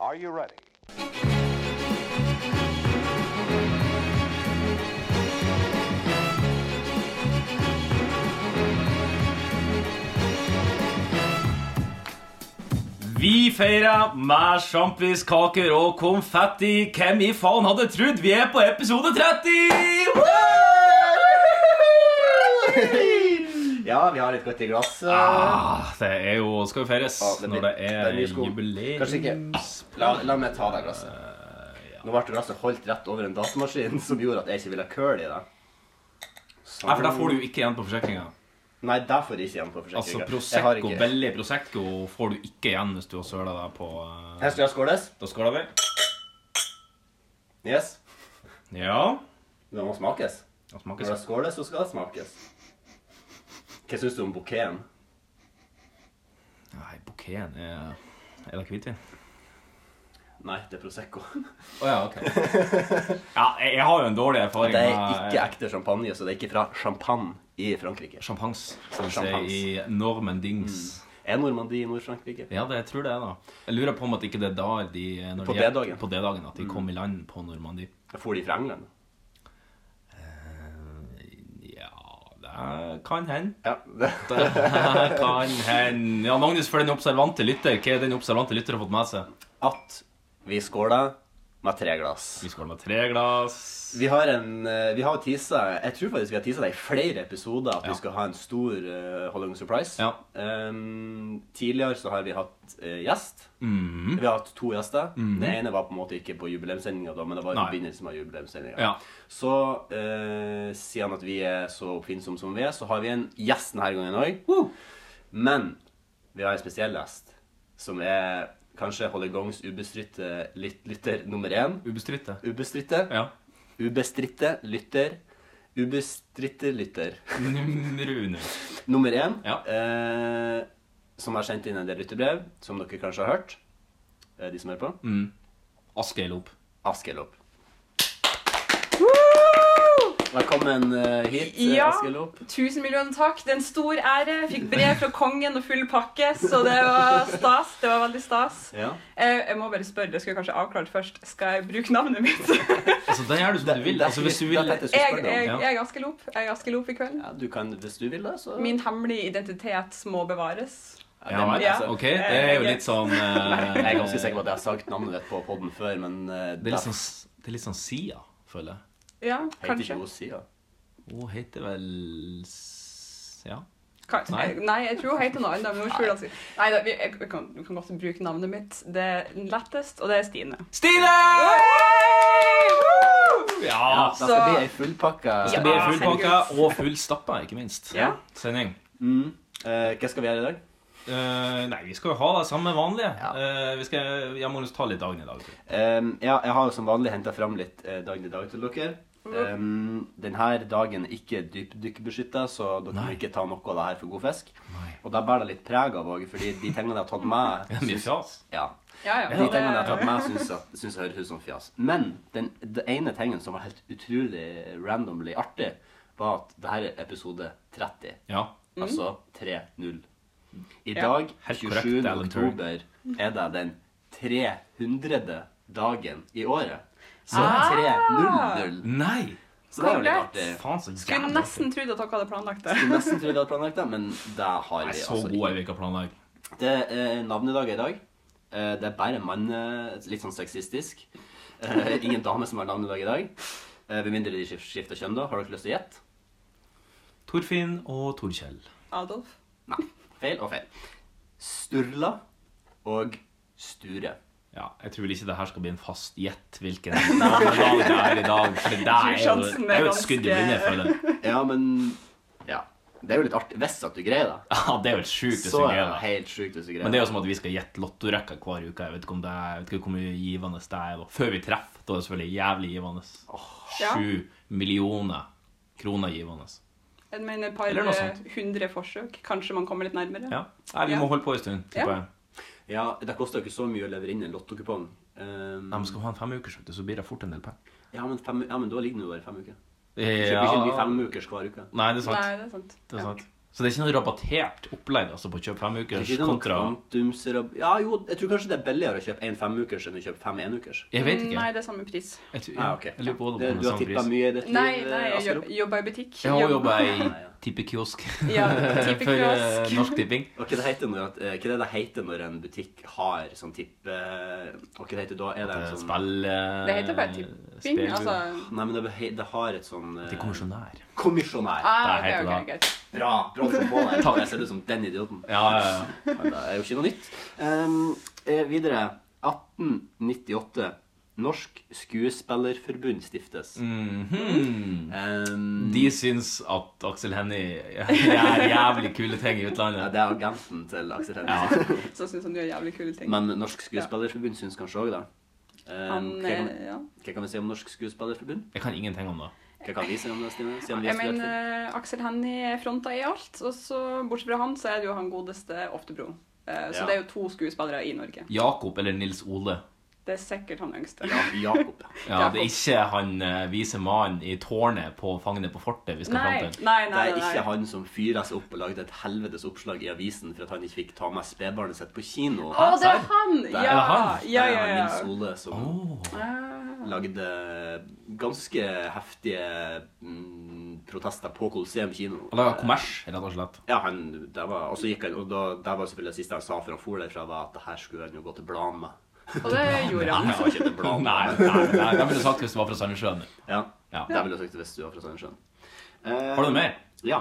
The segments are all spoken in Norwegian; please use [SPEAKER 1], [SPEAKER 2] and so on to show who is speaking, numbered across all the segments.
[SPEAKER 1] Are you ready?
[SPEAKER 2] Vi feirer med sjampiskaker og konfetti. Hvem i faen hadde trodd? Vi er på episode 30!
[SPEAKER 3] Ja, vi har litt godt i glasset.
[SPEAKER 2] Ah, det er jo skal jo feires
[SPEAKER 3] Ja, det blir-
[SPEAKER 2] når det
[SPEAKER 3] det
[SPEAKER 2] er
[SPEAKER 3] blir sko. Kanskje
[SPEAKER 2] jubileum.
[SPEAKER 3] ikke La, la meg ta det glasset.
[SPEAKER 2] Eh,
[SPEAKER 3] Nå ble glasset holdt rett over en datamaskin som gjorde at jeg ikke ville ha køl i det. Sånn.
[SPEAKER 2] Nei, for der får du ikke igjen på forsikringa.
[SPEAKER 3] Nei, der får jeg ikke igjen på
[SPEAKER 2] Altså
[SPEAKER 3] forsikringa.
[SPEAKER 2] Prosecco,
[SPEAKER 3] ikke
[SPEAKER 2] Belli Prosecco får du ikke igjen hvis du har søla deg på eh,
[SPEAKER 3] Her skal jeg skåles.
[SPEAKER 2] Da skåler vi.
[SPEAKER 3] Yes.
[SPEAKER 2] Ja.
[SPEAKER 3] Det må smakes.
[SPEAKER 2] Det
[SPEAKER 3] Når
[SPEAKER 2] smaker sånn.
[SPEAKER 3] det skåles, så skal det smakes. Hva syns du om bukeen?
[SPEAKER 2] sånn. Nei, bukeen er Er det hvitvin?
[SPEAKER 3] Nei, det er Prosecco.
[SPEAKER 2] Å ja, ok. Ja, jeg jeg har jo en dårlig erfaring
[SPEAKER 3] Det er ikke ekte champagne, så det er ikke fra champagne i Frankrike.
[SPEAKER 2] Champagnes, som eh, vi sier
[SPEAKER 3] Champagnes.
[SPEAKER 2] i Normandings.
[SPEAKER 3] Er Normandie i Nord-Frankrike?
[SPEAKER 2] Ja, det, jeg tror det er da. Jeg lurer på om at ikke det er der de eh, når
[SPEAKER 3] På Mm.
[SPEAKER 2] de er-
[SPEAKER 3] D-dagen.
[SPEAKER 2] På D-dagen, At de kom i land på Normandie.
[SPEAKER 3] For de fra England?
[SPEAKER 2] Ja, det kan hende.
[SPEAKER 3] Ja. det-
[SPEAKER 2] Det kan hende. Ja, Magnus, for den observante lytter, hva er den observante lytter har fått med seg?
[SPEAKER 3] At vi skåla med tre glass.
[SPEAKER 2] Vi skåler med tre glass.
[SPEAKER 3] Vi har en, eh, vi har teasa Jeg tror faktisk vi har teasa det i flere episoder at
[SPEAKER 2] Ja.
[SPEAKER 3] vi skal ha en stor uh, Hollywood Surprise.
[SPEAKER 2] Ja.
[SPEAKER 3] Ehm, tidligere så har vi hatt eh, gjest.
[SPEAKER 2] Mhm.
[SPEAKER 3] Vi har hatt to gjester. Den ene var på en måte ikke på jubileumssendinga, da, men det var i
[SPEAKER 2] Nei.
[SPEAKER 3] forbindelse med jubileumssendinga.
[SPEAKER 2] Ja.
[SPEAKER 3] Så eh, siden at vi er så oppfinnsomme som vi er, så har vi en gjest denne gangen òg. Men vi har en spesiell gjest, som er kanskje Hollygongs ubestridte lyt lytter nummer én.
[SPEAKER 2] Ubestridte.
[SPEAKER 3] Ubestridte.
[SPEAKER 2] Ja.
[SPEAKER 3] Ubestridte lytter. Ubestridte lytter.
[SPEAKER 2] Rune.
[SPEAKER 3] Nummer én,
[SPEAKER 2] Ja.
[SPEAKER 3] eh, som har sendt inn en del lyttebrev, som dere kanskje har hørt, eh, de som hører på. Mm.
[SPEAKER 2] Askøy Lop.
[SPEAKER 3] Askelop. Velkommen eh, hit, ja.
[SPEAKER 4] Ja.
[SPEAKER 3] Askelop.
[SPEAKER 4] Tusen millioner takk. Det er en stor ære. Jeg fikk brev fra kongen og full pakke, så det var stas. Det var veldig stas.
[SPEAKER 3] Ja.
[SPEAKER 4] Eh, Jeg må bare spørre, det skulle jeg kanskje avklart først. Skal jeg bruke navnet mitt?
[SPEAKER 2] Altså, det gjør du som du vil. Altså, hvis du vil
[SPEAKER 3] Det er dette
[SPEAKER 4] Jeg,
[SPEAKER 3] jeg
[SPEAKER 4] jeg,
[SPEAKER 2] Ja.
[SPEAKER 4] jeg er Askelop. Jeg er Askelop i kveld.
[SPEAKER 3] Ja, du kan, hvis du vil det, så
[SPEAKER 4] Min hemmelige identitet må bevares.
[SPEAKER 2] Ja,
[SPEAKER 3] men,
[SPEAKER 2] men,
[SPEAKER 4] altså,
[SPEAKER 2] OK, det er jo litt sånn eh,
[SPEAKER 3] Jeg er ganske sikker på at jeg har sagt navnet ditt på podden før, men eh,
[SPEAKER 2] Det er litt sånn, s- det er litt sånn Sia, føler jeg.
[SPEAKER 4] Ja,
[SPEAKER 3] heter
[SPEAKER 4] kanskje.
[SPEAKER 3] ikke Osia.
[SPEAKER 2] Hun heter vel s- Ja.
[SPEAKER 4] Kan,
[SPEAKER 2] Nei.
[SPEAKER 4] jeg, nei, jeg tror hun heter noe annet. men hun tror altså- Nei, da, vi- jeg, jeg, kan, jeg kan godt bruke navnet mitt. Det er lettest, og det er Stine.
[SPEAKER 2] Stine!
[SPEAKER 3] Ja,
[SPEAKER 2] Ja.
[SPEAKER 3] da skal
[SPEAKER 4] så-
[SPEAKER 3] bli ei fullpakka
[SPEAKER 2] Det
[SPEAKER 4] Ja.
[SPEAKER 2] blir full
[SPEAKER 4] herregud.
[SPEAKER 2] pakke og full stappa, ikke minst.
[SPEAKER 4] Ja.
[SPEAKER 2] Sending.
[SPEAKER 3] Mm. Eh, hva skal vi gjøre i dag?
[SPEAKER 2] Eh, nei, vi skal jo ha det samme vanlige.
[SPEAKER 3] Ja.
[SPEAKER 2] Eh, vi skal, jeg må jo ta litt dagen i dag. tror jeg.
[SPEAKER 3] Ehm, ja, jeg har jo som vanlig henta fram litt eh, dagen i dag til dere. Um, denne dagen er ikke dypdykkerbeskytta, så dere må
[SPEAKER 2] Nei.
[SPEAKER 3] ikke ta noe av det her for god fisk.
[SPEAKER 2] Nei.
[SPEAKER 3] Og det bærer det litt preg av òg, fordi de tingene jeg har tatt med
[SPEAKER 2] Det er mye fjas.
[SPEAKER 3] ja,
[SPEAKER 4] Ja, ja.
[SPEAKER 3] De tingene jeg har tatt med, syns jeg- syns jeg høres ut som fjas. Men den, det ene tingen som var helt utrolig randomly artig, var at det her er episode 30.
[SPEAKER 2] Ja.
[SPEAKER 3] Altså 3-0. I
[SPEAKER 4] Mm. Ja.
[SPEAKER 3] dag,
[SPEAKER 2] Helt
[SPEAKER 3] 27.
[SPEAKER 2] korrekt, Alan Turing.
[SPEAKER 3] oktober, er det den 300. dagen i året. Så
[SPEAKER 4] Ah!
[SPEAKER 3] 3-0-0.
[SPEAKER 2] Nei!
[SPEAKER 3] Så det er jo litt
[SPEAKER 4] Kongrats.
[SPEAKER 3] artig.
[SPEAKER 2] Faen, så
[SPEAKER 4] Eh, Skulle
[SPEAKER 2] jævlig.
[SPEAKER 4] nesten trodd at dere hadde planlagt det.
[SPEAKER 3] Skulle Nesten trodde jeg hadde planlagt det, men det har
[SPEAKER 2] Jeg er
[SPEAKER 3] vi
[SPEAKER 2] så
[SPEAKER 3] altså
[SPEAKER 2] god
[SPEAKER 3] ikke.
[SPEAKER 2] jeg vil ikke planlegge.
[SPEAKER 3] Det er navnedaget i dag. Eh, Det er bare mann, eh, litt sånn sexistisk. Eh, Ingen dame som har navnedag i dag. Eh, Med mindre de skif- skifter kjønn, da. Har dere lyst til å gjette?
[SPEAKER 2] Torfinn og Torkjell.
[SPEAKER 4] Adolf.
[SPEAKER 3] Nei. Feil og feil. Sturla og Sture.
[SPEAKER 2] Ja, jeg tror vel ikke det her skal bli en fast gjett hvilken dag det er i dag. For det er jo,
[SPEAKER 4] Sjansen er
[SPEAKER 2] det er jo et skudd i blinde,
[SPEAKER 4] ganske-
[SPEAKER 2] føler jeg.
[SPEAKER 3] Ja, men Ja. Det er jo litt artig. Hvis at du greier det.
[SPEAKER 2] Ja, det er jo et sjukt hvis
[SPEAKER 3] Så
[SPEAKER 2] du
[SPEAKER 3] er det
[SPEAKER 2] greier det.
[SPEAKER 3] helt sjukt hvis du greier
[SPEAKER 2] Men det er jo som at vi skal gjette lottorekka hver uke. Jeg vet ikke om det er, jeg vet ikke hvor mye givende det er. da. Før vi treffer, da er det selvfølgelig jævlig givende.
[SPEAKER 4] Ja.
[SPEAKER 2] Sju millioner kroner givende.
[SPEAKER 4] Jeg mener et par
[SPEAKER 2] Eller noe sånt.
[SPEAKER 4] hundre forsøk. Kanskje man kommer litt nærmere.
[SPEAKER 2] Ja. Nei, vi
[SPEAKER 4] Ja.
[SPEAKER 2] må holde på en stund, tipper jeg.
[SPEAKER 3] Ja, det koster jo ikke så mye å levere inn en lottokupong. Um,
[SPEAKER 2] Nei, men skal vi ha en femukers, vet du, så blir det fort en del penger.
[SPEAKER 3] ja, men fem, ja, men da ligger det jo bare fem uker. Kjøper ikke en ny
[SPEAKER 2] Ja.
[SPEAKER 3] femukers hver uke.
[SPEAKER 2] Nei, det er
[SPEAKER 4] Nei,
[SPEAKER 2] sant.
[SPEAKER 4] det er sant.
[SPEAKER 2] Det er sant. Så det er ikke noe rabattert opplegg altså, på å kjøpe fem
[SPEAKER 3] Er
[SPEAKER 2] ukers
[SPEAKER 3] ikke det noen
[SPEAKER 2] kontra
[SPEAKER 3] kvantumsrab... Ja, jo, jeg tror kanskje det er billigere å kjøpe en femukers enn å kjøpe fem enukers.
[SPEAKER 2] Jeg vet ikke.
[SPEAKER 4] Mm, Nei, det er samme pris.
[SPEAKER 2] Jeg, tror,
[SPEAKER 3] Ah, ok.
[SPEAKER 2] jeg lurer på om det
[SPEAKER 3] Det,
[SPEAKER 2] er
[SPEAKER 3] du har
[SPEAKER 2] samme
[SPEAKER 3] tippa
[SPEAKER 2] pris.
[SPEAKER 3] mye i ditt liv, eh,
[SPEAKER 4] Nei, nei jeg
[SPEAKER 3] Astrup?
[SPEAKER 4] jobb- jobber i butikk.
[SPEAKER 2] Jeg har jobba i
[SPEAKER 3] ja.
[SPEAKER 2] tippekiosk
[SPEAKER 4] Ja, type
[SPEAKER 2] for eh,
[SPEAKER 4] kiosk.
[SPEAKER 2] Norsk Tipping.
[SPEAKER 3] Og hva det heter når, at, eh, hva er det det heter når en butikk har sånn tippe... Og hva det heter da? Er det en sånn...
[SPEAKER 2] Spill eh,
[SPEAKER 4] Det heter bare tipping.
[SPEAKER 2] spill-
[SPEAKER 4] Altså
[SPEAKER 3] Nei, men det, he- det har et sånn... eh,
[SPEAKER 2] Til kommisjonær.
[SPEAKER 3] Kommisjonær.
[SPEAKER 4] ah,
[SPEAKER 2] Det heter
[SPEAKER 4] ok, ok, ok.
[SPEAKER 3] Bra, bra som på deg. Jeg ser ut som den idioten.
[SPEAKER 2] Ja, ja, ja.
[SPEAKER 3] Men det er jo ikke noe nytt. Ehm, eh, videre. 1898. Norsk Skuespillerforbund stiftes.
[SPEAKER 2] Mhm.
[SPEAKER 3] Ehm,
[SPEAKER 2] De syns at Aksel Hennie gjør jævlig kule ting i
[SPEAKER 3] ja,
[SPEAKER 2] utlandet.
[SPEAKER 3] det er agenten til Aksel
[SPEAKER 2] Ja.
[SPEAKER 3] Hennie.
[SPEAKER 4] Så syns han du gjør jævlig kule ting.
[SPEAKER 3] Men Norsk Skuespillerforbund syns kanskje òg det.
[SPEAKER 4] han,
[SPEAKER 3] Ehm, hva,
[SPEAKER 4] eh,
[SPEAKER 3] kan-
[SPEAKER 4] ja.
[SPEAKER 3] hva kan vi si om Norsk Skuespillerforbund?
[SPEAKER 2] Jeg kan ingenting om det.
[SPEAKER 3] Hva kan vi si om det, Stine? Siden vi
[SPEAKER 4] Jeg
[SPEAKER 3] har studert film?
[SPEAKER 4] mener, eh, Aksel Hennie er fronta i alt, og så bortsett fra han, så er det jo han godeste Oftebro. Eh, Så
[SPEAKER 3] Ja.
[SPEAKER 4] det er jo to skuespillere i Norge.
[SPEAKER 2] Jakob eller Nils Ole.
[SPEAKER 4] Det er sikkert han yngste.
[SPEAKER 3] Ja, Jakob.
[SPEAKER 2] Ja, Det er ikke han eh, vise mannen i tårnet på Fangene på fortet vi skal
[SPEAKER 4] Nei,
[SPEAKER 2] fram til.
[SPEAKER 4] nei,
[SPEAKER 3] Det
[SPEAKER 4] nei.
[SPEAKER 3] er ikke
[SPEAKER 4] nei.
[SPEAKER 3] han som fyrer seg opp og lagde et helvetes oppslag i avisen for at han ikke fikk ta med spedbarnet sitt på kino.
[SPEAKER 4] Å, det er han!
[SPEAKER 2] er han.
[SPEAKER 4] Ja, ja,
[SPEAKER 3] Der
[SPEAKER 4] ja.
[SPEAKER 3] har
[SPEAKER 4] ja.
[SPEAKER 3] Nils Ole som
[SPEAKER 2] Åh.
[SPEAKER 4] Ah.
[SPEAKER 3] lagde ganske heftige mm, protester på Colosseum kino.
[SPEAKER 2] Han lager kommers, rett og slett.
[SPEAKER 3] Ja, han, det var, og så gikk han, og da, det var selvfølgelig det siste han sa før han for derfra, var at det her skulle han jo gå til bladen med.
[SPEAKER 4] Og det gjorde
[SPEAKER 3] Han
[SPEAKER 4] han.
[SPEAKER 3] sa ikke til bladen.
[SPEAKER 2] Nei, nei, nei, det ville du sagt hvis du var fra Sandnessjøen.
[SPEAKER 3] Ja,
[SPEAKER 2] Ja.
[SPEAKER 3] det ville jeg sagt hvis du var fra Sandnessjøen. Eh,
[SPEAKER 2] Har du mer?
[SPEAKER 3] Ja.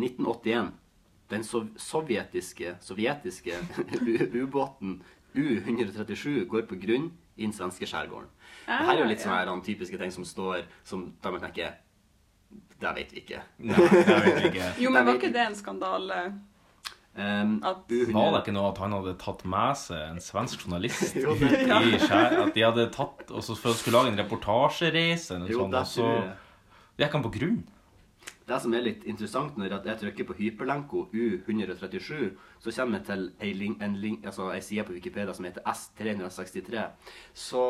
[SPEAKER 3] 1981. Den sov sovjetiske, sovjetiske u- ubåten U-137 går på grunn i den svenske skjærgården. Dette er jo litt sånne her, han typiske ting som står som da man tenker Det vet vi ikke.
[SPEAKER 2] Nei, jeg vet ikke.
[SPEAKER 4] Jo, men var ikke det en skandale?
[SPEAKER 3] Um,
[SPEAKER 4] At-
[SPEAKER 2] Var det
[SPEAKER 3] U-100
[SPEAKER 2] ikke noe at han hadde tatt med seg en svensk journalist
[SPEAKER 3] Jo,
[SPEAKER 2] i
[SPEAKER 3] det-
[SPEAKER 2] skjær? At de hadde tatt og så for å skulle lage en reportasjereise eller
[SPEAKER 3] Jo,
[SPEAKER 2] noe sånt,
[SPEAKER 3] det
[SPEAKER 2] og så
[SPEAKER 3] tror jeg.
[SPEAKER 2] gikk han på grunn?
[SPEAKER 3] Det som er litt interessant når at jeg trykker på hyperlenko U137, så kommer jeg til ei, link, en link, altså ei side på Wikipedia som heter S363. Så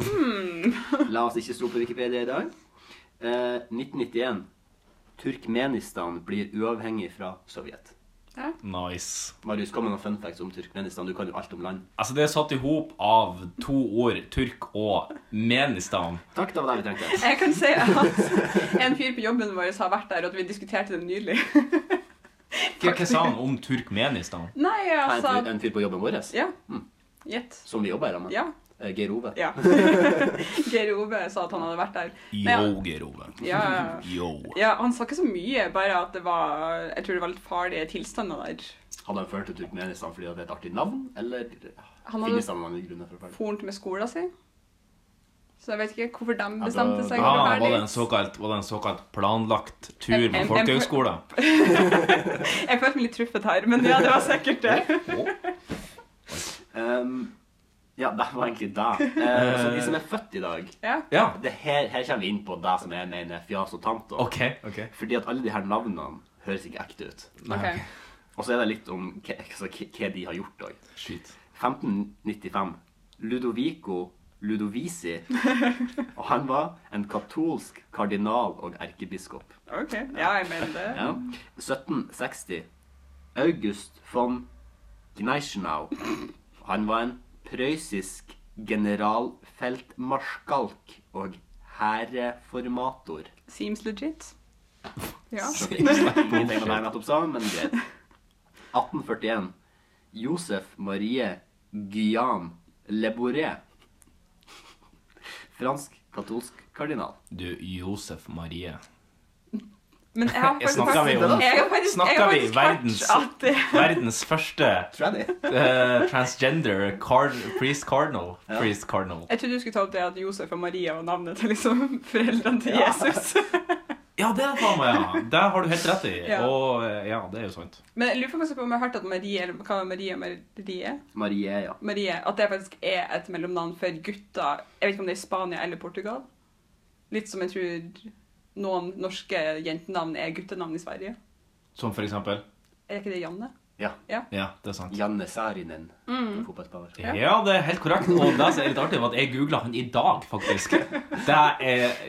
[SPEAKER 4] Hmm.
[SPEAKER 3] la oss ikke stå på Wikipedia i dag. Eh, 1991. Turkmenistan blir uavhengig fra Sovjet.
[SPEAKER 2] Nice.
[SPEAKER 3] Marius, hva med noen fun facts om Turkmenistan? Du kan jo alt om land.
[SPEAKER 2] Altså, det er satt i hop av to ord, turk og menistan.
[SPEAKER 3] Takk, det var det vi trengte.
[SPEAKER 4] Jeg kan si at en fyr på jobben vår har vært der, og at vi diskuterte det nylig.
[SPEAKER 2] Hva hva sa han om turkmenistan?
[SPEAKER 4] Nei,
[SPEAKER 3] En
[SPEAKER 4] altså
[SPEAKER 3] fyr- En fyr på jobben vår
[SPEAKER 4] Ja.
[SPEAKER 2] Mm.
[SPEAKER 4] Gjett.
[SPEAKER 3] som vi jobber sammen med.
[SPEAKER 4] Ja.
[SPEAKER 3] Eh, Geir Ove.
[SPEAKER 4] Ja. Geir Ove sa at han hadde vært der. Nei, ja.
[SPEAKER 2] Yo, Geir Ove.
[SPEAKER 4] Ja, ja.
[SPEAKER 2] Yo.
[SPEAKER 4] ja, han sa ikke så mye, bare at det var Jeg tror det var litt farlige tilstander der.
[SPEAKER 3] Hadde han ført til Turkmenistan fordi det er et artig navn, eller
[SPEAKER 4] Han hadde-
[SPEAKER 3] finnes det noen andre grunner for å følge?
[SPEAKER 4] Fornt med skolen sin. Så jeg vet ikke hvorfor de
[SPEAKER 3] da-
[SPEAKER 4] bestemte seg for
[SPEAKER 2] Ah,
[SPEAKER 4] å
[SPEAKER 2] var, det
[SPEAKER 4] være
[SPEAKER 2] en
[SPEAKER 4] litt
[SPEAKER 2] såkalt, var det en såkalt planlagt tur
[SPEAKER 4] En-
[SPEAKER 2] med
[SPEAKER 4] en- en-
[SPEAKER 2] folkehøgskolen?
[SPEAKER 4] Jeg følte meg litt truffet her, men ja, det var sikkert det.
[SPEAKER 3] Ehm, ja, det var egentlig det. Eh, så de som er født i dag
[SPEAKER 4] Ja.
[SPEAKER 2] Ja.
[SPEAKER 3] det her, her kommer vi inn på det som jeg mener fjas og tant. da.
[SPEAKER 2] OK. ok.
[SPEAKER 3] Fordi at alle de her navnene høres ikke ekte ut.
[SPEAKER 2] Nei,
[SPEAKER 4] Ok.
[SPEAKER 3] Og så er det litt om hva, altså, hva- hva de har gjort òg.
[SPEAKER 2] Skyt.
[SPEAKER 3] 1595. Ludovico Ludovisi. Og han var en katolsk kardinal og erkebiskop.
[SPEAKER 4] OK. Ja, jeg mener det.
[SPEAKER 3] Ja. 1760. August von Gneischenau. Han var en prøyssisk generalfeltmarskalk og hæreformator.
[SPEAKER 4] Seems legit. Ja.
[SPEAKER 3] Ingenting av det jeg nettopp sa, men greit. 1841. Josef Marie Guyan Lebouré. Fransk katolsk kardinal.
[SPEAKER 2] Du, Josef Marie.
[SPEAKER 4] Men jeg har
[SPEAKER 2] Jeg
[SPEAKER 4] faktisk
[SPEAKER 2] snakker vi om
[SPEAKER 4] jeg har faktisk- jeg har
[SPEAKER 2] Snakker vi
[SPEAKER 4] faktisk hørt
[SPEAKER 2] verdens,
[SPEAKER 4] at det-
[SPEAKER 2] verdens første
[SPEAKER 3] Tror jeg det.
[SPEAKER 2] eh, transgender card, priest cardinal? Priest cardinal.
[SPEAKER 4] Jeg trodde du skulle ta opp det at Josef og Maria var navnet til liksom foreldrene til
[SPEAKER 3] Ja.
[SPEAKER 4] Jesus.
[SPEAKER 2] Ja, det er faen meg, ja. Det har du helt rett i.
[SPEAKER 4] Ja.
[SPEAKER 2] Og eh, ja, det er jo sant.
[SPEAKER 4] Men jeg lurer faktisk på om jeg har hørt at Marie, eller hva er Marie, Marie,
[SPEAKER 3] Marie, ja.
[SPEAKER 4] Marie, at det faktisk er et mellomnavn for gutter, jeg vet ikke om det er i Spania eller Portugal. Litt som jeg tror noen norske jentenavn er guttenavn i Sverige.
[SPEAKER 2] Som for eksempel
[SPEAKER 4] Er ikke det Janne?
[SPEAKER 3] Ja.
[SPEAKER 2] Ja, det er sant.
[SPEAKER 3] Janne Sarinen, fotballspiller.
[SPEAKER 2] Ja. det er helt korrekt. Og det som er litt artig, var at jeg googla han i dag, faktisk. Det er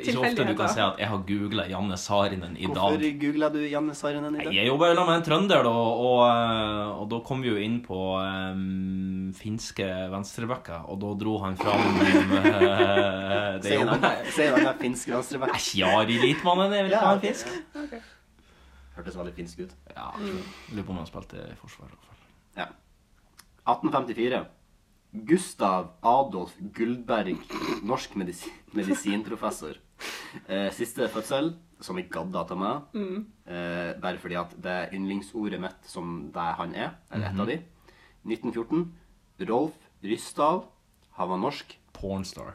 [SPEAKER 2] ikke ofte du kan si at jeg har googla Janne Sarinen i dag.
[SPEAKER 3] Hvorfor googla du Janne Sarinen i dag?
[SPEAKER 2] Jeg jobber jo med en trønder, da, og, eh, og da kom vi jo inn på eh, finske venstrebacker, og da dro han fram eh, det
[SPEAKER 3] Sier
[SPEAKER 2] jobbet.
[SPEAKER 3] han sier han er finsk venstreback?
[SPEAKER 2] Æsj, Jari Litmanen er vel ikke
[SPEAKER 3] Ja.
[SPEAKER 2] han fisk?
[SPEAKER 3] Hørtes veldig finsk ut.
[SPEAKER 2] Ja, Lurer på om han spilte i forsvar. i hvert fall.
[SPEAKER 3] Ja. 1854. Gustav Adolf Guldberg, norsk medisi medisinprofessor. Eh, siste fødsel, som jeg gadda til meg, eh, bare fordi at det er yndlingsordet mitt som det han er, eller et av de. 1914. Rolf Ryssdal. Han var norsk.
[SPEAKER 2] Pornstar.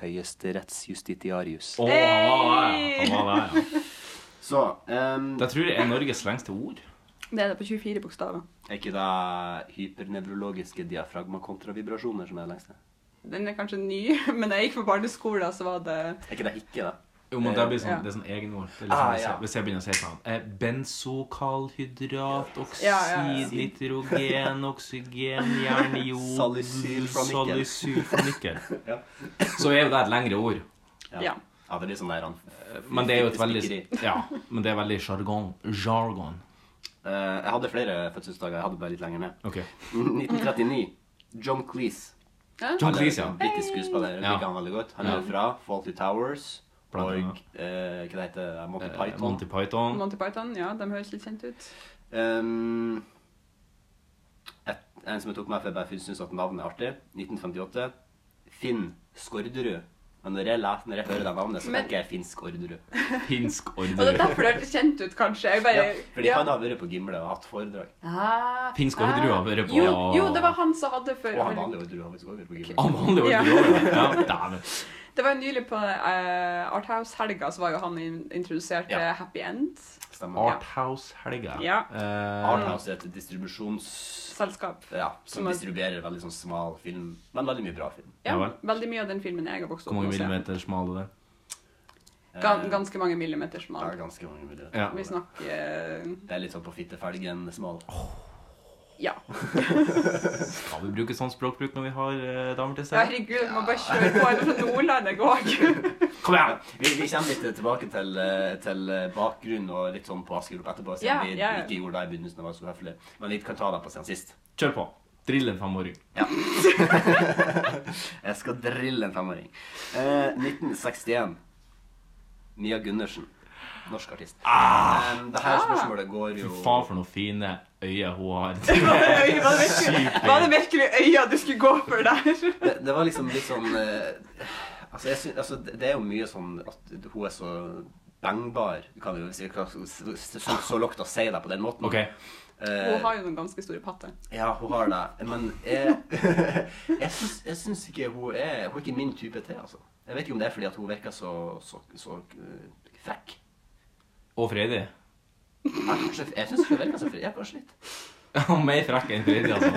[SPEAKER 3] Høyesterettsjustitiarius.
[SPEAKER 2] Å, han var der, ja. Han var der, ja.
[SPEAKER 3] Så ehm,
[SPEAKER 2] Det tror jeg er Norges lengste ord.
[SPEAKER 4] Det er det på 24 bokstaver.
[SPEAKER 3] er ikke det hypernevrologiske diafragmakontravibrasjoner som er det lengste?
[SPEAKER 4] Den er kanskje ny, men da jeg gikk på barneskolen, så var det
[SPEAKER 3] Er ikke det ikke det?
[SPEAKER 2] Jo, men det blir sånn,
[SPEAKER 4] Ja.
[SPEAKER 2] det er sånn egenord. Det er Liksom,
[SPEAKER 3] Ah,
[SPEAKER 2] hvis,
[SPEAKER 3] ja.
[SPEAKER 2] jeg, hvis jeg begynner å si sånn eh, Benzokalhydrat, oksid,
[SPEAKER 4] Ja, ja, ja.
[SPEAKER 2] nitrogen, oksygen, jern, jod
[SPEAKER 3] Salicylfornikkel.
[SPEAKER 2] salicylfornikkel.
[SPEAKER 3] Ja.
[SPEAKER 2] Så er jo det et lengre ord.
[SPEAKER 4] Ja.
[SPEAKER 3] Ja, det er litt sånn der han
[SPEAKER 2] Men det er jo et veldig
[SPEAKER 3] Fittestikkeri.
[SPEAKER 2] Ja, men det er veldig jargon. Jargon.
[SPEAKER 3] Eh, Jeg hadde flere fødselsdager. Jeg hadde bare litt lenger ned.
[SPEAKER 2] Ok.
[SPEAKER 3] 1939. John Cleese.
[SPEAKER 2] John Cleese,
[SPEAKER 3] Han er
[SPEAKER 2] ja.
[SPEAKER 3] en Britisk skuespiller. Jeg
[SPEAKER 2] Ja.
[SPEAKER 3] liker han veldig godt. Han
[SPEAKER 2] Ja.
[SPEAKER 3] er fra Faulty Towers
[SPEAKER 2] Blant
[SPEAKER 3] og
[SPEAKER 2] annet.
[SPEAKER 3] eh, hva det heter det? Monty
[SPEAKER 2] Eh,
[SPEAKER 3] Python.
[SPEAKER 2] Monty Python.
[SPEAKER 4] Monty Python, ja, de høres litt kjent ut.
[SPEAKER 3] Ehm, et, en som jeg tok med for jeg bare syns at navnet er artig. 1958. Finn Skårderud. Men når jeg, leser, når jeg hører det navnet, så
[SPEAKER 4] Men-
[SPEAKER 3] tenker jeg Finn Skårderud.
[SPEAKER 2] Finsk
[SPEAKER 4] Og det er
[SPEAKER 2] ordre.
[SPEAKER 4] derfor det hørtes kjent ut, kanskje. Jeg bare,
[SPEAKER 3] Ja, fordi han har vært på Gimle og hatt foredrag.
[SPEAKER 4] Ah,
[SPEAKER 2] Finsk ordre har vært på
[SPEAKER 4] jo, jo, det var han som hadde før.
[SPEAKER 3] Og han vanlige Ordrud har faktisk også vært på Gimle.
[SPEAKER 2] Ah, vanlig ordre.
[SPEAKER 4] Ja.
[SPEAKER 2] Ja. Ja, dæven.
[SPEAKER 4] Det var jo nylig på eh, Arthouse-helga, så var jo han in- introdusert til
[SPEAKER 3] Ja.
[SPEAKER 4] Happy End.
[SPEAKER 3] Stemmer.
[SPEAKER 2] Arthouse-helga.
[SPEAKER 4] Ja.
[SPEAKER 2] Eh,
[SPEAKER 3] Arthouse er et distribusjons...
[SPEAKER 4] Selskap.
[SPEAKER 3] Ja, som
[SPEAKER 4] Som er-
[SPEAKER 3] distribuerer veldig sånn smal film, men veldig mye bra film.
[SPEAKER 2] Ja
[SPEAKER 4] Ja,
[SPEAKER 2] vel.
[SPEAKER 4] veldig mye av den filmen jeg har vokst
[SPEAKER 2] hvor
[SPEAKER 4] opp
[SPEAKER 2] mange
[SPEAKER 4] med. å se.
[SPEAKER 2] millimeter smal er det?
[SPEAKER 4] Gan ganske mange millimeter
[SPEAKER 3] Det er
[SPEAKER 4] smal.
[SPEAKER 3] ganske mange muligheter.
[SPEAKER 2] Ja.
[SPEAKER 4] Vi snakker eh,
[SPEAKER 3] Det er litt sånn på fittefelgen smal.
[SPEAKER 4] Ja.
[SPEAKER 2] Skal vi bruke sånn språkbruk når vi har eh, damer til stede?
[SPEAKER 4] Herregud, man bare kjører på. Jeg er fra Nordland, jeg òg.
[SPEAKER 2] Kom igjen!
[SPEAKER 3] Vi, vi kommer litt tilbake til, eh, til eh, bakgrunn og litt sånn på Askerup etterpå, siden
[SPEAKER 4] Ja,
[SPEAKER 3] vi
[SPEAKER 4] ja, ja.
[SPEAKER 3] ikke gjorde det i begynnelsen. Det var så høflig. Men vi kan ta det på siden sist.
[SPEAKER 2] Kjør på. Drill en femåring.
[SPEAKER 3] Jeg skal drille en femåring. Eh, 1961. Mia Gundersen. Norsk artist. Eh, det her spørsmålet går jo
[SPEAKER 2] Ah! Fy faen for noen fine øyne hun har.
[SPEAKER 4] Var det virkelig- var det virkelig øya du skulle gå for der?
[SPEAKER 3] det, det var liksom litt sånn eh, altså, jeg syn- altså, det det er jo mye sånn at hun er så bangbar. Du kan jo si så, så, så lågt å si det på den måten.
[SPEAKER 2] Ok,
[SPEAKER 3] Eh,
[SPEAKER 4] Hun har jo noen ganske store patter.
[SPEAKER 3] ja, hun har det. Men jeg, jeg, syns, jeg syns ikke hun er Hun er ikke min type til, altså. Jeg vet ikke om det er fordi at hun virker så, så, så eh, frekk.
[SPEAKER 2] Og Freddy.
[SPEAKER 3] Jeg, kanskje, jeg syns hun virker så frekk. Ja, kanskje litt.
[SPEAKER 2] Mer frekk enn Freddy, altså.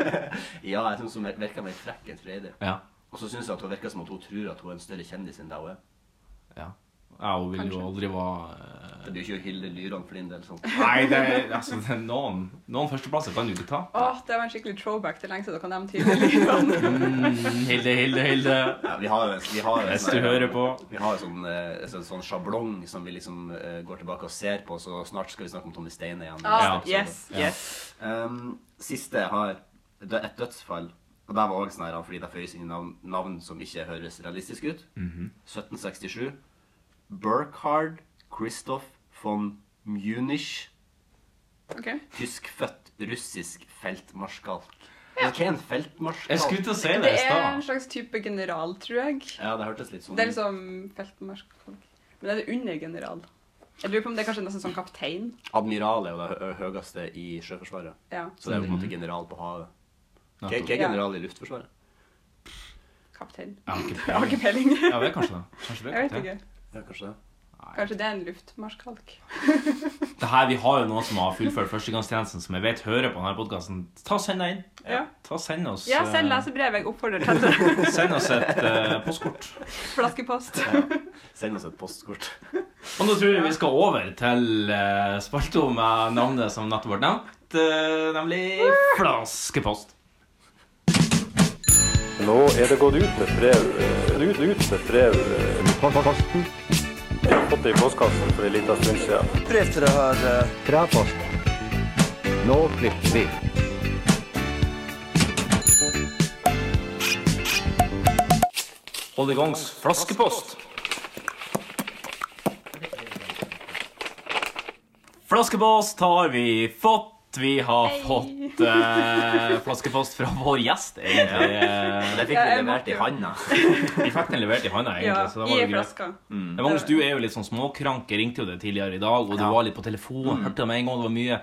[SPEAKER 3] Ja, jeg syns hun vir- virker mer frekk enn Freide.
[SPEAKER 2] Ja.
[SPEAKER 3] Og så syns jeg at hun virker som at hun tror at hun er en større kjendis enn det hun er.
[SPEAKER 2] ja. ja hun vil jo
[SPEAKER 4] Kanskje.
[SPEAKER 2] aldri være eh,
[SPEAKER 3] Det blir jo ikke Hilde Lyran for din del. sånn.
[SPEAKER 2] Nei, det er, altså, det er noen, noen førsteplasser kan du ikke ta.
[SPEAKER 4] Åh, det var en skikkelig throwback til lenge siden dere nevnte Hilde
[SPEAKER 2] Mm, Hilde, Hilde, Hilde.
[SPEAKER 3] Ja, vi har, vi har sånn
[SPEAKER 2] Hvis du hører på.
[SPEAKER 3] Vi har en sånn, eh, sånn, sånn sjablong som vi liksom eh, går tilbake og ser på, så snart skal vi snakke om Tommy Steine igjen.
[SPEAKER 4] Ah,
[SPEAKER 2] Ja.
[SPEAKER 4] yes,
[SPEAKER 2] Ja.
[SPEAKER 4] yes.
[SPEAKER 3] Um, siste jeg har det er et dødsfall. Og det var også sånn her, fordi det føyes inn i navn, navn som ikke høres realistisk ut.
[SPEAKER 2] Mhm.
[SPEAKER 3] 1767. Burkhard Christoph von Munich.
[SPEAKER 4] Ok.
[SPEAKER 3] Tyskfødt russisk feltmarskalk. Altså, Hva er en feltmarskalk?
[SPEAKER 2] Jeg skulle til å si det
[SPEAKER 4] Det
[SPEAKER 2] i
[SPEAKER 4] er en
[SPEAKER 2] stad.
[SPEAKER 4] slags type general, tror jeg.
[SPEAKER 3] Ja, det hørtes litt sånn
[SPEAKER 4] Det er liksom feltmarskalk. Men det er det under general. Jeg lurer på om det er kanskje nesten sånn kaptein.
[SPEAKER 3] Admiral er jo det hø- høyeste i Sjøforsvaret.
[SPEAKER 4] Ja,
[SPEAKER 3] Så det er jo på en måte general på havet. Hva hva
[SPEAKER 2] Mhm. Nettopp.
[SPEAKER 3] er general i Luftforsvaret?
[SPEAKER 4] kaptein.
[SPEAKER 2] Jeg har ikke
[SPEAKER 4] Jeg har
[SPEAKER 2] peiling.
[SPEAKER 4] ikke peiling.
[SPEAKER 2] Ja, det er kanskje det. Kanskje det.
[SPEAKER 4] Jeg vet
[SPEAKER 2] kaptein.
[SPEAKER 4] ikke.
[SPEAKER 3] Ja, kanskje det.
[SPEAKER 4] Kanskje det er en luftmarskalk.
[SPEAKER 2] det her, vi har jo noen som har fullført førstegangstjenesten, som jeg vet hører på denne podkasten. Ta og send deg inn.
[SPEAKER 4] Ja.
[SPEAKER 2] Ta og Send oss,
[SPEAKER 4] ja, send
[SPEAKER 2] eh,
[SPEAKER 4] lesebrev. Jeg oppfordrer til det.
[SPEAKER 2] send oss et eh, postkort.
[SPEAKER 4] Flaskepost.
[SPEAKER 3] Send oss et postkort.
[SPEAKER 2] Og nå tror jeg vi skal over til eh, spalta med navnet eh, som nettopp ble nevnt. eh, nemlig flaskepost.
[SPEAKER 1] Nå er det gått ut med brev. eh, Ut, ut med brev. eh, Jeg har fått det i postkassen for en liten stund siden.
[SPEAKER 2] Hold i gangs flaskepost. Flaskepost har vi fått. Vi har fått eh, flaskepost fra vår gjest, egentlig. Eh,
[SPEAKER 3] Det fikk vi
[SPEAKER 4] Ja, jeg
[SPEAKER 3] levert
[SPEAKER 4] måtte
[SPEAKER 3] i
[SPEAKER 4] jo.
[SPEAKER 3] handa.
[SPEAKER 2] Vi fikk den levert i handa, egentlig.
[SPEAKER 4] Ja,
[SPEAKER 2] så da var
[SPEAKER 4] I
[SPEAKER 2] det greit. Mm.
[SPEAKER 4] flaska.
[SPEAKER 2] Men Magnus, du er jo litt sånn småkranke. Ringte jo deg tidligere i dag, og du
[SPEAKER 3] Ja.
[SPEAKER 2] var litt på telefonen.
[SPEAKER 4] Mm.
[SPEAKER 2] Hørte det med en gang. Det var mye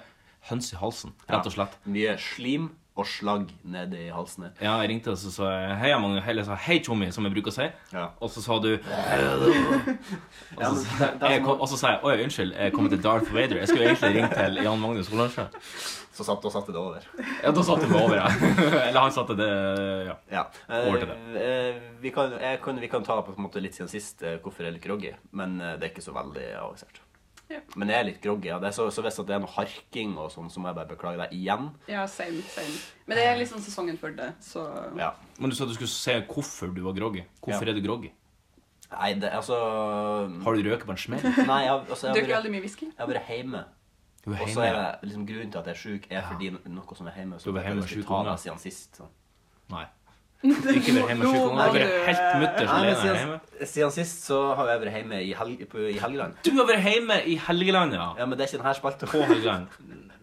[SPEAKER 2] høns i halsen, rett og slett.
[SPEAKER 3] Mye slim og slagg nede i halsene.
[SPEAKER 2] Ja, jeg ringte og så sa jeg, hei, Magnus. Eller jeg sa hei, Tjommi, som jeg bruker å si.
[SPEAKER 3] Ja.
[SPEAKER 2] Og så sa du
[SPEAKER 3] Ja, men det- det er
[SPEAKER 2] jeg
[SPEAKER 3] som-
[SPEAKER 2] kom, Og så sa jeg oi, unnskyld, jeg kom til Darth Vader. Jeg skulle egentlig ringe til Jan Magnus Olansjø.
[SPEAKER 3] Så satt, da satte det over.
[SPEAKER 2] Ja, da satte du meg over, ja. Eller han satte det Ja.
[SPEAKER 3] Ja.
[SPEAKER 2] Over til
[SPEAKER 3] Eh, eh, vi, kan, jeg kan, vi kan ta på en måte litt siden sist eh, hvorfor jeg er litt groggy, men eh, det er ikke så veldig avansert.
[SPEAKER 4] Ja.
[SPEAKER 3] Men jeg er litt groggy. Ja. Det er så, så hvis at det er noe harking og sånn, så må jeg bare beklage deg igjen.
[SPEAKER 4] Ja, same, same. Men det er liksom sesongen for det, så
[SPEAKER 3] Ja.
[SPEAKER 2] Men du sa du skulle se hvorfor du var groggy. Hvorfor
[SPEAKER 3] Ja.
[SPEAKER 2] er du groggy?
[SPEAKER 3] Nei, det altså
[SPEAKER 2] Har du røket på en smell?
[SPEAKER 3] Nei, jeg, altså,
[SPEAKER 4] Du
[SPEAKER 3] jeg,
[SPEAKER 4] drikker
[SPEAKER 3] har vært-
[SPEAKER 4] veldig mye whisky?
[SPEAKER 3] jeg har vært hjemme.
[SPEAKER 2] Du er
[SPEAKER 3] Og så
[SPEAKER 2] hjemme.
[SPEAKER 3] er
[SPEAKER 2] ja.
[SPEAKER 3] det liksom grunnen til at jeg er sjuk, er fordi noe som er hjemme.
[SPEAKER 2] Du
[SPEAKER 3] Som
[SPEAKER 2] var
[SPEAKER 3] jeg
[SPEAKER 2] hjemme
[SPEAKER 3] ikke
[SPEAKER 2] sjuk
[SPEAKER 3] skulle ta
[SPEAKER 2] unger.
[SPEAKER 3] meg siden sist. Sånn.
[SPEAKER 2] Nei. Ikke vær hjemme sjuk unge.
[SPEAKER 4] Nå må
[SPEAKER 2] Du er
[SPEAKER 4] du-
[SPEAKER 2] helt mutters
[SPEAKER 3] Nei, men
[SPEAKER 2] alene hjemme.
[SPEAKER 3] siden, siden sist så har jeg vært hjemme i, helg, på, i Helgeland.
[SPEAKER 2] Du har vært hjemme i Helgeland, ja.
[SPEAKER 3] Ja, men det er ikke denne spalta.
[SPEAKER 2] På Helgeland.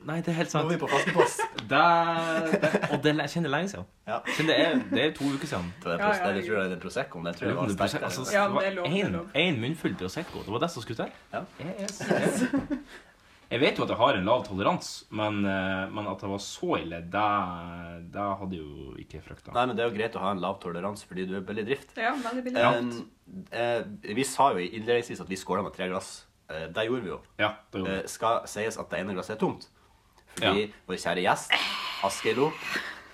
[SPEAKER 2] Nei, det er helt
[SPEAKER 3] Nå
[SPEAKER 2] sant.
[SPEAKER 3] er vi på flaskepost.
[SPEAKER 2] Der, der. Og det er- jeg kjenner det lenge siden.
[SPEAKER 3] Ja.
[SPEAKER 2] Jeg kjenner Det er, det er to uker siden.
[SPEAKER 3] Det er
[SPEAKER 4] Ja, ja,
[SPEAKER 3] pros- det tror jeg er den Proseccoen. Den tror jeg var
[SPEAKER 2] Prosecco,
[SPEAKER 3] sterkere.
[SPEAKER 2] altså,
[SPEAKER 4] Ja, men det er lov, det er
[SPEAKER 2] en-
[SPEAKER 4] lov.
[SPEAKER 2] en munnfull Prosecco. Det var det som skulle til.
[SPEAKER 3] Ja.
[SPEAKER 2] Jeg, er så- jeg vet jo at jeg har en lav toleranse, men, eh, men at det var så ille, det, det hadde jeg jo ikke frykta.
[SPEAKER 3] Nei, men det er jo greit å ha en lav toleranse fordi du er billig drift.
[SPEAKER 4] Ja, veldig billig.
[SPEAKER 2] Ja.
[SPEAKER 3] Eh, eh, vi sa jo i- innledningsvis at vi skåla med tre glass. Eh, det gjorde vi jo.
[SPEAKER 2] Ja, det gjorde jeg.
[SPEAKER 3] Eh, skal sies at det ene glasset er tomt. Fordi vår kjære gjest, Asgeir Lo,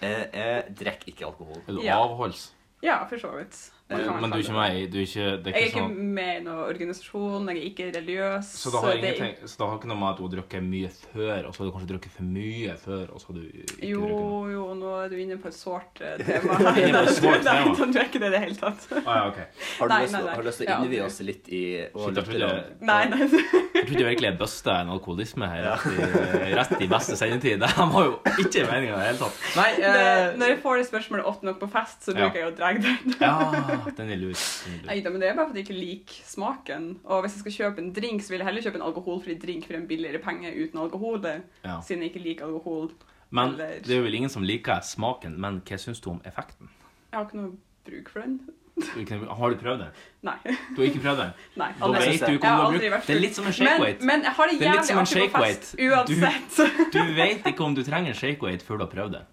[SPEAKER 3] eh, eh, drikker ikke alkohol.
[SPEAKER 2] Er du
[SPEAKER 4] Ja.
[SPEAKER 2] avholds?
[SPEAKER 4] Ja, for så vidt. Det kan man
[SPEAKER 2] Men du er ikke
[SPEAKER 4] kalle
[SPEAKER 2] med i- du er ikke, det er
[SPEAKER 4] det. Jeg er
[SPEAKER 2] ikke
[SPEAKER 4] ikke
[SPEAKER 2] sånn
[SPEAKER 4] med i noen organisasjon, jeg er ikke religiøs.
[SPEAKER 2] Så det har,
[SPEAKER 4] det er
[SPEAKER 2] ingenting, så det har ikke noe med at du har drukket mye før, og så har du kanskje drukket for mye før, og så har du ikke
[SPEAKER 4] Jo,
[SPEAKER 2] drukket noe?
[SPEAKER 4] jo, nå er du inne på et sårt eh, tema. her.
[SPEAKER 2] Inne på et sårt
[SPEAKER 4] Nei,
[SPEAKER 2] tema.
[SPEAKER 4] Tom, du er ikke det i det hele tatt.
[SPEAKER 2] Ah, ja, ok.
[SPEAKER 3] Har du
[SPEAKER 4] Nei,
[SPEAKER 3] lyst til
[SPEAKER 4] nei,
[SPEAKER 3] å-
[SPEAKER 4] nei.
[SPEAKER 3] har du lyst til å
[SPEAKER 4] Ja.
[SPEAKER 3] innvie oss litt i og
[SPEAKER 2] Shit, jeg trodde
[SPEAKER 3] lytterne-
[SPEAKER 4] Nei, nei.
[SPEAKER 2] Jeg trodde virkelig jeg busta en alkoholisme her rett i, rett i beste sendetid. Det her var jo ikke meninga i det hele tatt. Nei, eh,
[SPEAKER 4] Det- Når jeg får det spørsmålet ofte nok på fest, så
[SPEAKER 2] Ja.
[SPEAKER 4] bruker jeg å dra den.
[SPEAKER 2] Ja, den er lur. Den er lur.
[SPEAKER 4] Nei da, men det er bare fordi jeg ikke liker smaken. Og hvis jeg skal kjøpe en drink, så vil jeg heller kjøpe en alkoholfri drink for en billigere penge uten alkohol, det,
[SPEAKER 2] Ja.
[SPEAKER 4] siden jeg ikke liker alkohol.
[SPEAKER 2] Men det er vel ingen som liker smaken, men hva syns du om effekten?
[SPEAKER 4] Jeg har ikke noe bruk for den.
[SPEAKER 2] Du kan- Har du prøvd den?
[SPEAKER 4] Nei.
[SPEAKER 2] Du har ikke prøvd den?
[SPEAKER 4] Nei
[SPEAKER 2] Da
[SPEAKER 4] aldri.
[SPEAKER 2] vet du ikke om
[SPEAKER 4] Jeg
[SPEAKER 2] du
[SPEAKER 4] har
[SPEAKER 2] har
[SPEAKER 4] aldri
[SPEAKER 2] brukt
[SPEAKER 4] vært
[SPEAKER 2] Det er
[SPEAKER 4] bruk.
[SPEAKER 2] litt som en
[SPEAKER 4] Men,
[SPEAKER 2] shake-weight.
[SPEAKER 4] men jeg har det
[SPEAKER 2] Det er litt
[SPEAKER 4] jævlig
[SPEAKER 2] som en
[SPEAKER 4] artig på fest
[SPEAKER 2] shake-weight.
[SPEAKER 4] uansett.
[SPEAKER 2] Du vet ikke om du trenger en shake-weight før du har prøvd den.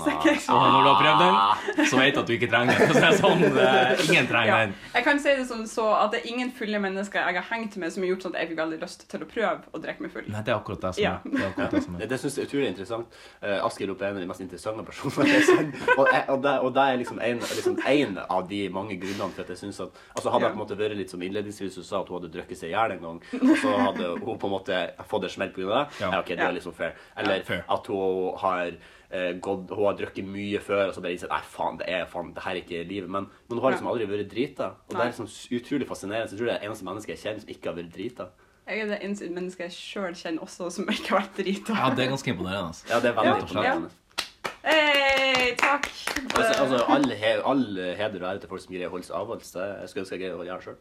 [SPEAKER 4] Så ikke-
[SPEAKER 2] Og når du har prøvd
[SPEAKER 3] Ah.
[SPEAKER 2] den, så vet du at du ikke trenger den. Så det er sånn, eh, ingen trenger
[SPEAKER 4] Ja.
[SPEAKER 2] den.
[SPEAKER 4] Jeg kan si det som så at det er ingen fulle mennesker jeg har hengt med som har gjort sånn at jeg fikk veldig lyst til å prøve å drikke meg full.
[SPEAKER 2] Nei, det er akkurat det som
[SPEAKER 4] Ja.
[SPEAKER 2] er. Det er akkurat det som er.
[SPEAKER 3] Det, det synes jeg er utrolig interessant. Uh, Askild Opp er en av de mest interessante personene. jeg kjenner. og, jeg, og, det, og det er liksom en, liksom en av de mange grunnene for at jeg synes at altså Hadde jeg på en måte vært litt som innledningsvis hun sa, at hun hadde drukket seg i hjel en gang, og så hadde hun på en måte fått en smell pga. det,
[SPEAKER 2] Ja.
[SPEAKER 3] ja. ok, det
[SPEAKER 4] Ja.
[SPEAKER 3] er liksom fair. Eller
[SPEAKER 2] Ja, fair.
[SPEAKER 3] at hun har eh, gått, hun har drukket mye før, og så bare innsett Nei, faen, det er faen, det her er ikke livet. Men, men hun har liksom
[SPEAKER 4] Ja.
[SPEAKER 3] aldri vært drita. Og det
[SPEAKER 4] Nei.
[SPEAKER 3] er liksom utrolig fascinerende. Så jeg tror det er det eneste mennesket jeg kjenner som ikke har vært drita.
[SPEAKER 4] Jeg er det eneste mennesket jeg sjøl kjenner også som ikke har vært drita.
[SPEAKER 2] Ja, det er ganske imponerende. altså.
[SPEAKER 3] Ja, det er veldig
[SPEAKER 4] Ja,
[SPEAKER 3] imponerende.
[SPEAKER 4] Hei, takk!
[SPEAKER 3] Altså, altså all, he all heder og ære til folk som greier å holde seg avholds. Det jeg skulle ønske jeg greide å gjøre sjøl.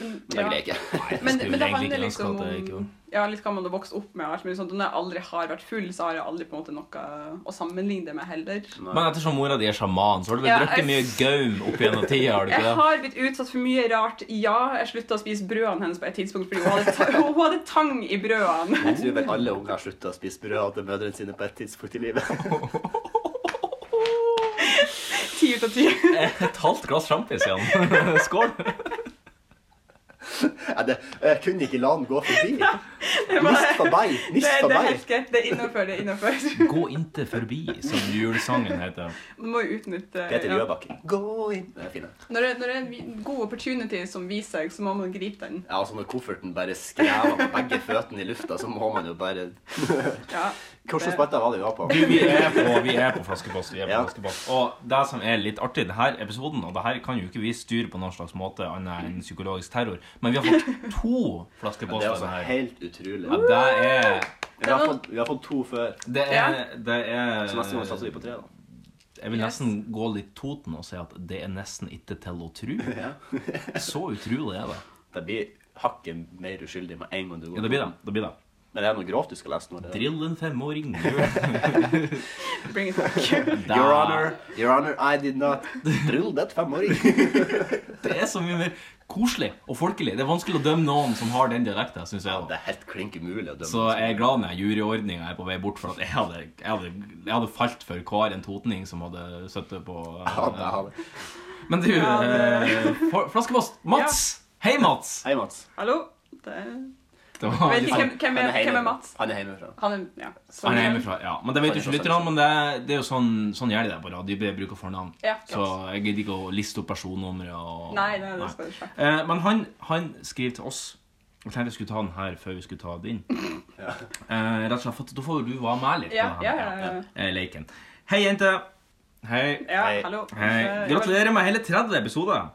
[SPEAKER 3] Men det
[SPEAKER 4] Ja.
[SPEAKER 3] greier jeg ikke.
[SPEAKER 2] skulle
[SPEAKER 4] men, men
[SPEAKER 2] vel
[SPEAKER 4] det
[SPEAKER 2] egentlig
[SPEAKER 4] handler
[SPEAKER 2] ikke ønske
[SPEAKER 4] liksom
[SPEAKER 2] at jeg ikke
[SPEAKER 4] om
[SPEAKER 2] gjorde.
[SPEAKER 4] ja, litt hva man har vokst opp med. og alt mulig sånt. Og når jeg aldri har vært full, så har jeg aldri på en måte noe å sammenligne det med heller.
[SPEAKER 2] Men ettersom mora di er sjaman, så har du vel
[SPEAKER 4] Ja,
[SPEAKER 2] drukket
[SPEAKER 4] jeg-
[SPEAKER 2] mye gaum opp gjennom tida? har du
[SPEAKER 4] Jeg
[SPEAKER 2] ikke det?
[SPEAKER 4] har blitt utsatt for mye rart. Ja, jeg slutta å spise brødene hennes på et tidspunkt fordi hun hadde, ta hun hun hadde tang i brødene.
[SPEAKER 3] eh, Jeg tror vel alle unger har slutta å spise brød til mødrene sine på et tidspunkt i livet.
[SPEAKER 4] Ti ut av ti.
[SPEAKER 2] Et halvt glass sjampis igjen. Skål.
[SPEAKER 3] Nei, det, jeg kunne ikke la den gå forbi.
[SPEAKER 4] Det var-
[SPEAKER 3] Nist forbi!
[SPEAKER 4] Det,
[SPEAKER 3] Nist
[SPEAKER 4] det er
[SPEAKER 3] forbi!
[SPEAKER 4] helt greit. Det er innafor. Det er innenfor.
[SPEAKER 2] Gå inte forbi, som julesangen heter.
[SPEAKER 4] Man må jo utnytte
[SPEAKER 3] Peter
[SPEAKER 4] ja.
[SPEAKER 3] Rødbakken. Gå inn. Det er fine.
[SPEAKER 4] Når det, når det er en vi- god opportunity som viser seg, så må man gripe den.
[SPEAKER 3] Ja, altså Når kofferten bare skrever med begge føttene i lufta, så må man jo bare
[SPEAKER 4] Ja.
[SPEAKER 3] Hvilken spalte var det vi var på?
[SPEAKER 2] Du, vi er på, vi er på flaskepost. Vi er på
[SPEAKER 3] Ja.
[SPEAKER 2] flaskepost. Og det som er litt artig, det her episoden, og det her kan jo ikke vi styre på noen slags måte annet enn psykologisk terror, men vi har fått to
[SPEAKER 3] Det er
[SPEAKER 2] flaskeposter.
[SPEAKER 3] altså
[SPEAKER 2] denne her.
[SPEAKER 3] helt utrolig.
[SPEAKER 2] Ja, det er
[SPEAKER 3] Vi har fått, vi har fått to før,
[SPEAKER 2] Det er, det er
[SPEAKER 3] så neste gang satser vi på tre. da.
[SPEAKER 2] Jeg vil nesten gå litt Toten og si at det er nesten ikke til å tru. Så utrolig er det.
[SPEAKER 3] Det blir hakket mer uskyldig med en gang du
[SPEAKER 2] Ja,
[SPEAKER 3] går.
[SPEAKER 2] det blir det. det, blir det.
[SPEAKER 3] Men det er noe grovt du skal lese nå. det er-
[SPEAKER 2] Drill en femåring. Gjør
[SPEAKER 4] Bring it back.
[SPEAKER 2] det.
[SPEAKER 3] Your Honor, Your Honor, I did not drill that femåring.
[SPEAKER 2] Det er så mye mer koselig og folkelig. Det er vanskelig å dømme noen som har den dialekten, synes jeg.
[SPEAKER 3] Det er helt klink umulig å dømme. liksom.
[SPEAKER 2] Så jeg er glad når juryordninga er på vei bort, for at jeg hadde, jeg hadde, jeg hadde falt for hver en totning som hadde sittet på eh,
[SPEAKER 3] Ja, det har vi.
[SPEAKER 2] Men du,
[SPEAKER 4] Ja,
[SPEAKER 2] eh, for- flaskepost. Mats! Hei, Mats!
[SPEAKER 3] Hei, Mats.
[SPEAKER 4] Hallo? Det er...
[SPEAKER 2] Det var
[SPEAKER 4] Vet
[SPEAKER 2] litt
[SPEAKER 4] ikke
[SPEAKER 2] sånn-
[SPEAKER 4] hvem, hvem, er, hvem er
[SPEAKER 3] hjemmefra.
[SPEAKER 4] Mats?
[SPEAKER 3] Han er hjemmefra.
[SPEAKER 4] Han er ja. Så-
[SPEAKER 2] Han er hjemmefra, ja. Men det vet jo ikke lytterne, men det, det er jo sånn, sånn gjør de det på radio. De bruker fornavn.
[SPEAKER 4] Ja, klart.
[SPEAKER 2] Så jeg gidder ikke å liste opp personnumre og
[SPEAKER 4] Nei, nei, det skal du ikke.
[SPEAKER 2] Eh, Men han, han skriver til oss Jeg tenkte jeg skulle ta den her før vi skulle ta din. Eh, rett og slett, for da får jo du være med litt på
[SPEAKER 4] Ja,
[SPEAKER 2] denne
[SPEAKER 4] ja,
[SPEAKER 2] her,
[SPEAKER 4] ja, ja.
[SPEAKER 2] eh, leken. Hei, jente. Hei.
[SPEAKER 4] Ja,
[SPEAKER 3] Hei.
[SPEAKER 4] hallo.
[SPEAKER 2] Hei.
[SPEAKER 4] Eh,
[SPEAKER 2] Gratulerer med hele 30 episoder.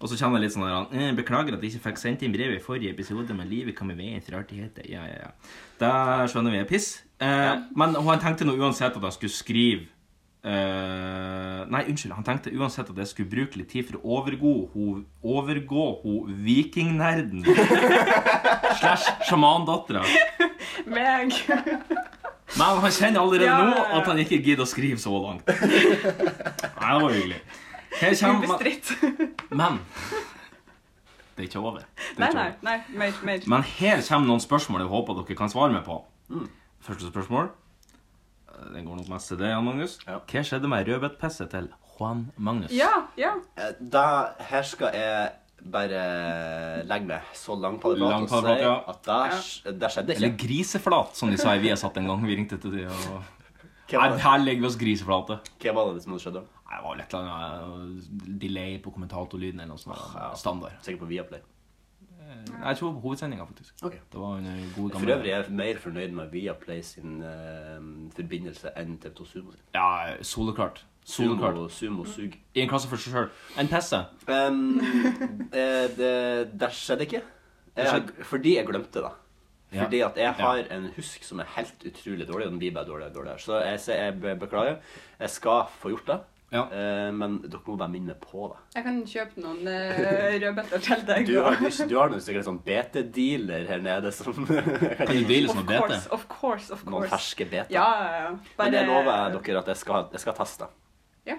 [SPEAKER 2] Og så kjenner jeg litt sånn der, eh, Beklager at jeg ikke fikk sendt inn brevet i forrige episode, men livet kom i veien for artigheter. Ja, ja, ja. Da skjønner vi jeg er piss. Eh, Men han tenkte nå uansett at jeg skulle skrive eh, Nei, unnskyld. Han tenkte uansett at jeg skulle bruke litt tid for å overgå ho, overgå ho vikingnerden slash sjamandattera.
[SPEAKER 4] Meg.
[SPEAKER 2] Men han kjenner allerede
[SPEAKER 4] Ja, ja,
[SPEAKER 2] nå
[SPEAKER 4] ja.
[SPEAKER 2] at han ikke gidder å skrive så langt. Nei, det var hyggelig. Her kommer
[SPEAKER 4] Ubestridt.
[SPEAKER 2] Men det er ikke over. Det er
[SPEAKER 4] Nei,
[SPEAKER 2] ikke
[SPEAKER 4] nei.
[SPEAKER 2] over.
[SPEAKER 4] nei, Mer. mer.
[SPEAKER 2] Men her kommer noen spørsmål jeg håper dere kan svare meg på.
[SPEAKER 3] Mm.
[SPEAKER 2] Første spørsmål. Eh, Den går nok mest til deg, Jan Magnus.
[SPEAKER 3] Ja.
[SPEAKER 2] Hva skjedde med rødbetpisset til Juan Magnus?
[SPEAKER 4] Ja, ja.
[SPEAKER 3] Eh, Da, her skal jeg bare eh, legge meg så langt på det
[SPEAKER 2] Langt på
[SPEAKER 3] pratet og
[SPEAKER 2] det
[SPEAKER 3] si
[SPEAKER 2] pratet, ja.
[SPEAKER 3] at det, det skjedde
[SPEAKER 2] Eller
[SPEAKER 3] ikke.
[SPEAKER 2] griseflat, som de sa i Viasat en gang. Vi ringte til de og
[SPEAKER 3] Hva
[SPEAKER 2] Nei,
[SPEAKER 3] var det-
[SPEAKER 2] her legger vi oss griseflate.
[SPEAKER 3] hva var det som skjedde?
[SPEAKER 2] Nei, det var vel et eller annet eh, delay på kommentatorlyden eller noe sånt.
[SPEAKER 3] ja.
[SPEAKER 2] Standard.
[SPEAKER 3] Sikkert på Viaplay.
[SPEAKER 2] Nei, jeg tror på hovedsendinga, faktisk.
[SPEAKER 3] Ok.
[SPEAKER 2] Det var en eh, god
[SPEAKER 3] For
[SPEAKER 2] gammel
[SPEAKER 3] øvrig er jeg mer fornøyd med Viaplay sin eh, forbindelse enn TV2 Sumo sin.
[SPEAKER 2] Ja, soleklart. Soleklart.
[SPEAKER 3] Sumo, sumo sug.
[SPEAKER 2] I en klasse for seg sjøl. En pisse.
[SPEAKER 3] Um, eh, det, det skjedde ikke. Jeg, fordi jeg glemte det.
[SPEAKER 2] Ja.
[SPEAKER 3] Fordi at jeg
[SPEAKER 2] Ja.
[SPEAKER 3] har en husk som er helt utrolig dårlig, og den blir bare dårligere og dårligere. Så jeg, sier- jeg be- beklager. Jeg skal få gjort det,
[SPEAKER 2] Ja.
[SPEAKER 3] eh, men dere må bare minne meg på det.
[SPEAKER 4] Jeg kan kjøpe noen eh, rødbeter til deg.
[SPEAKER 3] Du har, du har noen sikkert en sånn BT-dealer her nede som
[SPEAKER 2] Kan du deale som
[SPEAKER 4] Of
[SPEAKER 2] noe bete?
[SPEAKER 4] course, of course, of
[SPEAKER 3] Noen
[SPEAKER 4] course.
[SPEAKER 3] ferske BT.
[SPEAKER 4] Ja, ja, ja.
[SPEAKER 3] Men det lover jeg dere at jeg skal, jeg skal teste.
[SPEAKER 4] Ja.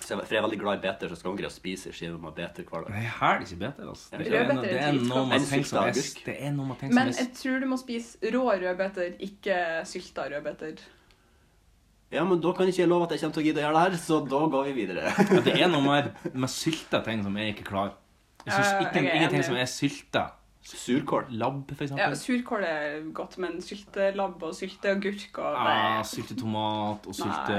[SPEAKER 3] Så jeg, for jeg er veldig glad i beter, så jeg skal ikke greie å spise skiver med beter hver dag.
[SPEAKER 2] Nei, her er det ikke bedre, altså. Det er,
[SPEAKER 4] Rødbeter er
[SPEAKER 2] no- det er
[SPEAKER 4] dritgodt.
[SPEAKER 2] noe man tenker
[SPEAKER 3] En
[SPEAKER 2] som
[SPEAKER 3] sylta
[SPEAKER 2] er
[SPEAKER 3] agurk.
[SPEAKER 2] Det er noe man tenker
[SPEAKER 4] Men
[SPEAKER 2] som
[SPEAKER 4] jeg
[SPEAKER 2] er
[SPEAKER 4] tror du må spise rå rødbeter, ikke sylta rødbeter.
[SPEAKER 3] Ja, men da kan ikke jeg love at jeg kommer til å gidde å gjøre det her, så da går vi videre.
[SPEAKER 2] Ja, Det er noe med, med sylta ting som jeg ikke klarer. Jeg syns
[SPEAKER 4] Ja, ja,
[SPEAKER 2] ikke,
[SPEAKER 4] jeg er
[SPEAKER 2] ingenting
[SPEAKER 4] enig.
[SPEAKER 2] som er sylta.
[SPEAKER 3] Surkål.
[SPEAKER 2] Labb, for
[SPEAKER 4] Ja,
[SPEAKER 2] eksempel.
[SPEAKER 4] Surkål er godt, men syltelabb og sylteagurk og
[SPEAKER 3] Ah,
[SPEAKER 2] Ja, Ah, sylte tomat og sylte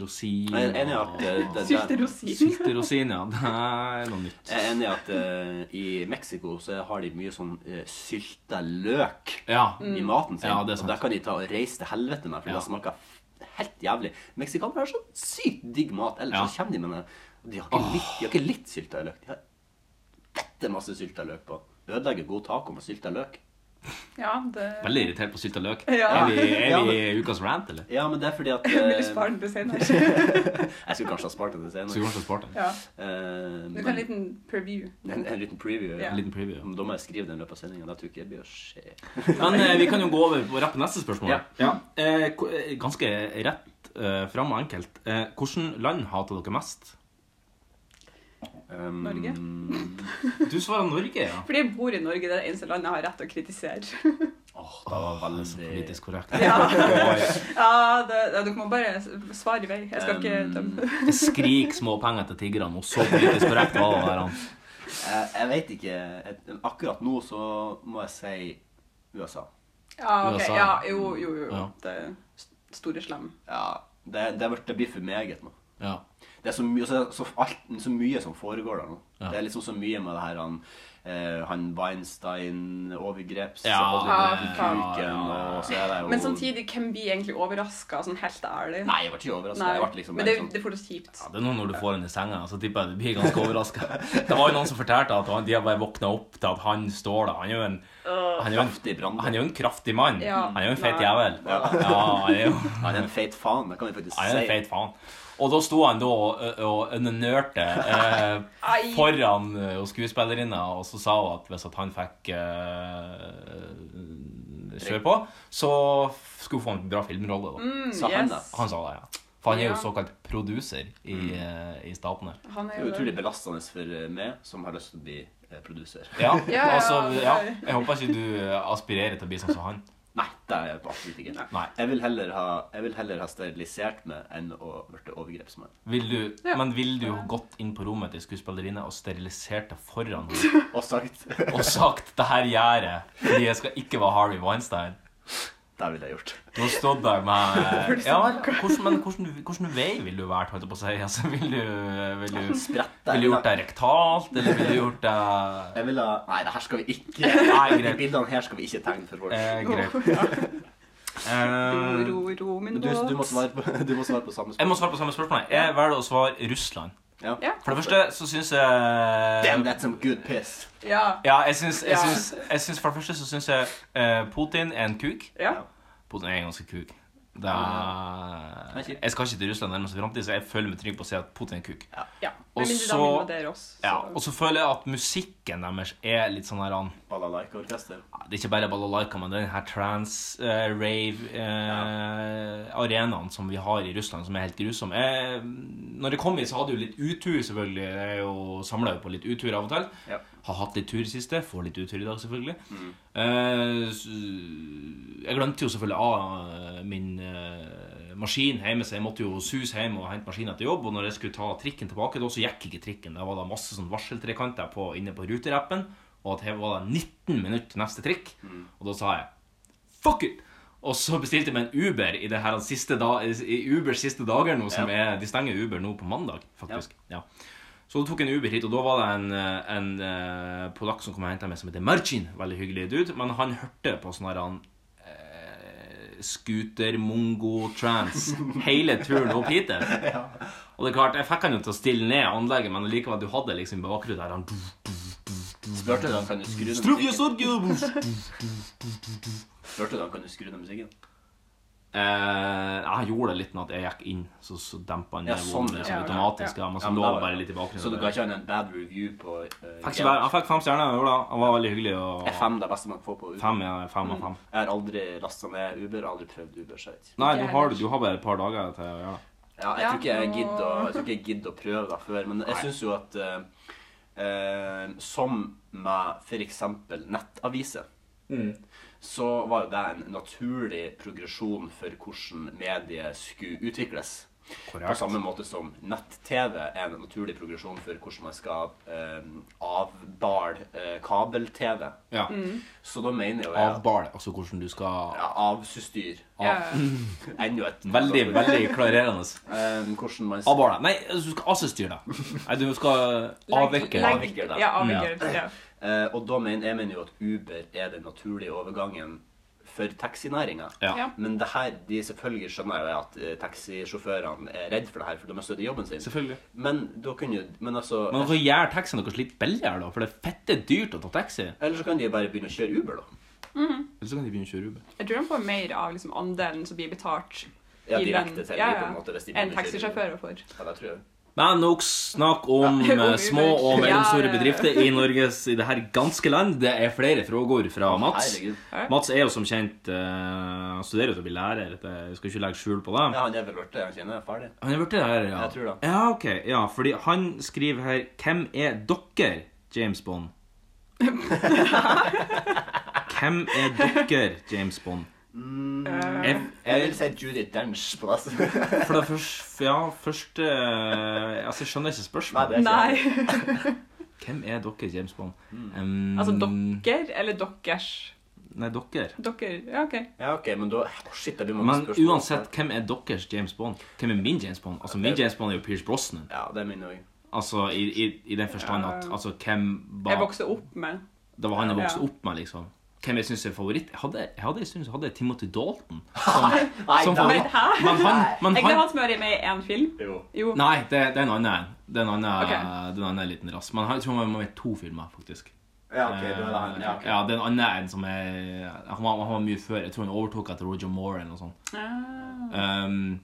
[SPEAKER 2] rosin
[SPEAKER 3] Jeg er enig i at eh, det, det,
[SPEAKER 4] Sylterosin.
[SPEAKER 2] Sylte rosin, ja. Det er noe nytt.
[SPEAKER 3] Jeg er enig i at eh, i Mexico så har de mye sånn uh, sylta løk
[SPEAKER 2] Ja.
[SPEAKER 4] Mm.
[SPEAKER 3] i maten sin.
[SPEAKER 2] Ja, det er sant.
[SPEAKER 3] Og der kan de ta og reise til helvete med, for
[SPEAKER 2] Ja.
[SPEAKER 3] det smaker f- helt jævlig. Meksikanere har så sykt digg mat, ellers
[SPEAKER 2] Ja.
[SPEAKER 3] så kommer de med det. og De har ikke litt, de har ikke litt sylta løk. De har dette masse sylta løk på. Ødelegger god taco med sylta løk.
[SPEAKER 4] Ja, det
[SPEAKER 2] Veldig irritert på sylta løk.
[SPEAKER 4] Ja.
[SPEAKER 2] Er vi, er
[SPEAKER 3] Ja,
[SPEAKER 2] vi i ukas rant, eller?
[SPEAKER 3] Ja, men det er fordi at
[SPEAKER 4] Jeg vil
[SPEAKER 3] eh,
[SPEAKER 4] spare den til senere.
[SPEAKER 3] Jeg skulle kanskje ha spart den til
[SPEAKER 2] Skal vi
[SPEAKER 3] senere.
[SPEAKER 2] kanskje spare den?
[SPEAKER 4] Ja.
[SPEAKER 3] Eh,
[SPEAKER 4] Du kan en
[SPEAKER 3] men-
[SPEAKER 4] liten preview.
[SPEAKER 3] en, en liten preview. Ja.
[SPEAKER 4] Ja.
[SPEAKER 2] En liten preview.
[SPEAKER 3] Da må jeg skrive den i løpet av sendinga. Da tror jeg ikke det blir å skje.
[SPEAKER 2] Men eh, vi kan jo gå over på rett på neste spørsmål.
[SPEAKER 3] Ja.
[SPEAKER 2] Eh, ko- eh, ganske rett eh, fram og enkelt. Eh, Hvilket land hater dere mest? Ehm,
[SPEAKER 3] Um,
[SPEAKER 4] Norge?
[SPEAKER 2] Du svarer Norge, ja.
[SPEAKER 4] Fordi jeg bor i Norge, det er det eneste landet jeg har rett til å kritisere.
[SPEAKER 3] Åh, det var
[SPEAKER 2] Det er så
[SPEAKER 3] veldig
[SPEAKER 2] politisk korrekt.
[SPEAKER 4] Ja,
[SPEAKER 2] Og
[SPEAKER 4] ja det, ja, Dere må bare svare i vei. Jeg skal ikke
[SPEAKER 3] Um,
[SPEAKER 4] dømme.
[SPEAKER 2] Skrik småpenger til tiggerne, og så politisk korrekt var det der. han.
[SPEAKER 3] Jeg, jeg vet ikke. Et- Akkurat nå så må jeg si USA.
[SPEAKER 4] Ja, ok.
[SPEAKER 2] USA.
[SPEAKER 4] Ja, jo, jo, jo.
[SPEAKER 2] Ja.
[SPEAKER 4] Det er s- store slem.
[SPEAKER 3] Ja, det, det, blir- det blir for meget nå.
[SPEAKER 2] Ja.
[SPEAKER 3] Det er så, mye- så, så, alt, så mye som foregår der nå.
[SPEAKER 2] Ja.
[SPEAKER 3] Det er liksom så mye med det her han, eh, han Weinstein-overgreps
[SPEAKER 2] Ja,
[SPEAKER 3] og det
[SPEAKER 4] ja,
[SPEAKER 3] med
[SPEAKER 4] faen.
[SPEAKER 3] kuken, og så er det jo
[SPEAKER 4] Men samtidig, hvem blir egentlig overraska, sånn helt ærlig?
[SPEAKER 3] Nei, jeg ble ikke overrasket.
[SPEAKER 4] Nei.
[SPEAKER 3] Jeg ble liksom
[SPEAKER 4] Men
[SPEAKER 3] bare
[SPEAKER 4] det,
[SPEAKER 3] sånn
[SPEAKER 4] det får du kjipt.
[SPEAKER 2] Ja, Det er noe når du får den i senga, så tipper jeg du blir ganske overraska. Det var jo noen som fortalte at han, de har bare våkna opp til at han står der. Han er jo en, han er jo en,
[SPEAKER 3] kraftig brann.
[SPEAKER 2] han er jo en kraftig mann.
[SPEAKER 4] Ja.
[SPEAKER 2] Han er jo en feit
[SPEAKER 4] Nei.
[SPEAKER 2] jævel. Ja, han er jo
[SPEAKER 3] Han er en feit faen, det kan vi faktisk
[SPEAKER 2] Han er en
[SPEAKER 3] si.
[SPEAKER 2] feit faen. Og da sto han da og, og unernørte eh,
[SPEAKER 4] Ai.
[SPEAKER 2] foran eh, hos skuespillerinna, og så sa hun at hvis at han fikk eh, kjøre på, så skulle få en bra filmrolle. da.
[SPEAKER 4] Mm,
[SPEAKER 3] Sa han da?
[SPEAKER 4] yes.
[SPEAKER 2] Han sa det, ja. For han er jo
[SPEAKER 4] Ja.
[SPEAKER 2] såkalt produser i, eh, i Statene.
[SPEAKER 4] Han
[SPEAKER 3] Det
[SPEAKER 4] er
[SPEAKER 3] er
[SPEAKER 4] jo
[SPEAKER 3] utrolig
[SPEAKER 4] det.
[SPEAKER 3] belastende for eh, meg, som har lyst til å bli eh, produser.
[SPEAKER 2] Ja,
[SPEAKER 4] ja,
[SPEAKER 2] altså,
[SPEAKER 4] det
[SPEAKER 2] ja.
[SPEAKER 4] er-
[SPEAKER 2] Jeg håper ikke du eh, aspirerer til å bli sånn som han.
[SPEAKER 3] Nei, det er jeg absolutt ikke.
[SPEAKER 2] Nei.
[SPEAKER 3] Jeg vil heller ha, jeg vil heller ha sterilisert meg enn å bli overgrepsmann.
[SPEAKER 2] Vil du,
[SPEAKER 4] Ja.
[SPEAKER 2] Men vil du ha gått inn på rommet til skuespillerinna og sterilisert det foran henne
[SPEAKER 3] Og sagt
[SPEAKER 2] og sagt 'det her gjør jeg fordi jeg skal ikke være Harvey Weinstein'?
[SPEAKER 3] Det ville jeg gjort.
[SPEAKER 2] Du har stått der med ja, men hvordan, Men hvordan, hvordan vei vil du vært, holdt jeg på å si? Altså, vil du, vil du,
[SPEAKER 3] Sprett
[SPEAKER 2] vil du gjort deg rektalt, eller vil du gjort deg
[SPEAKER 3] Jeg vil ha Nei, det her skal vi ikke
[SPEAKER 2] Nei,
[SPEAKER 3] De
[SPEAKER 2] greit.
[SPEAKER 3] bildene her skal vi ikke tegne for folk.
[SPEAKER 2] Eh, greit.
[SPEAKER 4] Ro,
[SPEAKER 2] Eh,
[SPEAKER 4] ro, ro, min
[SPEAKER 3] Du, du, må
[SPEAKER 4] båt.
[SPEAKER 3] svare på, du må svare på samme
[SPEAKER 2] jeg må
[SPEAKER 3] spørsmål.
[SPEAKER 2] svare på samme spørsmål. Jeg velger å svare Russland.
[SPEAKER 3] Ja.
[SPEAKER 4] Ja.
[SPEAKER 2] For det første så syns jeg
[SPEAKER 3] Damn, that's some good piss.
[SPEAKER 4] Ja.
[SPEAKER 2] Ja, jeg syns, jeg
[SPEAKER 4] Ja.
[SPEAKER 2] syns, jeg syns For det første så syns jeg eh, Putin er en kuk.
[SPEAKER 4] ja.
[SPEAKER 2] Putin er ganske kuk. Det er,
[SPEAKER 3] kjip.
[SPEAKER 2] jeg skal ikke til Russland nærmest fremtid, så jeg føler meg trygg på å si at Putin er en kuk.
[SPEAKER 4] ja.
[SPEAKER 2] Og
[SPEAKER 4] Med mindre
[SPEAKER 2] så-
[SPEAKER 4] de invaderer oss. så-
[SPEAKER 2] Ja, og så føler jeg at musikken deres er litt sånn her an.
[SPEAKER 3] Balalaika-orkester.
[SPEAKER 2] Det er ikke bare balalaika, men den her eh, trans-rave-arenaen som vi har i Russland, som er helt grusom. Jeg, når jeg kom hit, så hadde jeg jo litt utur, selvfølgelig. Jeg er jo samla på litt utur av og til.
[SPEAKER 3] Ja.
[SPEAKER 2] Har hatt litt tur i siste. Får litt utur i dag, selvfølgelig. Eh, s- jeg glemte jo selvfølgelig av eh, min eh, maskin hjemme, så jeg måtte jo sus hjem og hente maskinen til jobb. Og når jeg skulle ta trikken tilbake, da så gikk ikke trikken. Da var det masse sånn varseltrekanter på, inne på ruterappen, og at her var det 19 minutter til neste trikk. Og da sa jeg fuck it! Og så bestilte jeg meg en Uber i, det her siste da, i Ubers siste dager nå, som er De stenger Uber nå på mandag, faktisk. Ja. Så du tok en Uber hit, og da var det en, eh, en eh, polakk som kom og henta meg, som heter Marcin. Veldig hyggelig dude. Men han hørte på sånn her han, eh, scooter, mongo, trans hele turen opp hit. Og det er klart, jeg fikk han jo til å stille ned anlegget, men likevel, du hadde liksom i bakgrunnen der han
[SPEAKER 3] Spurte du han kan du skru ned
[SPEAKER 2] Strugge,
[SPEAKER 3] musikken?
[SPEAKER 2] sorge,
[SPEAKER 3] Spurte du han kan du skru ned musikken?
[SPEAKER 2] Eh, jeg gjorde det litt med at jeg gikk inn, så, så dempa han
[SPEAKER 3] Ja,
[SPEAKER 2] ned
[SPEAKER 3] sånn,
[SPEAKER 2] volumet liksom,
[SPEAKER 4] ja.
[SPEAKER 2] automatisk.
[SPEAKER 4] Ja,
[SPEAKER 2] Ja, men så
[SPEAKER 3] Ja, men
[SPEAKER 2] lå
[SPEAKER 3] da-
[SPEAKER 2] det bare litt i bakgrunnen.
[SPEAKER 3] Så du ga ikke han en bad review på uh,
[SPEAKER 2] Fikk ikke være- Han fikk fem stjerner. jeg gjorde det. Han var veldig hyggelig. Og...
[SPEAKER 3] Er fem det beste man får på Uber?
[SPEAKER 2] Fem, ja, fem av fem.
[SPEAKER 3] Jeg har aldri lasta ned Uber, jeg har aldri prøvd Uber. Så jeg vet ikke.
[SPEAKER 2] Nei,
[SPEAKER 4] Ikke
[SPEAKER 2] du
[SPEAKER 4] jeg
[SPEAKER 2] har,
[SPEAKER 4] heller.
[SPEAKER 2] du har bare et par dager til å gjøre det.
[SPEAKER 3] Ja, jeg,
[SPEAKER 4] Ja,
[SPEAKER 3] tror ikke jeg,
[SPEAKER 4] nå-
[SPEAKER 3] gidder å, jeg tror ikke jeg gidder å prøve det før, men jeg syns jo at eh, eh, Som med f.eks. nettaviser, så var jo det en naturlig progresjon for hvordan mediet skulle utvikles. På
[SPEAKER 2] Korrekt.
[SPEAKER 3] samme måte som nett-TV er en naturlig progresjon for hvordan man skal eh, avbale eh, kabel-TV.
[SPEAKER 2] Ja.
[SPEAKER 4] Mm.
[SPEAKER 3] Så da mener jo jeg at-
[SPEAKER 2] Avball, altså hvordan du skal
[SPEAKER 3] ja, Avsystyr.
[SPEAKER 4] Ja.
[SPEAKER 3] Enda et
[SPEAKER 2] Veldig, veldig klarerende.
[SPEAKER 3] Eh, hvordan man
[SPEAKER 2] Avball deg. Altså, Nei, altså, du skal assestyre deg. Nei, du skal avvikle
[SPEAKER 4] Legg-
[SPEAKER 2] deg.
[SPEAKER 3] Avvikle det.
[SPEAKER 4] Ja, avvikler. Ja.
[SPEAKER 3] Eh, og da mener jeg mener jo at Uber er den naturlige overgangen for taxinæringa.
[SPEAKER 2] Ja.
[SPEAKER 4] Ja.
[SPEAKER 3] Men det her, de selvfølgelig skjønner jo at eh, taxisjåførene er redd for det her, for de har støtt i jobben sin.
[SPEAKER 2] Selvfølgelig.
[SPEAKER 3] Men da kunne jo Men altså
[SPEAKER 2] Men hvorfor gjør taxien deres litt billigere, da? For det er fette dyrt å ta taxi.
[SPEAKER 3] Eller så kan de jo bare begynne å kjøre Uber, da.
[SPEAKER 2] Eller så kan de begynne å kjøre Uber.
[SPEAKER 4] Jeg tror de får mer av liksom, andelen som blir betalt
[SPEAKER 3] Ja,
[SPEAKER 4] i lønn.
[SPEAKER 3] direkte til
[SPEAKER 4] Ja,
[SPEAKER 3] de, på
[SPEAKER 4] ja.
[SPEAKER 3] en måte, hvis de begynner å
[SPEAKER 4] En
[SPEAKER 3] kjøre
[SPEAKER 4] taxisjåfør får.
[SPEAKER 3] Ja, det tror jeg.
[SPEAKER 2] Men nok snakk om
[SPEAKER 4] Ja, om
[SPEAKER 2] eh,
[SPEAKER 4] Uber.
[SPEAKER 2] små og mellomstore
[SPEAKER 4] Ja, ja, ja.
[SPEAKER 2] bedrifter i Norges i det her ganske land. Det er flere spørsmål fra Mats.
[SPEAKER 3] Herregud.
[SPEAKER 2] Mats er jo som kjent eh, Han studerer jo til å bli lærer. Det- Jeg skal ikke legge skjul på det.
[SPEAKER 3] Ja, han er vel blitt det, han kjenner jeg er ferdig.
[SPEAKER 2] Han er blitt det her, ja.
[SPEAKER 3] Jeg tror det.
[SPEAKER 2] Ja, ok. Ja, fordi han skriver her Hvem er dere, James Bond? Hvem er dere, James Bond?
[SPEAKER 3] Mm.
[SPEAKER 2] Jeg,
[SPEAKER 3] Jeg vil si Judith Dench på det.
[SPEAKER 2] for det første Ja, første eh, Altså, jeg skjønner ikke
[SPEAKER 3] Nei,
[SPEAKER 2] spørsmålet.
[SPEAKER 3] det er
[SPEAKER 4] Nei.
[SPEAKER 3] ikke Mm.
[SPEAKER 2] Hvem er dere, James Bond? Um,
[SPEAKER 4] Altså dokker eller dokkers.
[SPEAKER 2] Nei, dere.
[SPEAKER 4] Dere Ja, OK.
[SPEAKER 3] Ja, ok, men da Å, Shit, det blir mange
[SPEAKER 2] Men
[SPEAKER 3] spørsmål.
[SPEAKER 2] uansett, hvem er deres James Bond? Hvem er min James Bond? Altså, Min James Bond er jo Pierce Brosnan.
[SPEAKER 3] Ja, det er min òg.
[SPEAKER 2] Altså, I, i, i den forstand at altså, hvem var
[SPEAKER 4] Jeg vokste opp med
[SPEAKER 2] Det var han jeg vokste
[SPEAKER 4] Ja.
[SPEAKER 2] opp med, liksom. Hvem jeg synes er favoritt? Jeg hadde, jeg hadde en stund så hadde jeg Timothy Dalton som, som
[SPEAKER 4] Nei,
[SPEAKER 2] favoritt.
[SPEAKER 4] hæ?
[SPEAKER 2] Men han, men
[SPEAKER 4] Er ikke det
[SPEAKER 2] han
[SPEAKER 4] han som er med i én film?
[SPEAKER 3] Jo.
[SPEAKER 4] Jo.
[SPEAKER 2] Nei, det, det er en annen. Det er en annen,
[SPEAKER 4] Ok.
[SPEAKER 2] det er en annen liten rass. Men han- jeg tror han var med i to filmer, faktisk.
[SPEAKER 3] Ja, ok, du er da han. Ja, ok.
[SPEAKER 2] Ja, det er en annen en som er Han var, han var mye før. Jeg tror han overtok etter Roger Moore eller noe sånt.
[SPEAKER 4] Ah.
[SPEAKER 2] Ehm,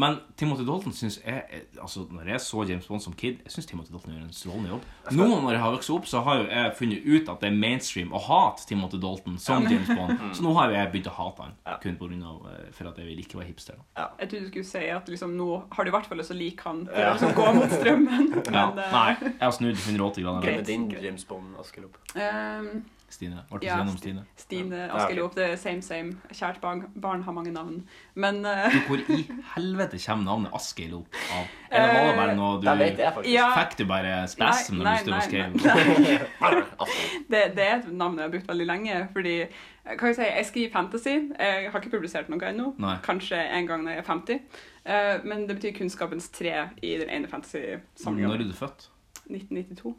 [SPEAKER 2] men Timothy Dalton synes jeg jeg- Altså, når jeg så James Bond som kid, jeg synes Timothy Dalton gjør en strålende jobb. Nå når jeg har vokst opp, så har jo jeg funnet ut at det er mainstream å hate Timothy Dalton som James Bond. Så nå har jo jeg begynt å hate han,
[SPEAKER 3] Ja.
[SPEAKER 2] kun på grunn av eh, for at jeg vil ikke være hipster. da.
[SPEAKER 4] Jeg trodde du skulle si at liksom, nå har du i hvert fall lyst til å like han for
[SPEAKER 3] Ja.
[SPEAKER 4] å liksom, gå mot strømmen.
[SPEAKER 2] Ja.
[SPEAKER 4] Men, eh,
[SPEAKER 2] Nei, jeg har snudd 180 grader.
[SPEAKER 3] Hvem
[SPEAKER 4] Greit.
[SPEAKER 3] er din James Bond, Askelopp?
[SPEAKER 4] ehm,
[SPEAKER 2] Stine. Ble
[SPEAKER 4] Ja,
[SPEAKER 2] ikke gjennom
[SPEAKER 4] Sti-
[SPEAKER 2] Stine.
[SPEAKER 4] Stine
[SPEAKER 3] Ja, ok.
[SPEAKER 4] Askelop, det er same same. Kjært barn, barn har mange navn. Men eh,
[SPEAKER 2] Hvor i helvete kommer navnet Askeil opp av? Eller var det bare noe du
[SPEAKER 3] Det vet jeg faktisk.
[SPEAKER 4] ja,
[SPEAKER 2] Fikk du bare spasm
[SPEAKER 4] Nei,
[SPEAKER 2] når du
[SPEAKER 4] nei,
[SPEAKER 2] stod og
[SPEAKER 4] nei,
[SPEAKER 2] skrev?
[SPEAKER 4] det, det er et navn jeg har brukt veldig lenge. Fordi eh, hva skal jeg, si, jeg skriver fantasy. Jeg har ikke publisert noe ennå.
[SPEAKER 2] Nei.
[SPEAKER 4] Kanskje en gang når jeg er 50. Eh, men det betyr kunnskapens tre i den ene
[SPEAKER 2] Når
[SPEAKER 4] fantasy-samlinga.
[SPEAKER 2] er du født?
[SPEAKER 4] 1992.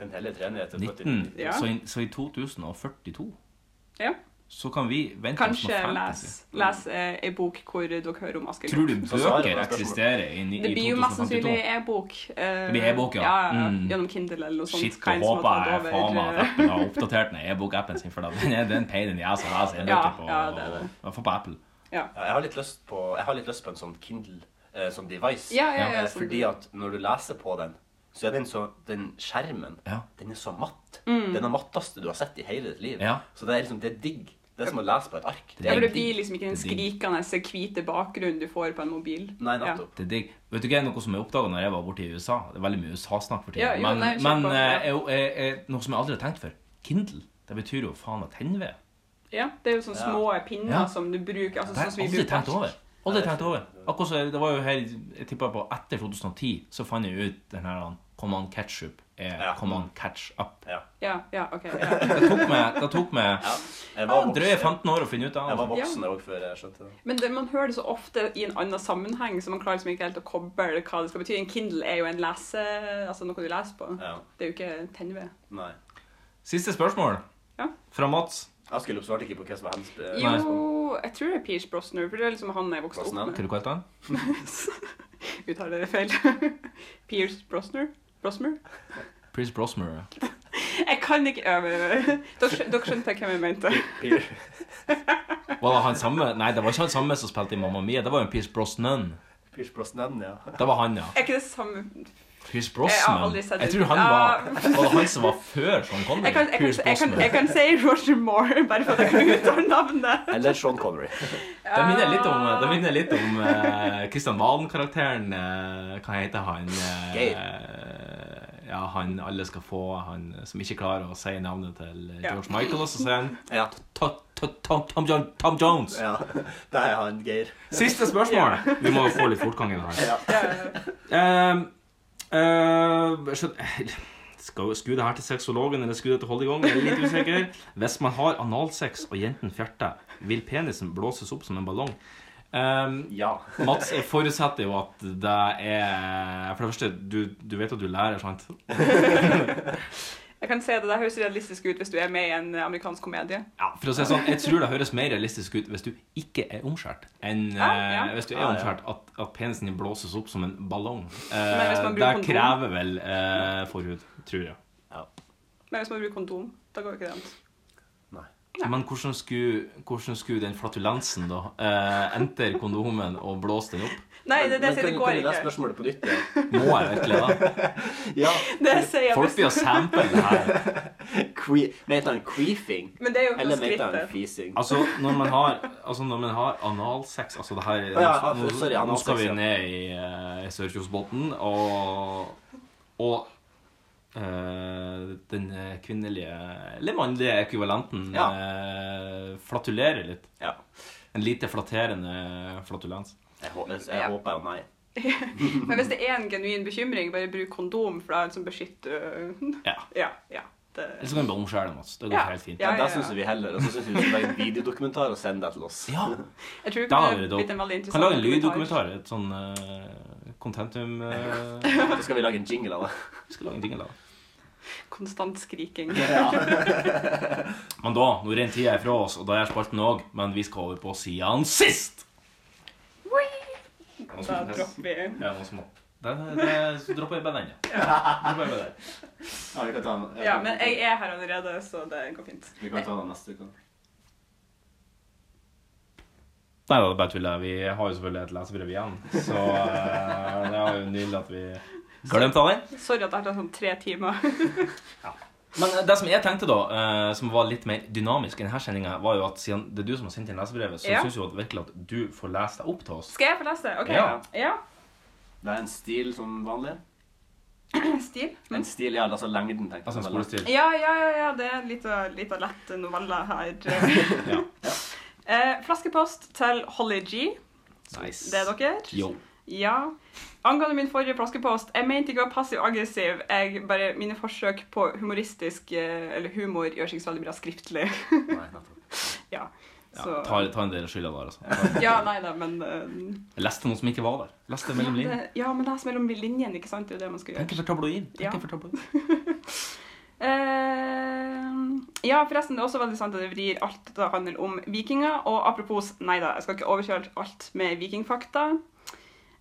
[SPEAKER 3] Den hellige treenighet er født i
[SPEAKER 2] 19.
[SPEAKER 4] Ja.
[SPEAKER 2] Mm. Så, i, så i 2042
[SPEAKER 4] Ja.
[SPEAKER 2] så kan vi vente oss
[SPEAKER 4] Kanskje
[SPEAKER 2] noe
[SPEAKER 4] les,
[SPEAKER 2] fantasy.
[SPEAKER 4] les eh, ei bok hvor dere hører om Askelop.
[SPEAKER 2] Tror du
[SPEAKER 3] Så svaret på
[SPEAKER 2] bøker
[SPEAKER 3] spørsmålet.
[SPEAKER 2] eksisterer i, i
[SPEAKER 4] Det blir jo mest sannsynlig
[SPEAKER 2] 2052?
[SPEAKER 4] e-bok. eh,
[SPEAKER 2] Det blir e-bok, ja.
[SPEAKER 4] ja,
[SPEAKER 2] Mm.
[SPEAKER 4] Gjennom Kindle eller noe sånt.
[SPEAKER 2] Shit,
[SPEAKER 4] Hva
[SPEAKER 2] da
[SPEAKER 4] enn sånn som
[SPEAKER 2] håper
[SPEAKER 4] har
[SPEAKER 2] jeg
[SPEAKER 4] tatt over,
[SPEAKER 2] faen meg at
[SPEAKER 4] eh,
[SPEAKER 2] Apple har oppdatert den e-bok-appen sin, for da- den er den peinen jeg som leser
[SPEAKER 4] Ja,
[SPEAKER 2] e-bøker på.
[SPEAKER 4] ja, det er det.
[SPEAKER 2] I hvert fall på Apple.
[SPEAKER 3] Ja, jeg har litt lyst på, jeg har litt lyst på en sånn Kindle, eh, sånn device.
[SPEAKER 4] Ja, ja, ja,
[SPEAKER 3] Eh,
[SPEAKER 4] sånn-
[SPEAKER 3] fordi at når du leser på den, så er den så, den skjermen,
[SPEAKER 2] Ja.
[SPEAKER 3] den er så matt.
[SPEAKER 4] Mm.
[SPEAKER 3] Den er matteste du har sett i hele ditt liv.
[SPEAKER 2] Ja.
[SPEAKER 3] Så det er liksom, det er digg. Det er som å lese på et ark.
[SPEAKER 4] Ja, for det
[SPEAKER 2] digg.
[SPEAKER 4] blir liksom ikke den
[SPEAKER 2] Det er digg.
[SPEAKER 4] skrikende hvite bakgrunnen du får på en mobil.
[SPEAKER 3] Nei,
[SPEAKER 4] Ja.
[SPEAKER 3] nettopp.
[SPEAKER 2] Det er digg. Vet du hva, noe som jeg oppdaget når jeg var borte i USA Det er veldig mye USA-snakk for tiden.
[SPEAKER 4] Ja, jo, nei,
[SPEAKER 2] men
[SPEAKER 4] kjør
[SPEAKER 2] men
[SPEAKER 4] på.
[SPEAKER 2] eh, jeg, jeg, jeg, noe som jeg aldri har tenkt før. Kindle. Det betyr jo faen meg tennved.
[SPEAKER 4] Ja, det er jo sånne
[SPEAKER 3] Ja.
[SPEAKER 4] små pinner
[SPEAKER 2] Ja.
[SPEAKER 4] som du bruker. Altså,
[SPEAKER 2] Det har
[SPEAKER 4] sånn som
[SPEAKER 2] jeg
[SPEAKER 4] vi
[SPEAKER 2] aldri
[SPEAKER 4] bruker
[SPEAKER 2] tenkt
[SPEAKER 4] ark.
[SPEAKER 2] over. Aldri tenkt over. Akkurat så, Det var jo her Jeg tippet på etter 2010, så fant jeg ut den her Command Ketchup er
[SPEAKER 3] Ja.
[SPEAKER 2] Command Catch Up.
[SPEAKER 3] Ja.
[SPEAKER 4] Ja, ja, ok. Ja.
[SPEAKER 2] Det tok meg, det tok meg
[SPEAKER 3] Ja.
[SPEAKER 2] ja,
[SPEAKER 3] Jeg var
[SPEAKER 2] drøye
[SPEAKER 3] voksen,
[SPEAKER 2] 15 år å finne ut av altså.
[SPEAKER 3] jeg var
[SPEAKER 2] det.
[SPEAKER 3] voksen også før jeg skjønte det.
[SPEAKER 4] Men det, man hører det så ofte i en annen sammenheng, så man klarer liksom ikke helt å koble hva det skal bety. En Kindle er jo en lese... Altså noe du leser på.
[SPEAKER 3] Ja,
[SPEAKER 4] Det er jo ikke tennved.
[SPEAKER 3] nei.
[SPEAKER 2] Siste spørsmål
[SPEAKER 4] Ja.
[SPEAKER 2] fra Mats.
[SPEAKER 3] Askelopp svarte ikke på hva som var hans... eh,
[SPEAKER 2] Nei.
[SPEAKER 4] Jo, jeg tror det er Pierce Brosnan, for det er liksom han jeg vokste opp
[SPEAKER 3] Brosnan?
[SPEAKER 4] med.
[SPEAKER 2] Hva du kalte han?
[SPEAKER 4] Uttaler det feil. Pierce Brosnan? Brosmer?
[SPEAKER 2] Prince Brosmer.
[SPEAKER 4] Jeg kan ikke øve. Dere skjø- dere skjønte hvem jeg mente.
[SPEAKER 3] Peer.
[SPEAKER 2] Var det han samme? Nei, det var ikke han samme som spilte i Mamma Mia. Det var jo en Pierce Brosnan.
[SPEAKER 3] Pierce Brosnan, ja.
[SPEAKER 2] Det var han, ja.
[SPEAKER 4] Er ikke det samme
[SPEAKER 2] Pierce
[SPEAKER 4] Jeg har
[SPEAKER 2] Brosnan?
[SPEAKER 4] aldri
[SPEAKER 2] Jeg,
[SPEAKER 4] sett
[SPEAKER 2] tror
[SPEAKER 4] det.
[SPEAKER 2] han var Var det han som var før Sean Connery?
[SPEAKER 4] Jeg kan, jeg, kan,
[SPEAKER 2] Pierce
[SPEAKER 4] jeg, kan,
[SPEAKER 2] Brosnan.
[SPEAKER 4] jeg kan si Roger Moore, bare for at jeg kan uttale navnet.
[SPEAKER 3] Eller Sean Connery.
[SPEAKER 2] Det minner litt om, det
[SPEAKER 4] Ah.
[SPEAKER 2] minner litt om eh, Kristian Valen-karakteren. eh, hva heter han? eh, ja, han alle skal få, han som ikke klarer å si navnet til
[SPEAKER 4] Ja.
[SPEAKER 2] George Michael, og så sier han
[SPEAKER 3] Ja.
[SPEAKER 2] Tom, Tom, Tom, John, Tom Jones.
[SPEAKER 3] ja. Det er han, Geir.
[SPEAKER 2] Siste spørsmål. Vi må få litt fortgang i det her.
[SPEAKER 3] Ja.
[SPEAKER 4] Ja,
[SPEAKER 2] Ehm, eh, skjøn- skal, skulle det her til sexologen eller skulle det til holde i gang? Jeg er litt usikker. Hvis man har analsex og jenten fjerter, vil penisen blåses opp som en ballong? Ehm,
[SPEAKER 3] Ja.
[SPEAKER 2] Mats jeg forutsetter jo at det er For det første, du, du vet at du lærer, sant?
[SPEAKER 4] Jeg kan si det, det høres realistisk ut hvis du er med i en amerikansk komedie.
[SPEAKER 2] Ja, for å si det sånn, Jeg tror det høres mer realistisk ut hvis du ikke er omskjært, enn
[SPEAKER 4] Ja, ja.
[SPEAKER 2] eh, hvis du er
[SPEAKER 3] Ja, ja.
[SPEAKER 2] omskjært at, at penisen din blåses opp som en ballong.
[SPEAKER 4] Men hvis
[SPEAKER 2] Eh,
[SPEAKER 4] man
[SPEAKER 2] det
[SPEAKER 4] bruker kondom?
[SPEAKER 2] krever vel eh, forhud, tror jeg.
[SPEAKER 4] Men hvis man bruker kondom, da går jo ikke det an. Ja.
[SPEAKER 2] Men hvordan skulle, hvordan skulle den flatulensen da eh, enter kondomen og blåse den opp?
[SPEAKER 4] Nei, det, er det, jeg
[SPEAKER 3] Men
[SPEAKER 4] sier, det
[SPEAKER 3] kan-
[SPEAKER 4] går
[SPEAKER 3] Kan du lese
[SPEAKER 4] ikke.
[SPEAKER 3] spørsmålet på nytt? Ja.
[SPEAKER 2] Må jeg virkelig det?
[SPEAKER 3] ja.
[SPEAKER 4] Det jeg sier
[SPEAKER 2] Folk
[SPEAKER 4] jeg
[SPEAKER 2] blir å sample det her.
[SPEAKER 3] Que Mente han queefing?
[SPEAKER 4] Men det er jo
[SPEAKER 3] Eller
[SPEAKER 4] ikke
[SPEAKER 3] mente han
[SPEAKER 4] skrittet.
[SPEAKER 3] fising?
[SPEAKER 2] Altså, når man har, altså, når man har analsex Altså, det her
[SPEAKER 3] Å ja,
[SPEAKER 2] nå, nå
[SPEAKER 3] sorry,
[SPEAKER 2] skal
[SPEAKER 3] analsex,
[SPEAKER 2] vi
[SPEAKER 3] ja.
[SPEAKER 2] ned i uh, Sørkjosbotn og Og eh, den eh, kvinnelige Eller mannlige ekvivalenten
[SPEAKER 3] Ja.
[SPEAKER 2] eh, flatulerer litt.
[SPEAKER 3] Ja.
[SPEAKER 2] En lite flatterende flatulens.
[SPEAKER 3] Jeg, hå- jeg,
[SPEAKER 4] Ja.
[SPEAKER 3] jeg håper jo nei.
[SPEAKER 4] Men hvis det er en genuin bekymring, bare bruk kondom, for da liksom beskytter
[SPEAKER 2] Ja.
[SPEAKER 4] sånn Ja, ja. eh,
[SPEAKER 2] Eller så kan du bare omskjære dem. Altså. Det går
[SPEAKER 4] Ja.
[SPEAKER 2] helt fint.
[SPEAKER 3] Ja,
[SPEAKER 4] Ja, ja,
[SPEAKER 3] det
[SPEAKER 4] ja.
[SPEAKER 3] syns vi heller. Og så syns vi du skal lage en videodokumentar og sende det til oss.
[SPEAKER 2] Ja,
[SPEAKER 4] Jeg tror det
[SPEAKER 2] da hadde
[SPEAKER 4] kunne
[SPEAKER 2] det
[SPEAKER 4] blitt en veldig
[SPEAKER 2] dope.
[SPEAKER 4] interessant
[SPEAKER 2] Kan lage en lyddokumentar. Et sånn eh, contentum eh,
[SPEAKER 3] Så skal vi lage en jingle av det.
[SPEAKER 2] Vi skal lage en jingle av det.
[SPEAKER 4] Konstant skriking.
[SPEAKER 2] Men da, nå renner tida ifra oss, og da er spalten òg, men vi skal over på siden sist! Noen
[SPEAKER 4] Da
[SPEAKER 2] Sånn som helst.
[SPEAKER 4] dropper vi
[SPEAKER 2] Ja, noen som må. Det, det, så dropper jeg bare den, ja. Dropper jeg bare den.
[SPEAKER 3] Ja, vi kan ta den.
[SPEAKER 4] Ja, men jeg er her allerede, så det går fint.
[SPEAKER 3] Vi kan ta den neste uke.
[SPEAKER 2] Nei, det er bare tull. Vi har jo selvfølgelig et lesebrev igjen, så eh, det er jo nydelig at vi glemte av den.
[SPEAKER 4] Sorry at jeg har tatt sånn tre timer.
[SPEAKER 2] Men det som jeg tenkte da, eh, som var litt mer dynamisk i denne sendinga, var jo at siden det er du som har sendt inn lesebrevet, så
[SPEAKER 4] Ja.
[SPEAKER 2] synes jeg jo at virkelig at du får lese deg opp til oss.
[SPEAKER 4] Skal jeg få lese? OK.
[SPEAKER 2] Ja.
[SPEAKER 4] ja.
[SPEAKER 3] Det er en stil som vanlig.
[SPEAKER 4] Stil.
[SPEAKER 3] En stil, ja, altså lengden, tenker jeg.
[SPEAKER 2] Altså en skolestil.
[SPEAKER 4] Ja, ja, ja, ja, det er litt av, litt av lett novelle her.
[SPEAKER 2] Ja.
[SPEAKER 4] Eh, flaskepost til Holly G.
[SPEAKER 2] Nice.
[SPEAKER 4] Det er dere?
[SPEAKER 2] Yo.
[SPEAKER 4] Ja. Angående min forrige flaskepost, jeg mente ikke å være passiv-aggressiv. Jeg bare, Mine forsøk på humoristisk eh, eller humor gjør seg ikke så veldig bra skriftlig.
[SPEAKER 3] Nei, nettopp.
[SPEAKER 4] ja. Så,
[SPEAKER 2] Ta, ta en del av skylda der, altså.
[SPEAKER 4] ja, nei da, men eh,
[SPEAKER 2] Jeg leste noe som ikke var der. Leste mellom
[SPEAKER 4] ja,
[SPEAKER 2] linjene.
[SPEAKER 4] det- Ja, men les mellom linjene, ikke sant? Det er jo det man skal gjøre.
[SPEAKER 2] Tenk for tabloid. Tenk
[SPEAKER 4] Ja.
[SPEAKER 2] for tabloid.
[SPEAKER 4] Eh, ja, forresten, det er også veldig sant at det vrir alt det handler om vikinger. Og apropos, nei da, jeg skal ikke overkjøre alt med vikingfakta.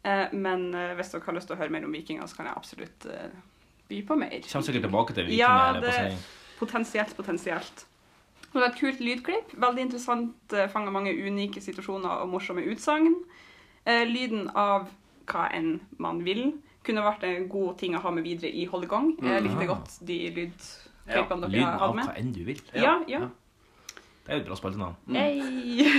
[SPEAKER 4] Eh, men eh, hvis dere har lyst til å høre mer om vikinger, så kan jeg absolutt eh, by på mer.
[SPEAKER 2] Kommer sikkert tilbake til
[SPEAKER 4] Ja,
[SPEAKER 2] vikingene.
[SPEAKER 4] det-
[SPEAKER 2] Ja,
[SPEAKER 4] Potensielt, potensielt. Det var et kult lydklipp. Veldig interessant. eh, Fanger mange unike situasjoner og morsomme utsagn. Eh, lyden av hva enn man vil kunne vært en god ting å ha med videre i holdegang. Jeg likte godt de lydklippene dere
[SPEAKER 2] Lyden av
[SPEAKER 4] hadde med.
[SPEAKER 2] hva enn du vil.
[SPEAKER 4] Ja, ja.
[SPEAKER 2] Det er jo et bra spaltenavn.
[SPEAKER 4] Hey.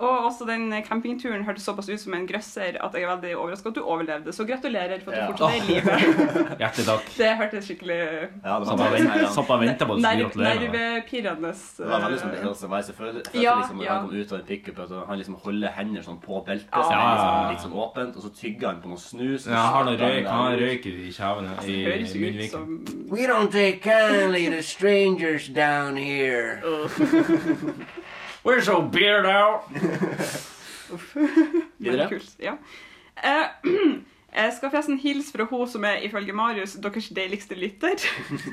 [SPEAKER 4] og også den campingturen hørtes såpass ut som en grøsser at jeg er veldig overraska at du overlevde. Så gratulerer for at du
[SPEAKER 3] Ja.
[SPEAKER 4] fortsatt er i live.
[SPEAKER 2] Hjertelig takk.
[SPEAKER 4] Det hørtes skikkelig
[SPEAKER 3] Ja, det var
[SPEAKER 2] Satt og
[SPEAKER 3] veldig
[SPEAKER 2] vent- satt og venta på at du skulle
[SPEAKER 4] nerv-
[SPEAKER 2] gratulere. meg.
[SPEAKER 4] nervepirrende.
[SPEAKER 3] Det var veldig som
[SPEAKER 4] eh,
[SPEAKER 3] behelse. Jeg følte, jeg følte
[SPEAKER 4] Ja,
[SPEAKER 3] liksom, når
[SPEAKER 4] ja.
[SPEAKER 3] han kom ut av en pickup, at han liksom holder hender sånn på beltet,
[SPEAKER 4] Ja.
[SPEAKER 3] så det er
[SPEAKER 2] Ja.
[SPEAKER 3] liksom, litt sånn åpent, og så tygger han på noe snus. og
[SPEAKER 2] Ja,
[SPEAKER 3] så
[SPEAKER 2] har noe
[SPEAKER 3] setter
[SPEAKER 2] røyk,
[SPEAKER 3] der.
[SPEAKER 2] han har røyk i kjevene.
[SPEAKER 4] det Altså, høres
[SPEAKER 2] I
[SPEAKER 4] ut
[SPEAKER 2] munnviken.
[SPEAKER 4] som
[SPEAKER 5] We don't take kindly to strangers down here.
[SPEAKER 2] We're so beard out!
[SPEAKER 4] Veldig
[SPEAKER 3] Videre?
[SPEAKER 4] kult. Ja. Eh, jeg skal forresten hilse fra hun som er ifølge Marius deres deiligste lytter.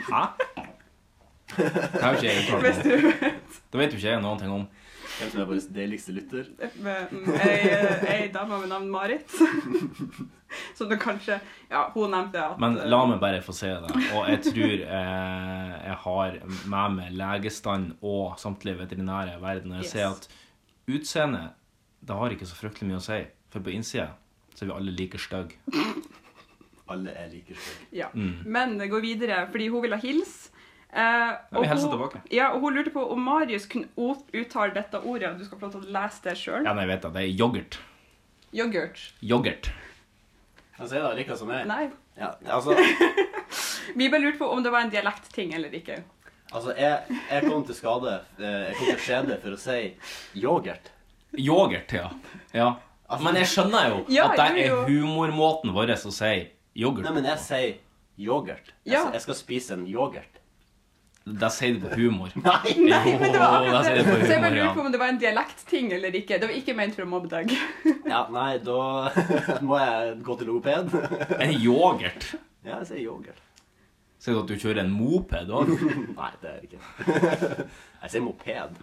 [SPEAKER 2] Hæ? Det har jo ikke jeg
[SPEAKER 4] Hvis
[SPEAKER 2] uttalt om.
[SPEAKER 4] du
[SPEAKER 2] Det vet jo ikke jeg noen ting om.
[SPEAKER 3] Hvem som er vår deiligste lytter?
[SPEAKER 4] med mm, ei, ei dame ved navn Marit. Som du kanskje Ja, hun nevnte at eh,
[SPEAKER 2] Men la meg bare få se det. Og jeg tror eh, jeg har med meg legestand og samtlige veterinære i verden. Og jeg
[SPEAKER 4] Yes.
[SPEAKER 2] ser at utseendet, det har ikke så fryktelig mye å si. For på innsida så er vi alle like stygge.
[SPEAKER 3] Alle er like stygge.
[SPEAKER 4] Ja.
[SPEAKER 2] Mm.
[SPEAKER 4] Men det går videre, fordi hun ville hilse. Eh, og
[SPEAKER 2] vi hilser
[SPEAKER 4] hun-
[SPEAKER 2] tilbake.
[SPEAKER 4] Ja, og hun lurte på om Marius kunne o- uttale dette ordet. og Du skal få lov til å lese det sjøl.
[SPEAKER 2] Ja, nei, jeg vet det. Det er yoghurt.
[SPEAKER 4] Yoghurt.
[SPEAKER 2] Yoghurt.
[SPEAKER 3] Han sier det like som jeg.
[SPEAKER 4] Nei.
[SPEAKER 3] Ja, altså,
[SPEAKER 4] Vi bare lurte på om det var en dialektting eller ikke.
[SPEAKER 3] altså jeg, jeg kom til skade, eh, jeg kom til skjede for å si yoghurt.
[SPEAKER 2] Yoghurt, ja. ja.
[SPEAKER 3] Altså-
[SPEAKER 2] Men jeg skjønner jo
[SPEAKER 4] Ja,
[SPEAKER 2] at det
[SPEAKER 4] jo,
[SPEAKER 2] er humormåten vår å si yoghurt.
[SPEAKER 3] Nei, men jeg sier yoghurt. Jeg,
[SPEAKER 4] Ja.
[SPEAKER 3] jeg skal spise en yoghurt.
[SPEAKER 2] Det sier det på humor.
[SPEAKER 3] Nei!
[SPEAKER 4] Nei, men det var
[SPEAKER 2] Jo, der
[SPEAKER 4] akkurat
[SPEAKER 2] sier
[SPEAKER 4] det.
[SPEAKER 2] det på
[SPEAKER 4] Så jeg bare
[SPEAKER 2] humor, ja.
[SPEAKER 4] lurte på om det var en dialektting eller ikke. Det var ikke ment for å mobbe deg.
[SPEAKER 3] Ja, nei, da må jeg gå til logoped.
[SPEAKER 2] En yoghurt.
[SPEAKER 3] Ja, jeg sier yoghurt.
[SPEAKER 2] Sier du at du kjører en moped òg?
[SPEAKER 3] Nei, det er det ikke. Jeg sier moped.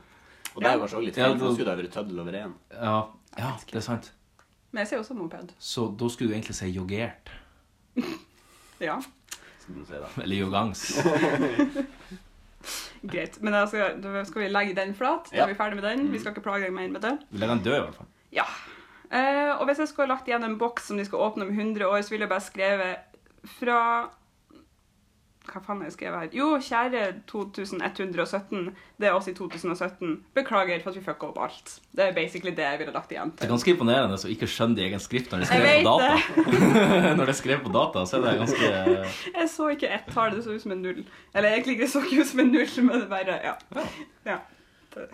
[SPEAKER 3] Og det er jo kanskje også litt
[SPEAKER 2] Ja,
[SPEAKER 3] feil, for
[SPEAKER 2] da-
[SPEAKER 3] da skulle det ha vært tøddel over én.
[SPEAKER 2] Ja, ja, det er sant.
[SPEAKER 4] Men jeg ser også moped.
[SPEAKER 2] Så da skulle du egentlig si yoghurt.
[SPEAKER 4] Ja,
[SPEAKER 3] Skal du si da.
[SPEAKER 2] Eller yogangs.
[SPEAKER 4] greit. Men da skal, da skal vi legge den flat. Da
[SPEAKER 3] Ja.
[SPEAKER 4] er vi ferdig med den. Vi skal ikke plage deg mer med det.
[SPEAKER 2] Vil den dø, i hvert fall.
[SPEAKER 4] Ja. Eh, og hvis jeg skulle ha lagt igjen en boks som de skal åpne om 100 år, så ville jeg bare skrevet fra Hva faen har jeg skrevet her? Jo, kjære 2117. Det er oss i 2017. Beklager for at vi fucka opp alt. Det er basically det jeg ville lagt igjen.
[SPEAKER 2] Det er
[SPEAKER 4] til.
[SPEAKER 2] ganske imponerende å ikke skjønne de egen skrift når de
[SPEAKER 4] Jeg
[SPEAKER 2] skrev
[SPEAKER 4] vet
[SPEAKER 2] på data. når de skrev på data, så er det ganske eh,
[SPEAKER 4] Jeg så ikke ett tall. Det så ut som en null. Eller egentlig det så ikke ut som en null, men det bare Ja. ja. Det-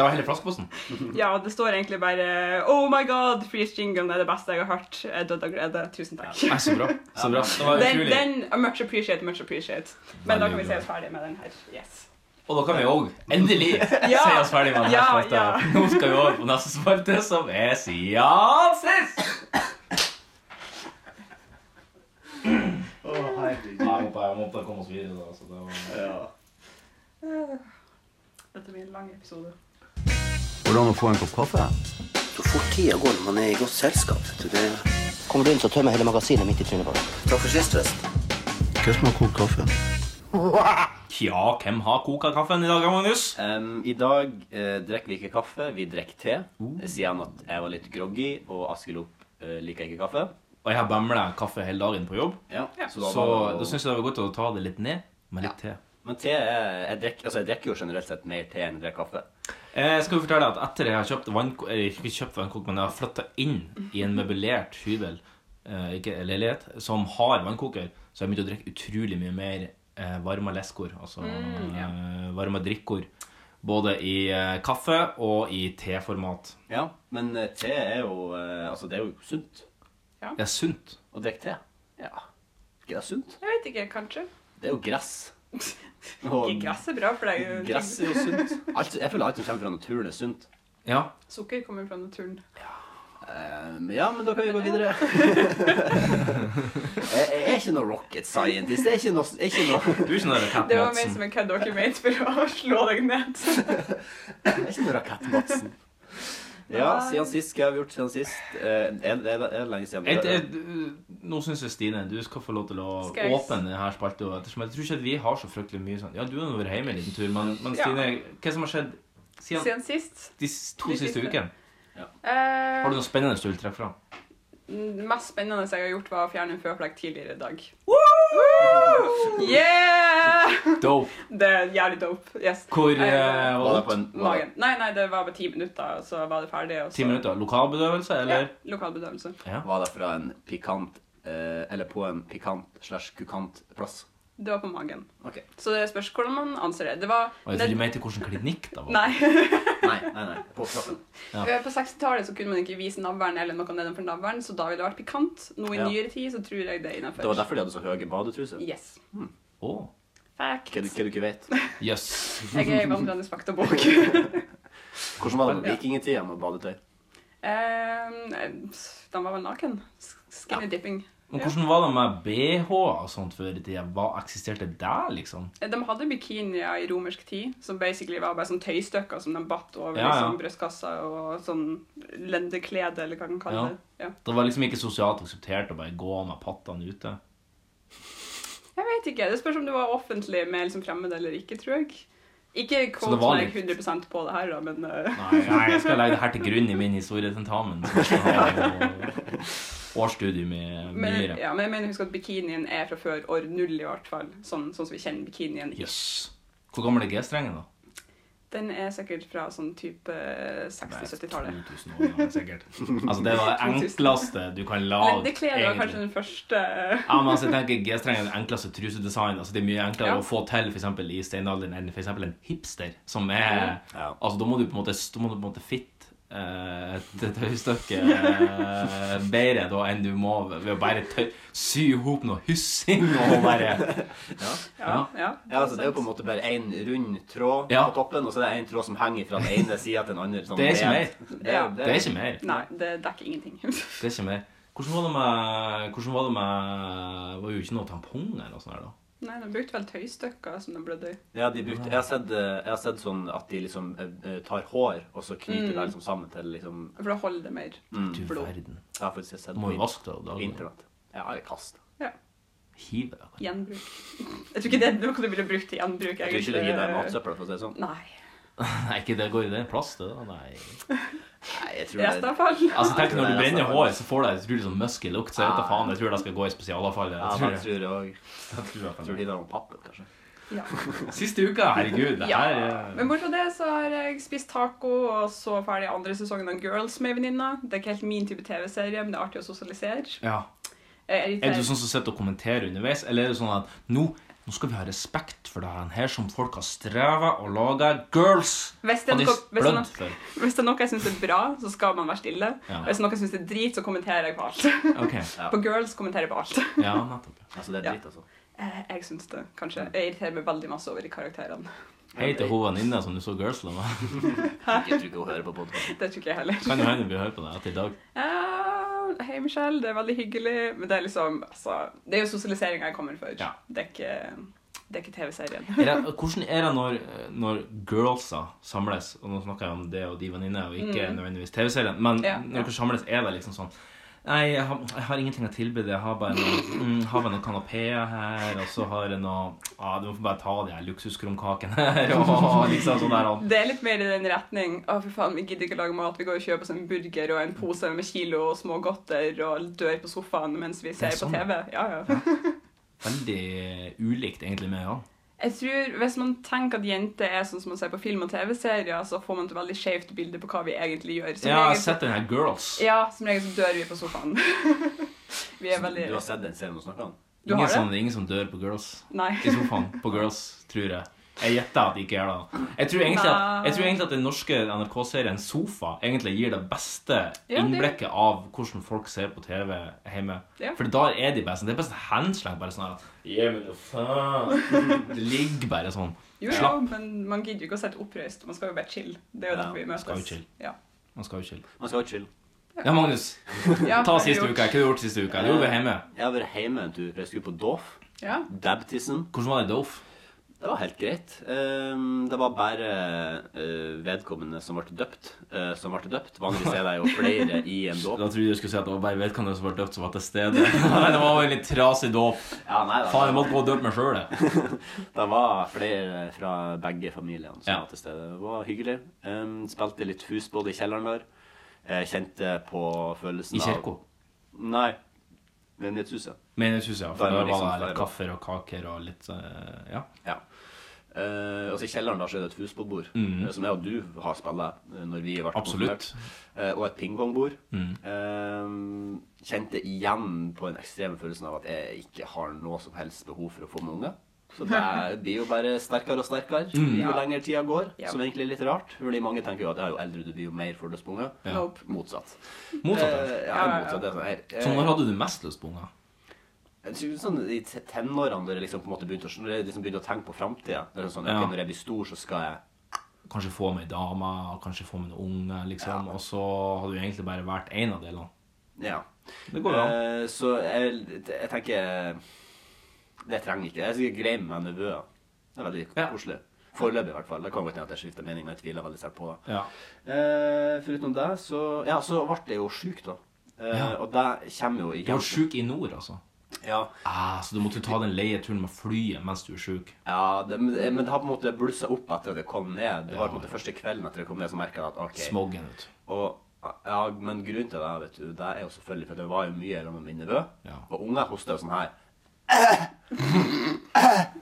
[SPEAKER 2] Det var hele flaskeposten.
[SPEAKER 4] Ja, det står egentlig bare Oh my god, Freeze Jingle er det beste jeg har hørt. Jeg døde av glede. Tusen takk.
[SPEAKER 2] Nei, så bra. Så bra. Det var
[SPEAKER 4] Den,
[SPEAKER 2] utrolig.
[SPEAKER 4] den uh, Much appreciate, much appreciate. Men da kan vi
[SPEAKER 2] Veldig
[SPEAKER 4] se
[SPEAKER 2] bra.
[SPEAKER 4] oss ferdig med den her. Yes.
[SPEAKER 2] Og da kan vi òg endelig
[SPEAKER 4] Ja.
[SPEAKER 2] si oss ferdig med denne
[SPEAKER 4] Ja,
[SPEAKER 2] spalta.
[SPEAKER 4] ja.
[SPEAKER 2] Nå skal vi over på neste spalte, som er Siansis! Jeg måtte, jeg måtte komme oss videre, da. Så det var...
[SPEAKER 4] Dette blir en lang episode.
[SPEAKER 3] Hvordan å få en kopp kaffe?
[SPEAKER 6] Så fort tida går når man er i godt selskap. vet du. Det...
[SPEAKER 7] Kommer du inn, så tømmer jeg hele magasinet mitt i trynet på deg.
[SPEAKER 6] Takk for sist, forresten. Hva som har kokt kaffe?
[SPEAKER 2] Ja, hvem har koka kaffen i dag, Magnus?
[SPEAKER 3] Em, I dag eh, drikker vi ikke kaffe, vi drikker te. Jeg sier han at jeg var litt groggy, og Askild Opp eh, liker ikke kaffe.
[SPEAKER 2] Og jeg har bamla kaffe hele dagen på jobb,
[SPEAKER 3] Ja, da
[SPEAKER 2] så
[SPEAKER 3] var det
[SPEAKER 2] da
[SPEAKER 3] å-
[SPEAKER 2] syns jeg det var godt å ta det litt ned med litt te.
[SPEAKER 3] Men te er jeg drikker, altså jeg drikker jo generelt sett mer te enn jeg drikker kaffe.
[SPEAKER 2] Eh, skal vi fortelle at etter jeg har kjøpt vannko- eh, ikke kjøpt vannkok, men jeg har flytta inn i en møblert hybel, eh, ikke en leilighet, som har vannkoker, så har jeg begynt å drikke utrolig mye mer eh, varma leskor, altså
[SPEAKER 4] Mm,
[SPEAKER 2] eh, varma drikkord. Både i eh, kaffe og i teformat.
[SPEAKER 3] Ja, Men eh, te er jo eh, Altså, det er jo sunt
[SPEAKER 2] Det er sunt.
[SPEAKER 3] å drikke te. Ja. Ikke det er sunt?
[SPEAKER 4] Jeg vet ikke, kanskje.
[SPEAKER 3] Det er jo gress.
[SPEAKER 4] Ikke gress er bra for deg.
[SPEAKER 3] gress er jo sunt. Alt, jeg føler alt som kommer fra naturen, er sunt.
[SPEAKER 2] Ja.
[SPEAKER 4] Sukker kommer fra naturen.
[SPEAKER 3] Um, ja, men da kan vi gå videre. jeg, jeg er ikke noe rocket scientist. Jeg er ikke noe, jeg er ikke noe,
[SPEAKER 2] Du er ikke noe Cat
[SPEAKER 4] Det var ment
[SPEAKER 2] Madsen.
[SPEAKER 4] som en kødd dere mente for å slå deg ned.
[SPEAKER 3] jeg er ikke noe Rakett-Madsen. Ja, siden sist. Hva har vi gjort siden sist? Eh, er, er, er det lenge siden?
[SPEAKER 2] Jeg,
[SPEAKER 3] vi-
[SPEAKER 2] jeg, nå syns jeg Stine du skal få lov til å
[SPEAKER 4] Skal jeg-
[SPEAKER 2] åpne denne spalta. Ettersom jeg tror ikke at vi har så fryktelig mye sånn Ja, du har nå vært hjemme en liten tur, men, men
[SPEAKER 4] Ja.
[SPEAKER 2] Stine, hva som har skjedd siden
[SPEAKER 4] Siden sist.
[SPEAKER 2] de s- to
[SPEAKER 4] De
[SPEAKER 2] siste
[SPEAKER 4] siste.
[SPEAKER 2] ukene.
[SPEAKER 4] Eh,
[SPEAKER 2] Har du noe spennende du vil trekke fram?
[SPEAKER 4] Det mest spennende jeg har gjort, var å fjerne en føflekk tidligere i dag. Woo! Yeah!
[SPEAKER 2] Dope.
[SPEAKER 4] Det er jævlig dope. Yes.
[SPEAKER 2] Hvor
[SPEAKER 4] Eh,
[SPEAKER 2] eh,
[SPEAKER 3] Var
[SPEAKER 2] var
[SPEAKER 3] det
[SPEAKER 2] det?
[SPEAKER 3] på en, var det-
[SPEAKER 4] Magen. Nei, nei, det var bare ti minutter, og så var det ferdig. Og så...
[SPEAKER 2] Ti minutter? Lokalbedøvelse, eller?
[SPEAKER 4] Ja, lokalbedøvelse.
[SPEAKER 3] var det fra en pikant eh, Eller på en pikant slash kukant plass?
[SPEAKER 4] Det var på magen.
[SPEAKER 3] Ok.
[SPEAKER 4] Så det spørs hvordan man anser det. Det var
[SPEAKER 2] Og jeg tror du mente hvilken klinikk det var.
[SPEAKER 4] Nei.
[SPEAKER 3] Nei, nei, nei. På plassen.
[SPEAKER 4] Eh, På 60-tallet så kunne man ikke vise navlen eller noe nedenfor navlen, så da ville det vært pikant. Nå i
[SPEAKER 3] Ja.
[SPEAKER 4] nyere tid så tror jeg det er
[SPEAKER 3] Det var
[SPEAKER 4] innafor.
[SPEAKER 3] derfor de hadde så høye badetruser.
[SPEAKER 4] Yes.
[SPEAKER 2] Å,
[SPEAKER 4] Fact.
[SPEAKER 3] Hva du, hva du ikke vet.
[SPEAKER 2] jøss.
[SPEAKER 4] Jeg er i vandrende faktabok.
[SPEAKER 3] Hvordan var det på vikingtida med badetøy?
[SPEAKER 4] Ehm, eh, den var vel naken. S- Skinny dipping.
[SPEAKER 2] Men hvordan var det med BH og sånt før i tida? Hva eksisterte der, liksom?
[SPEAKER 4] Eh, De hadde bikinier i romersk tid, som basically var bare sånn tøystykker som de batt over
[SPEAKER 2] Ja, ja.
[SPEAKER 4] liksom, brystkassa og sånn lendeklede, eller hva man kaller
[SPEAKER 2] Ja.
[SPEAKER 4] det. Ja.
[SPEAKER 2] Det var liksom ikke sosialt akseptert å bare gå med pattene ute.
[SPEAKER 4] Jeg vet ikke. Det spørs om det var offentlig med liksom fremmede eller ikke, tror jeg. Ikke
[SPEAKER 2] Så det
[SPEAKER 4] quote
[SPEAKER 2] var
[SPEAKER 4] meg
[SPEAKER 2] litt-
[SPEAKER 4] 100 på det her, da, men eh,
[SPEAKER 2] Nei, nei, jeg skal legge det her til grunn i min historietentamen. som jeg skal ha på Årsstudium i
[SPEAKER 4] men,
[SPEAKER 2] Myhre.
[SPEAKER 4] ja, men jeg mener husk at bikinien er fra før år null, i hvert fall. Sånn, sånn som vi kjenner bikinien.
[SPEAKER 2] Jøss. Hvor gammel er G-strengen, da?
[SPEAKER 4] Den er sikkert fra sånn type
[SPEAKER 2] Nei,
[SPEAKER 4] 60-70-tallet.
[SPEAKER 2] 2000 år, ja, sikkert. Altså, det var det
[SPEAKER 4] 2000.
[SPEAKER 2] enkleste du kan lage.
[SPEAKER 4] Lendeklede var
[SPEAKER 2] egentlig.
[SPEAKER 4] kanskje den første
[SPEAKER 2] Ja, men altså, jeg tenker G-streng er den enkleste trusedesign. Altså, det er mye enklere
[SPEAKER 4] Ja.
[SPEAKER 2] å få til for eksempel, i steinalderen enn for eksempel en hipster, som er
[SPEAKER 3] Ja.
[SPEAKER 2] Altså, da må du på en måte, da må du på en måte fitte eh, et tøystykke eh, bedre da enn du må ved å bare tøy, sy i hop noe hyssing og bare
[SPEAKER 4] Ja. ja.
[SPEAKER 3] Ja, altså Det er jo på en måte bare én rund tråd
[SPEAKER 2] Ja.
[SPEAKER 3] på toppen, og så er det én tråd som henger fra den ene sida til den andre. Sånn
[SPEAKER 2] Det er ikke
[SPEAKER 3] rent. Det er,
[SPEAKER 2] Det er ikke mer.
[SPEAKER 4] Nei, det dekker ingenting.
[SPEAKER 2] Det er ikke mer. Hvordan var det med Hvordan var det med Var jo ikke noe tampong eller noe sånt her, da?
[SPEAKER 4] Nei, de brukte vel tøystykker som de blødde i.
[SPEAKER 3] Ja, de brukte, jeg, har sett, eh, jeg har sett sånn at de liksom eh, eh, tar hår, og så knyter det liksom sammen til liksom
[SPEAKER 4] For da holder det mer.
[SPEAKER 3] Mm.
[SPEAKER 2] Du
[SPEAKER 4] Blod.
[SPEAKER 2] verden.
[SPEAKER 3] Jeg har faktisk sett
[SPEAKER 2] Du må
[SPEAKER 3] på
[SPEAKER 2] jo sånn. vaske det
[SPEAKER 3] på
[SPEAKER 2] daglig.
[SPEAKER 3] internett. Ja, eller kast.
[SPEAKER 4] Ja.
[SPEAKER 2] Hive det.
[SPEAKER 4] Gjenbruk. Jeg tror ikke det er noe du ville brukt til gjenbruk.
[SPEAKER 3] Jeg tror ikke det gir deg matsøppel, for å si det sånn.
[SPEAKER 4] Nei.
[SPEAKER 2] Nei, ikke det går i det. Plass til det. Nei.
[SPEAKER 3] Nei, jeg tror det,
[SPEAKER 4] Restavfall.
[SPEAKER 2] Altså, tenk når du
[SPEAKER 3] Nei, det er
[SPEAKER 2] brenner
[SPEAKER 3] sant.
[SPEAKER 2] hår, så får du en utrolig sånn muskelukt. Så jeg vet da faen, jeg tror det skal gå i spesialavfallet.
[SPEAKER 3] ja,
[SPEAKER 2] Jeg
[SPEAKER 3] men
[SPEAKER 2] tror det.
[SPEAKER 3] jeg tror det også.
[SPEAKER 2] Jeg tror
[SPEAKER 3] Jeg
[SPEAKER 2] det.
[SPEAKER 3] tror de der om pappen, kanskje.
[SPEAKER 4] Ja.
[SPEAKER 2] Siste uka, herregud. Det
[SPEAKER 4] Ja.
[SPEAKER 2] her er
[SPEAKER 4] Men bortsett fra det så har jeg spist taco og så ferdig andre sesongen av Girls med ei venninne. Det er ikke helt min type TV-serie, men det er artig å sosialisere.
[SPEAKER 2] ja.
[SPEAKER 4] Jeg
[SPEAKER 2] Er
[SPEAKER 4] irriterer-
[SPEAKER 2] du sånn som sitter og kommenterer underveis, eller er det sånn at nå Nå skal vi ha respekt for det her som folk har streva og laga girls.
[SPEAKER 4] Hvis det er
[SPEAKER 2] Og de
[SPEAKER 4] noe- hvis det er
[SPEAKER 2] blødd
[SPEAKER 4] noe-
[SPEAKER 2] for.
[SPEAKER 3] sånn-
[SPEAKER 4] Hvis det er noe jeg syns er bra, så skal man være stille.
[SPEAKER 2] Ja.
[SPEAKER 4] Hvis det er noe jeg syns er drit, så kommenterer jeg på alt.
[SPEAKER 2] Ok,
[SPEAKER 4] På Girls kommenterer jeg på alt.
[SPEAKER 2] ja, nettopp.
[SPEAKER 3] Altså, det er dritt, altså.
[SPEAKER 4] Eh, Jeg syns det, kanskje. Jeg irriterer meg veldig masse over de karakterene.
[SPEAKER 2] Hei til hun venninna som du så girls med.
[SPEAKER 3] Jeg tror ikke hun hører på podkasten.
[SPEAKER 4] Det tror ikke jeg heller.
[SPEAKER 2] Kan jo hende vi hører på det etter i dag.
[SPEAKER 4] Eh, Hei, Michelle. Det er veldig hyggelig. Men det er liksom altså, Det er jo sosialiseringa jeg kommer for.
[SPEAKER 2] Ja.
[SPEAKER 4] Det er ikke, det er ikke TV-serien.
[SPEAKER 2] Er det, hvordan er det når, når girlsa samles? Og nå snakker jeg om det og de venninne, og ikke nødvendigvis TV-serien. Men
[SPEAKER 4] Mm. Ja, ja.
[SPEAKER 2] når dere samles, er det liksom sånn Nei, jeg har, jeg har ingenting å tilby deg. Jeg har bare noen, mm, har bare noen kanapeer her, og så har jeg noe ah, Du må få bare ta de her luksuskrumkakene her, og liksom sånn der. Og,
[SPEAKER 4] Det er litt mer i den retning Å, for faen, vi gidder ikke lage mat. Vi går og kjøper oss en burger og en pose med kilo og smågodter og dør på sofaen mens vi ser
[SPEAKER 2] er sånn,
[SPEAKER 4] på TV. Ja, ja.
[SPEAKER 2] veldig ulikt egentlig med ja.
[SPEAKER 4] Jeg tror Hvis man tenker at jenter er sånn som man ser på film og TV-serier, så får man et veldig skjevt bilde på hva vi egentlig gjør.
[SPEAKER 2] Jeg har
[SPEAKER 4] regel-
[SPEAKER 2] sett den her Girls.
[SPEAKER 4] ja, som regel så dør vi på sofaen. vi er veldig
[SPEAKER 3] Du har sett den serien hun snakker om?
[SPEAKER 4] Du har
[SPEAKER 2] ingen, sånn
[SPEAKER 4] det?
[SPEAKER 2] som, ingen som dør på Girls.
[SPEAKER 4] Nei.
[SPEAKER 2] i sofaen på Girls, tror jeg. Jeg gjetter at de ikke gjør det. Jeg tror egentlig at, jeg tror egentlig at den norske NRK-serien Sofa egentlig gir det beste
[SPEAKER 4] det-
[SPEAKER 2] innblikket av hvordan folk ser på TV hjemme.
[SPEAKER 4] Ja.
[SPEAKER 2] For da er de best. Det er bare sånn henslengt. Bare sånn her at Ja, men hva faen? Det ligger bare sånn.
[SPEAKER 4] Jo, jo, men man gidder jo ikke å sitte oppreist. Man skal jo bare chill. Det er jo
[SPEAKER 3] Ja,
[SPEAKER 4] derfor vi
[SPEAKER 2] man
[SPEAKER 4] møtes.
[SPEAKER 2] skal jo chill.
[SPEAKER 4] Ja.
[SPEAKER 2] Man skal jo chille.
[SPEAKER 3] Man skal jo chille.
[SPEAKER 2] Ja, Magnus.
[SPEAKER 4] Ja,
[SPEAKER 2] Ta
[SPEAKER 4] det er
[SPEAKER 2] siste
[SPEAKER 4] jo-
[SPEAKER 2] uka. Hva har du gjort siste uka? Du var hjemme.
[SPEAKER 3] Jeg har vært hjemme en tur. for Jeg skulle på Doff.
[SPEAKER 4] Ja.
[SPEAKER 3] Dabtism.
[SPEAKER 2] Hvordan var det i Doff?
[SPEAKER 3] Det var helt greit. Ehm, det var bare eh, vedkommende som ble døpt, eh, som ble døpt. Vanligvis er det jo flere i en dåp.
[SPEAKER 2] Da trodde jeg du skulle si at det var bare vedkommende som var døpt, som var til stede. Nei, det var en litt trasig dåp.
[SPEAKER 3] Ja, nei da.
[SPEAKER 2] Faen, jeg måtte gå og døpe meg sjøl, jeg.
[SPEAKER 3] Det var flere fra begge familiene som
[SPEAKER 2] Ja.
[SPEAKER 3] var til stede. Det var hyggelig. Ehm, spilte litt husbåt i kjelleren der. Eh, kjente på følelsen
[SPEAKER 2] I kirka.
[SPEAKER 3] av Nei. Menighetshuset.
[SPEAKER 2] Menighetshuset, ja.
[SPEAKER 3] Da
[SPEAKER 2] For
[SPEAKER 3] er
[SPEAKER 2] da var
[SPEAKER 3] man
[SPEAKER 2] det
[SPEAKER 3] liksom
[SPEAKER 2] litt
[SPEAKER 3] flere.
[SPEAKER 2] kaffer og kaker og litt eh, Ja.
[SPEAKER 3] Ja. Eh, altså I kjelleren da så er det et husbåtbord, eh, som jeg og du har spilt eh, når vi ble
[SPEAKER 2] Mm. Absolutt. Mm.
[SPEAKER 3] konfirmert. Eh, og et pingpongbord. Eh, kjente igjen på den ekstreme følelsen av at jeg ikke har noe som helst behov for å få med unger. Så det er- blir jo bare sterkere og sterkere
[SPEAKER 2] Mm.
[SPEAKER 3] jo lenger tida går,
[SPEAKER 4] Ja.
[SPEAKER 3] som egentlig er litt rart. Fordi mange tenker jo at ja, jo eldre du blir, jo mer får du lyst på unger.
[SPEAKER 2] Ja.
[SPEAKER 4] Nope.
[SPEAKER 3] Motsatt.
[SPEAKER 2] Motsatt. ja.
[SPEAKER 3] Eh, ja,
[SPEAKER 4] Ja, ja, ja.
[SPEAKER 3] motsatt. Det er sånn, jeg,
[SPEAKER 2] Så når hadde du mest lyst på unger?
[SPEAKER 3] jeg tror sånn I te- tenårene da jeg liksom på en måte begynte å, når jeg liksom begynte å tenke på framtida sånn,
[SPEAKER 2] Ja.
[SPEAKER 3] ok, Når jeg blir stor, så skal jeg
[SPEAKER 2] Kanskje få meg ei dame, kanskje få meg noen unger, liksom. Og så hadde du egentlig bare vært én av delene.
[SPEAKER 3] Ja.
[SPEAKER 2] Det går jo an.
[SPEAKER 3] Eh, så jeg, jeg tenker Det trenger ikke. Jeg er sikkert grei med nevøer. Det er veldig
[SPEAKER 2] Ja.
[SPEAKER 3] koselig. Foreløpig, i hvert fall. Det kan godt hende at jeg skifter mening, men jeg tviler veldig sterkt på det.
[SPEAKER 2] Ja.
[SPEAKER 3] Eh, foruten det, så Ja, så ble jeg jo sjuk, da. Eh, Og det kommer jo i
[SPEAKER 2] Du var sjuk i nord, altså.
[SPEAKER 3] Ja,
[SPEAKER 2] Ah, så du måtte jo ta den leieturen med flyet mens du er sjuk.
[SPEAKER 3] ja det, men men det har på en måte blussa opp etter at jeg kom ned. Det var på en måte første kvelden etter at jeg kom ned, så merka jeg at OK
[SPEAKER 2] Smoggen, vet du.
[SPEAKER 3] Og, ja, men grunnen til det, vet du, det er jo selvfølgelig for at det var jo mye sammen med min nevø.
[SPEAKER 2] Ja.
[SPEAKER 3] Og unger hoster jo sånn her.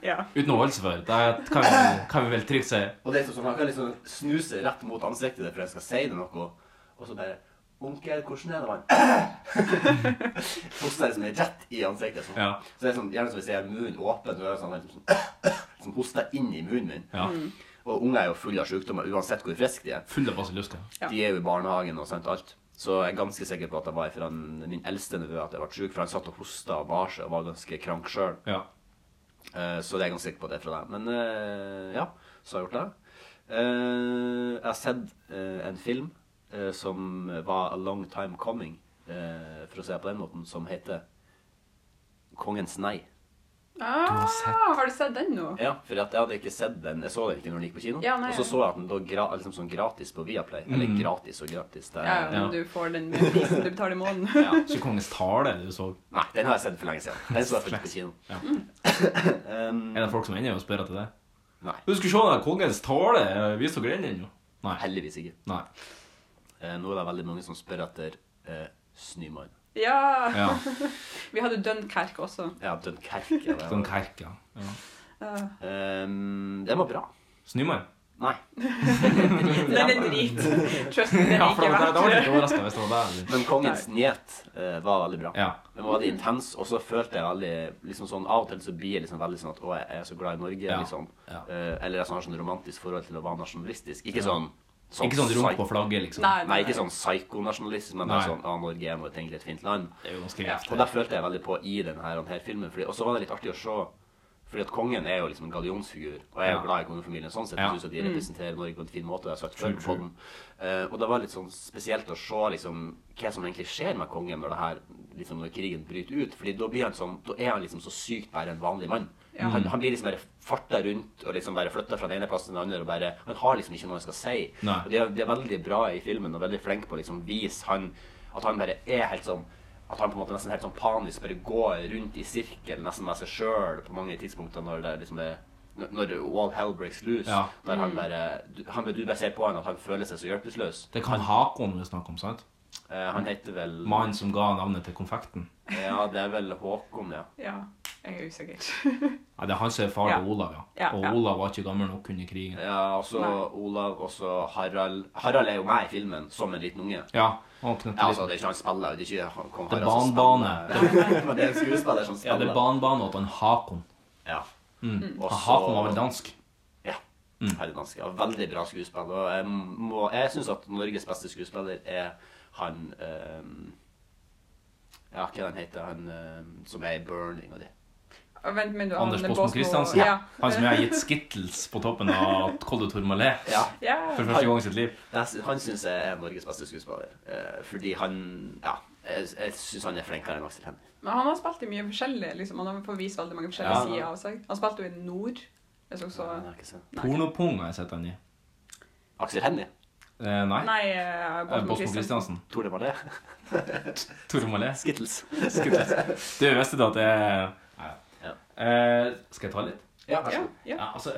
[SPEAKER 4] ja.
[SPEAKER 2] Uten å holde seg for. Det kan vi, kan vi vel trygt si.
[SPEAKER 3] Og det er sånn, han kan liksom snuse rett mot ansiktet ditt for jeg skal si det noe. Og så bare Onkel, hvordan er det man Hoster liksom rett i ansiktet. Sånn.
[SPEAKER 2] Ja.
[SPEAKER 3] Så det er sånn, gjerne som hvis jeg har munnen åpen, så er det sånn, liksom, sånn, sånn hoster inn i munnen min.
[SPEAKER 2] Ja.
[SPEAKER 3] Og unger er jo fulle av sykdommer uansett hvor friske de er.
[SPEAKER 2] Full av basillusker.
[SPEAKER 4] Ja.
[SPEAKER 3] De er jo i barnehagen og sånt alt. Så jeg er ganske sikker på at det var fra min eldste nevø at jeg ble syk, for han satt og hosta og bar seg og var ganske krank sjøl.
[SPEAKER 2] Ja.
[SPEAKER 3] Så det er jeg ganske sikker på at det er fra deg. Men eh, ja, så har jeg gjort det. Eh, Jeg har sett eh, en film eh, som var A Long Time Coming, eh, for å si det på den måten, som heter Kongens nei.
[SPEAKER 4] Ah, har du sett den nå?
[SPEAKER 3] Ja, for at jeg hadde ikke sett den. Jeg så den ikke når den gikk på kino.
[SPEAKER 4] Ja, nei,
[SPEAKER 3] og så
[SPEAKER 4] ja.
[SPEAKER 3] så jeg at den lå gra liksom sånn gratis på Viaplay. Eller gratis og gratis. Det,
[SPEAKER 4] Ja,
[SPEAKER 3] er-
[SPEAKER 4] men du får den med prisen du betaler i måneden.
[SPEAKER 2] Ikke Kongens tale du så.
[SPEAKER 3] Nei, den har jeg sett for lenge siden. Den så jeg først på kino.
[SPEAKER 2] Er det folk som ennå spør etter det?
[SPEAKER 3] Nei.
[SPEAKER 2] Du skulle se den der Kongens tale. Viser dere den ennå? Nei.
[SPEAKER 3] Heldigvis ikke.
[SPEAKER 2] Nei.
[SPEAKER 3] Eh, Nå er det veldig mange som spør etter eh, Snymann.
[SPEAKER 4] Ja!
[SPEAKER 2] Ja.
[SPEAKER 4] Vi hadde Dunkerque også.
[SPEAKER 3] Ja, Dunkerque. det var-
[SPEAKER 2] Sånn kerk, ja. ja.
[SPEAKER 4] Eh,
[SPEAKER 3] Um, den var bra.
[SPEAKER 2] Snømann?
[SPEAKER 3] Nei.
[SPEAKER 4] Den er drit. Trust me, den
[SPEAKER 2] Ja,
[SPEAKER 4] er
[SPEAKER 2] for da, da, da var
[SPEAKER 4] ikke
[SPEAKER 2] det
[SPEAKER 4] verdt
[SPEAKER 2] ikke overrasket hvis det var deg. eller?
[SPEAKER 3] Men kongens njet eh, var veldig bra.
[SPEAKER 2] Ja.
[SPEAKER 3] Den var veldig intens, og så følte jeg veldig liksom sånn, Av og til så blir jeg liksom veldig sånn at å, jeg er så glad i Norge,
[SPEAKER 2] Ja.
[SPEAKER 3] liksom.
[SPEAKER 2] Ja.
[SPEAKER 3] Eh, eller jeg sånn, har sånn romantisk forhold til å være nasjonalistisk. Ikke sånn, sånn
[SPEAKER 2] Ikke sånn
[SPEAKER 3] psy-
[SPEAKER 2] rundt på flagget, liksom.
[SPEAKER 4] Nei,
[SPEAKER 3] Nei, ikke sånn psykonasjonalistisk, men bare
[SPEAKER 2] Nei.
[SPEAKER 3] sånn ah, Norge er nå et egentlig et fint land.
[SPEAKER 2] Det er jo ganske
[SPEAKER 3] Og
[SPEAKER 2] greit.
[SPEAKER 3] der følte jeg veldig på i denne her, denne filmen. Fordi, og så var det litt artig å se fordi at kongen er jo liksom en gallionsfigur, og jeg er jo
[SPEAKER 2] Ja.
[SPEAKER 3] glad i kongefamilien. Sånn sett
[SPEAKER 2] Ja.
[SPEAKER 3] jeg synes at de representerer Norge på en fin måte. og jeg har sagt
[SPEAKER 2] True,
[SPEAKER 3] før på
[SPEAKER 2] true.
[SPEAKER 3] den. Eh, og det var litt sånn spesielt å se liksom, hva som egentlig skjer med kongen når det her, liksom når krigen bryter ut. Fordi da blir han sånn, da er han liksom så sykt bare en vanlig mann. Han, han blir liksom bare farta rundt og liksom bare flytta fra den ene plassen til den andre. og bare, Han har liksom ikke noe han skal si.
[SPEAKER 2] Nei.
[SPEAKER 3] Og de er, de er veldig bra i filmen og veldig flinke på å liksom vise han at han bare er helt sånn at han på en måte nesten helt sånn panisk bare går rundt i sirkel nesten med seg sjøl på mange tidspunkter når det er liksom det når- når all hell breaks loose.
[SPEAKER 2] Ja.
[SPEAKER 3] Der han bare, du, han, du bare ser på han at han føler seg så hjelpeløs.
[SPEAKER 2] Det kan Hakon vi snakker om, sant?
[SPEAKER 3] Eh, han heter vel
[SPEAKER 2] Mannen som ga navnet til konfekten.
[SPEAKER 3] Ja, det er vel Håkon, ja.
[SPEAKER 4] Ja, jeg er usikker.
[SPEAKER 2] Nei, det er han som er far
[SPEAKER 4] Ja.
[SPEAKER 2] til Olav, ja.
[SPEAKER 4] Ja,
[SPEAKER 2] Og
[SPEAKER 4] ja.
[SPEAKER 2] Olav var ikke gammel nok under krigen.
[SPEAKER 3] Ja, også Olav, også Harald. Harald er jo med i filmen som en liten unge.
[SPEAKER 2] Ja, han knøtte
[SPEAKER 3] Ja, altså,
[SPEAKER 2] litt.
[SPEAKER 3] det er ikke han spiller, det er ikke han- kong
[SPEAKER 2] Det er
[SPEAKER 3] Harald som
[SPEAKER 2] barnbarnet.
[SPEAKER 3] spiller. Men det er en skuespiller som
[SPEAKER 2] Ja, det
[SPEAKER 3] spiller.
[SPEAKER 2] er banebane og at han Hakon.
[SPEAKER 3] Ja. Og
[SPEAKER 2] Han
[SPEAKER 3] så-
[SPEAKER 2] Hakon Mm. Ah, var vel dansk? Mm.
[SPEAKER 3] Ja. Herre danske. Ja, veldig bra skuespill. Og jeg, må, jeg syns at Norges beste skuespiller er han ehm, Ja, hva han heter han ehm, som er i Burning og de.
[SPEAKER 4] Å, Vent, men du har
[SPEAKER 2] Anders
[SPEAKER 4] han
[SPEAKER 2] Båsmo
[SPEAKER 4] Båsmo-
[SPEAKER 2] Christiansen.
[SPEAKER 4] Ja.
[SPEAKER 2] Han som jeg har gitt Skittles på toppen av Col de Tourmalet
[SPEAKER 3] Ja.
[SPEAKER 4] Ja.
[SPEAKER 2] for første gang i sitt liv.
[SPEAKER 3] Jeg sy- Han syns jeg er Norges beste skuespiller. eh, fordi han Ja. Jeg, jeg syns han er flinkere enn Aksel Hennie.
[SPEAKER 4] Men han har spilt i mye forskjellig. liksom. Han har fått vist veldig mange forskjellige
[SPEAKER 3] Ja.
[SPEAKER 4] sider av seg. Han spilte jo i Nord. Jeg så også...
[SPEAKER 3] Jeg har ikke sett.
[SPEAKER 4] Nei.
[SPEAKER 2] Pornopung har jeg sett han i.
[SPEAKER 3] Aksel Hennie?
[SPEAKER 2] Eh, nei.
[SPEAKER 4] Nei, eh,
[SPEAKER 2] Eh,
[SPEAKER 4] Båsmo
[SPEAKER 2] Båsmo
[SPEAKER 4] Christiansen.
[SPEAKER 2] Christiansen.
[SPEAKER 3] Tror det var det?
[SPEAKER 2] Tourmalet.
[SPEAKER 3] Skittles.
[SPEAKER 2] Du visste da at det Nei.
[SPEAKER 3] Ja.
[SPEAKER 2] Eh, skal jeg ta litt?
[SPEAKER 3] Ja, vær så
[SPEAKER 4] Ja,
[SPEAKER 3] god.
[SPEAKER 4] ja.
[SPEAKER 2] Ja, altså,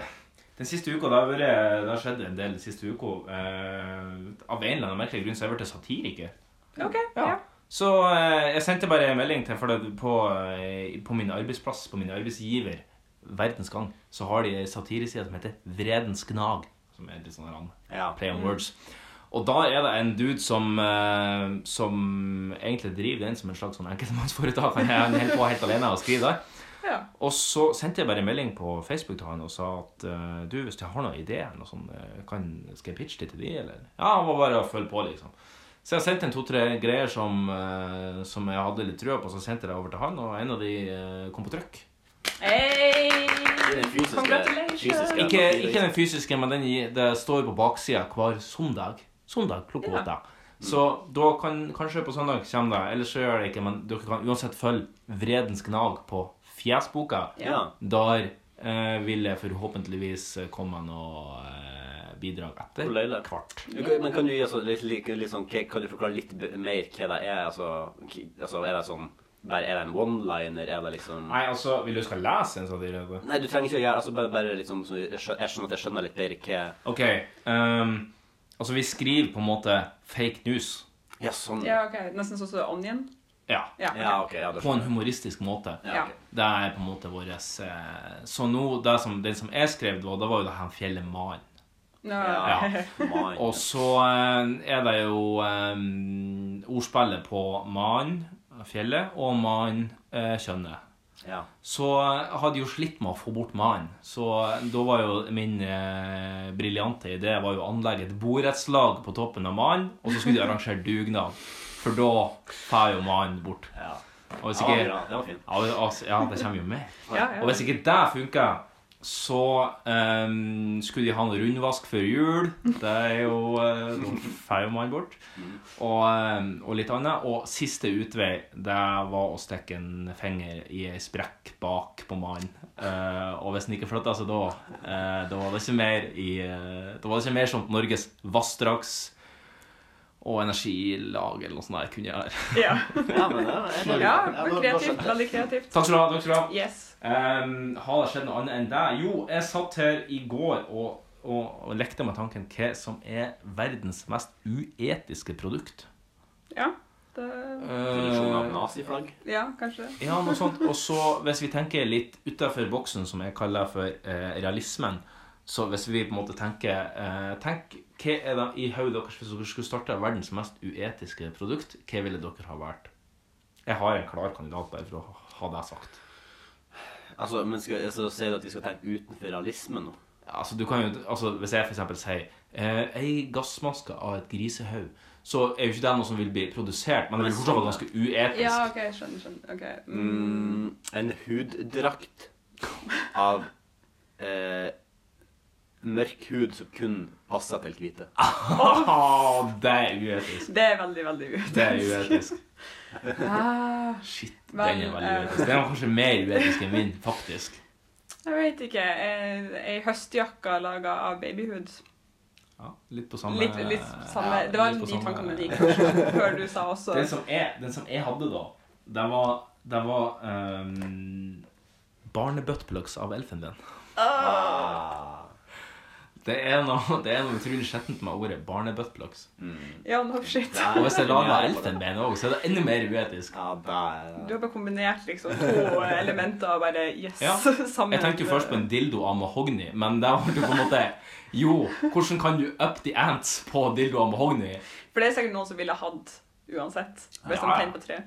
[SPEAKER 2] den siste uka, det har, vært, det har skjedd en del den siste uka. Eh, av en eller annen merkelig grunn så har jeg blitt satiriker.
[SPEAKER 4] OK. Ja.
[SPEAKER 2] Så eh, jeg sendte bare en melding til for det, på, eh, på min arbeidsplass, på min arbeidsgiver, Verdens Gang, så har de en satireside som heter Vredens Gnag, som er litt sånn rann
[SPEAKER 3] Ja.
[SPEAKER 2] play
[SPEAKER 4] Mm.
[SPEAKER 2] on words. Og da er det en dude som, eh, som egentlig driver den som en slags sånn enkeltmannsforetak. Han er- han holder på helt alene og skriver der.
[SPEAKER 4] ja.
[SPEAKER 2] Og så sendte jeg bare en melding på Facebook til han og sa at eh, du, hvis jeg har noen ideer, noe sånn, eh, kan, skal jeg pitche det til de, eller? Ja, han var bare å følge på, liksom. Så jeg sendte en to-tre greier som, eh, som jeg hadde litt trua på, så sendte jeg det over til han, og en av de eh, kom på trykk.
[SPEAKER 4] Hey!
[SPEAKER 3] Det er den fysiske,
[SPEAKER 4] Congratulations.
[SPEAKER 3] fysiske
[SPEAKER 2] Ikke, ikke den fysiske, men den i- det står på baksida hver søndag. Søndag klokka
[SPEAKER 4] Ja.
[SPEAKER 2] åtte. Så da kan kanskje på søndag kommer det, ellers så gjør det ikke, men dere kan uansett følge Vredens Gnag på Fjesboka.
[SPEAKER 3] Ja.
[SPEAKER 2] Der eh, vil jeg forhåpentligvis eh, komme med noe eh, bidrag etter.
[SPEAKER 3] På Leila.
[SPEAKER 2] Kvart.
[SPEAKER 3] Du kan- Men kan du gi oss litt, litt, litt sånn, hva- kan du forklare litt b- mer hva det er? Altså, k- altså er det sånn bare, Er det en one-liner? Er det liksom
[SPEAKER 2] Nei, altså, vil du skal lese en satire? da?
[SPEAKER 3] Nei, du trenger ikke å gjøre altså, bare, bare liksom, så jeg skjø- jeg skjønner at jeg skjønner litt bedre hva
[SPEAKER 2] OK. ehm, altså, vi skriver på en måte fake news.
[SPEAKER 3] Ja, sånn.
[SPEAKER 4] Ja, OK. Nesten sånn som Onion.
[SPEAKER 2] Ja.
[SPEAKER 4] Ja.
[SPEAKER 3] Ja, ok. Ja, du
[SPEAKER 2] På en
[SPEAKER 3] skjønner.
[SPEAKER 2] humoristisk måte.
[SPEAKER 3] Ja, ok.
[SPEAKER 2] Det er på en måte vår eh, Så nå, det som, den som jeg skrev, det var, det var jo det her fjellet Maren.
[SPEAKER 4] Nå,
[SPEAKER 3] Ja. Man.
[SPEAKER 2] Og så eh, er det jo eh, ordspillet på mann, fjellet, og mann, eh, kjønnet.
[SPEAKER 3] Ja.
[SPEAKER 2] så eh, hadde jeg jo slitt med å få bort mannen. Så eh, da var jo min eh, briljante idé var jo å anlegge et borettslag på toppen av mannen, og så skulle de arrangere dugnad. For da får jo mannen bort.
[SPEAKER 3] ja.
[SPEAKER 2] Og hvis
[SPEAKER 3] Det var
[SPEAKER 2] ikke,
[SPEAKER 3] bra. Det var fint.
[SPEAKER 2] ja, altså, ja, det kommer jo med.
[SPEAKER 4] ja,
[SPEAKER 2] Og
[SPEAKER 4] ja.
[SPEAKER 2] hvis ikke det funka, så ehm, skulle de ha noe rundvask før jul. Det er jo eh, Da får jo mannen bort. Og, ehm, og litt annet. Og siste utvei, det var å stikke en finger i ei sprekk bak på mannen. Eh, og hvis den ikke flytta seg da, eh, da var det ikke mer i eh, Da var det ikke mer som Norges vassdrags... Og energilag eller noe sånt der kunne jeg gjøre.
[SPEAKER 4] ja.
[SPEAKER 3] Ja, men det er- det er-
[SPEAKER 4] ja
[SPEAKER 3] ja, nå-
[SPEAKER 4] men
[SPEAKER 3] nå
[SPEAKER 4] kreativt.
[SPEAKER 3] skjønte jeg.
[SPEAKER 4] Veldig kreativt.
[SPEAKER 2] Takk skal du ha. takk skal du ha.
[SPEAKER 4] Yes.
[SPEAKER 2] Ehm, har det skjedd noe annet enn deg? Jo, jeg satt her i går og, og, og lekte med tanken hva som er verdens mest uetiske produkt.
[SPEAKER 4] Ja. Det,
[SPEAKER 3] Produksjon av
[SPEAKER 2] Eh,
[SPEAKER 3] naziflagg.
[SPEAKER 4] ja, kanskje.
[SPEAKER 2] ja, noe sånt. Og så, hvis vi tenker litt utafor boksen, som jeg kaller for eh, realismen, Så hvis vi på en måte tenker eh, Tenk, hva er det i hodet deres hvis dere skulle starte verdens mest uetiske produkt? Hva ville dere ha valgt? Jeg har en klar kandidat bare for å ha det sagt.
[SPEAKER 3] Altså, men skal, altså, Sier du at vi skal tenke utenfor realisme nå?
[SPEAKER 2] Altså, du kan jo, altså, hvis jeg for eksempel sier eh, ei gassmaske av et grisehaug, så er jo ikke det noe som vil bli produsert, men det vil fortsatt være ganske uetisk.
[SPEAKER 4] Ja, OK, skjønner. skjønner. Ok. Mm.
[SPEAKER 3] Mm, en huddrakt av eh, mørk hud som kun passer til hvite.
[SPEAKER 2] Ah, det er uetisk.
[SPEAKER 4] Det er veldig, veldig uetisk.
[SPEAKER 2] Det er uetisk.
[SPEAKER 4] Ah,
[SPEAKER 2] Shit,
[SPEAKER 4] Vel,
[SPEAKER 2] den er veldig
[SPEAKER 4] eh,
[SPEAKER 2] uetisk. Den var kanskje mer uetisk enn min, faktisk.
[SPEAKER 4] jeg vet ikke. Eh, Ei høstjakke laga av babyhud.
[SPEAKER 2] Ja, litt på samme
[SPEAKER 4] Litt, litt samme
[SPEAKER 2] ja,
[SPEAKER 4] Det var
[SPEAKER 2] litt på
[SPEAKER 4] de
[SPEAKER 2] samme-
[SPEAKER 4] tankene jeg gikk før du sa også
[SPEAKER 2] Den som jeg, den som jeg hadde da, det var, det var um, barnebuttplugs av elfenben. Det er noe, det er noe utrolig skjettent med ordet barnebuttplugs.
[SPEAKER 4] Ja, no shit.
[SPEAKER 2] Og Ah, hvis jeg lager elfenben òg, så er det enda mer uetisk.
[SPEAKER 3] Ja,
[SPEAKER 4] Du
[SPEAKER 3] der.
[SPEAKER 4] har bare kombinert liksom to elementer og bare Yes!
[SPEAKER 2] Ja,
[SPEAKER 4] sammen.
[SPEAKER 2] Jeg tenkte jo først på en dildo av mahogni, men det var jo på en måte Jo, hvordan kan du up the ants på dildo av mahogni?
[SPEAKER 4] For det er sikkert noen som ville hatt uansett. Hvis
[SPEAKER 2] Ja.
[SPEAKER 4] de tenner på tre.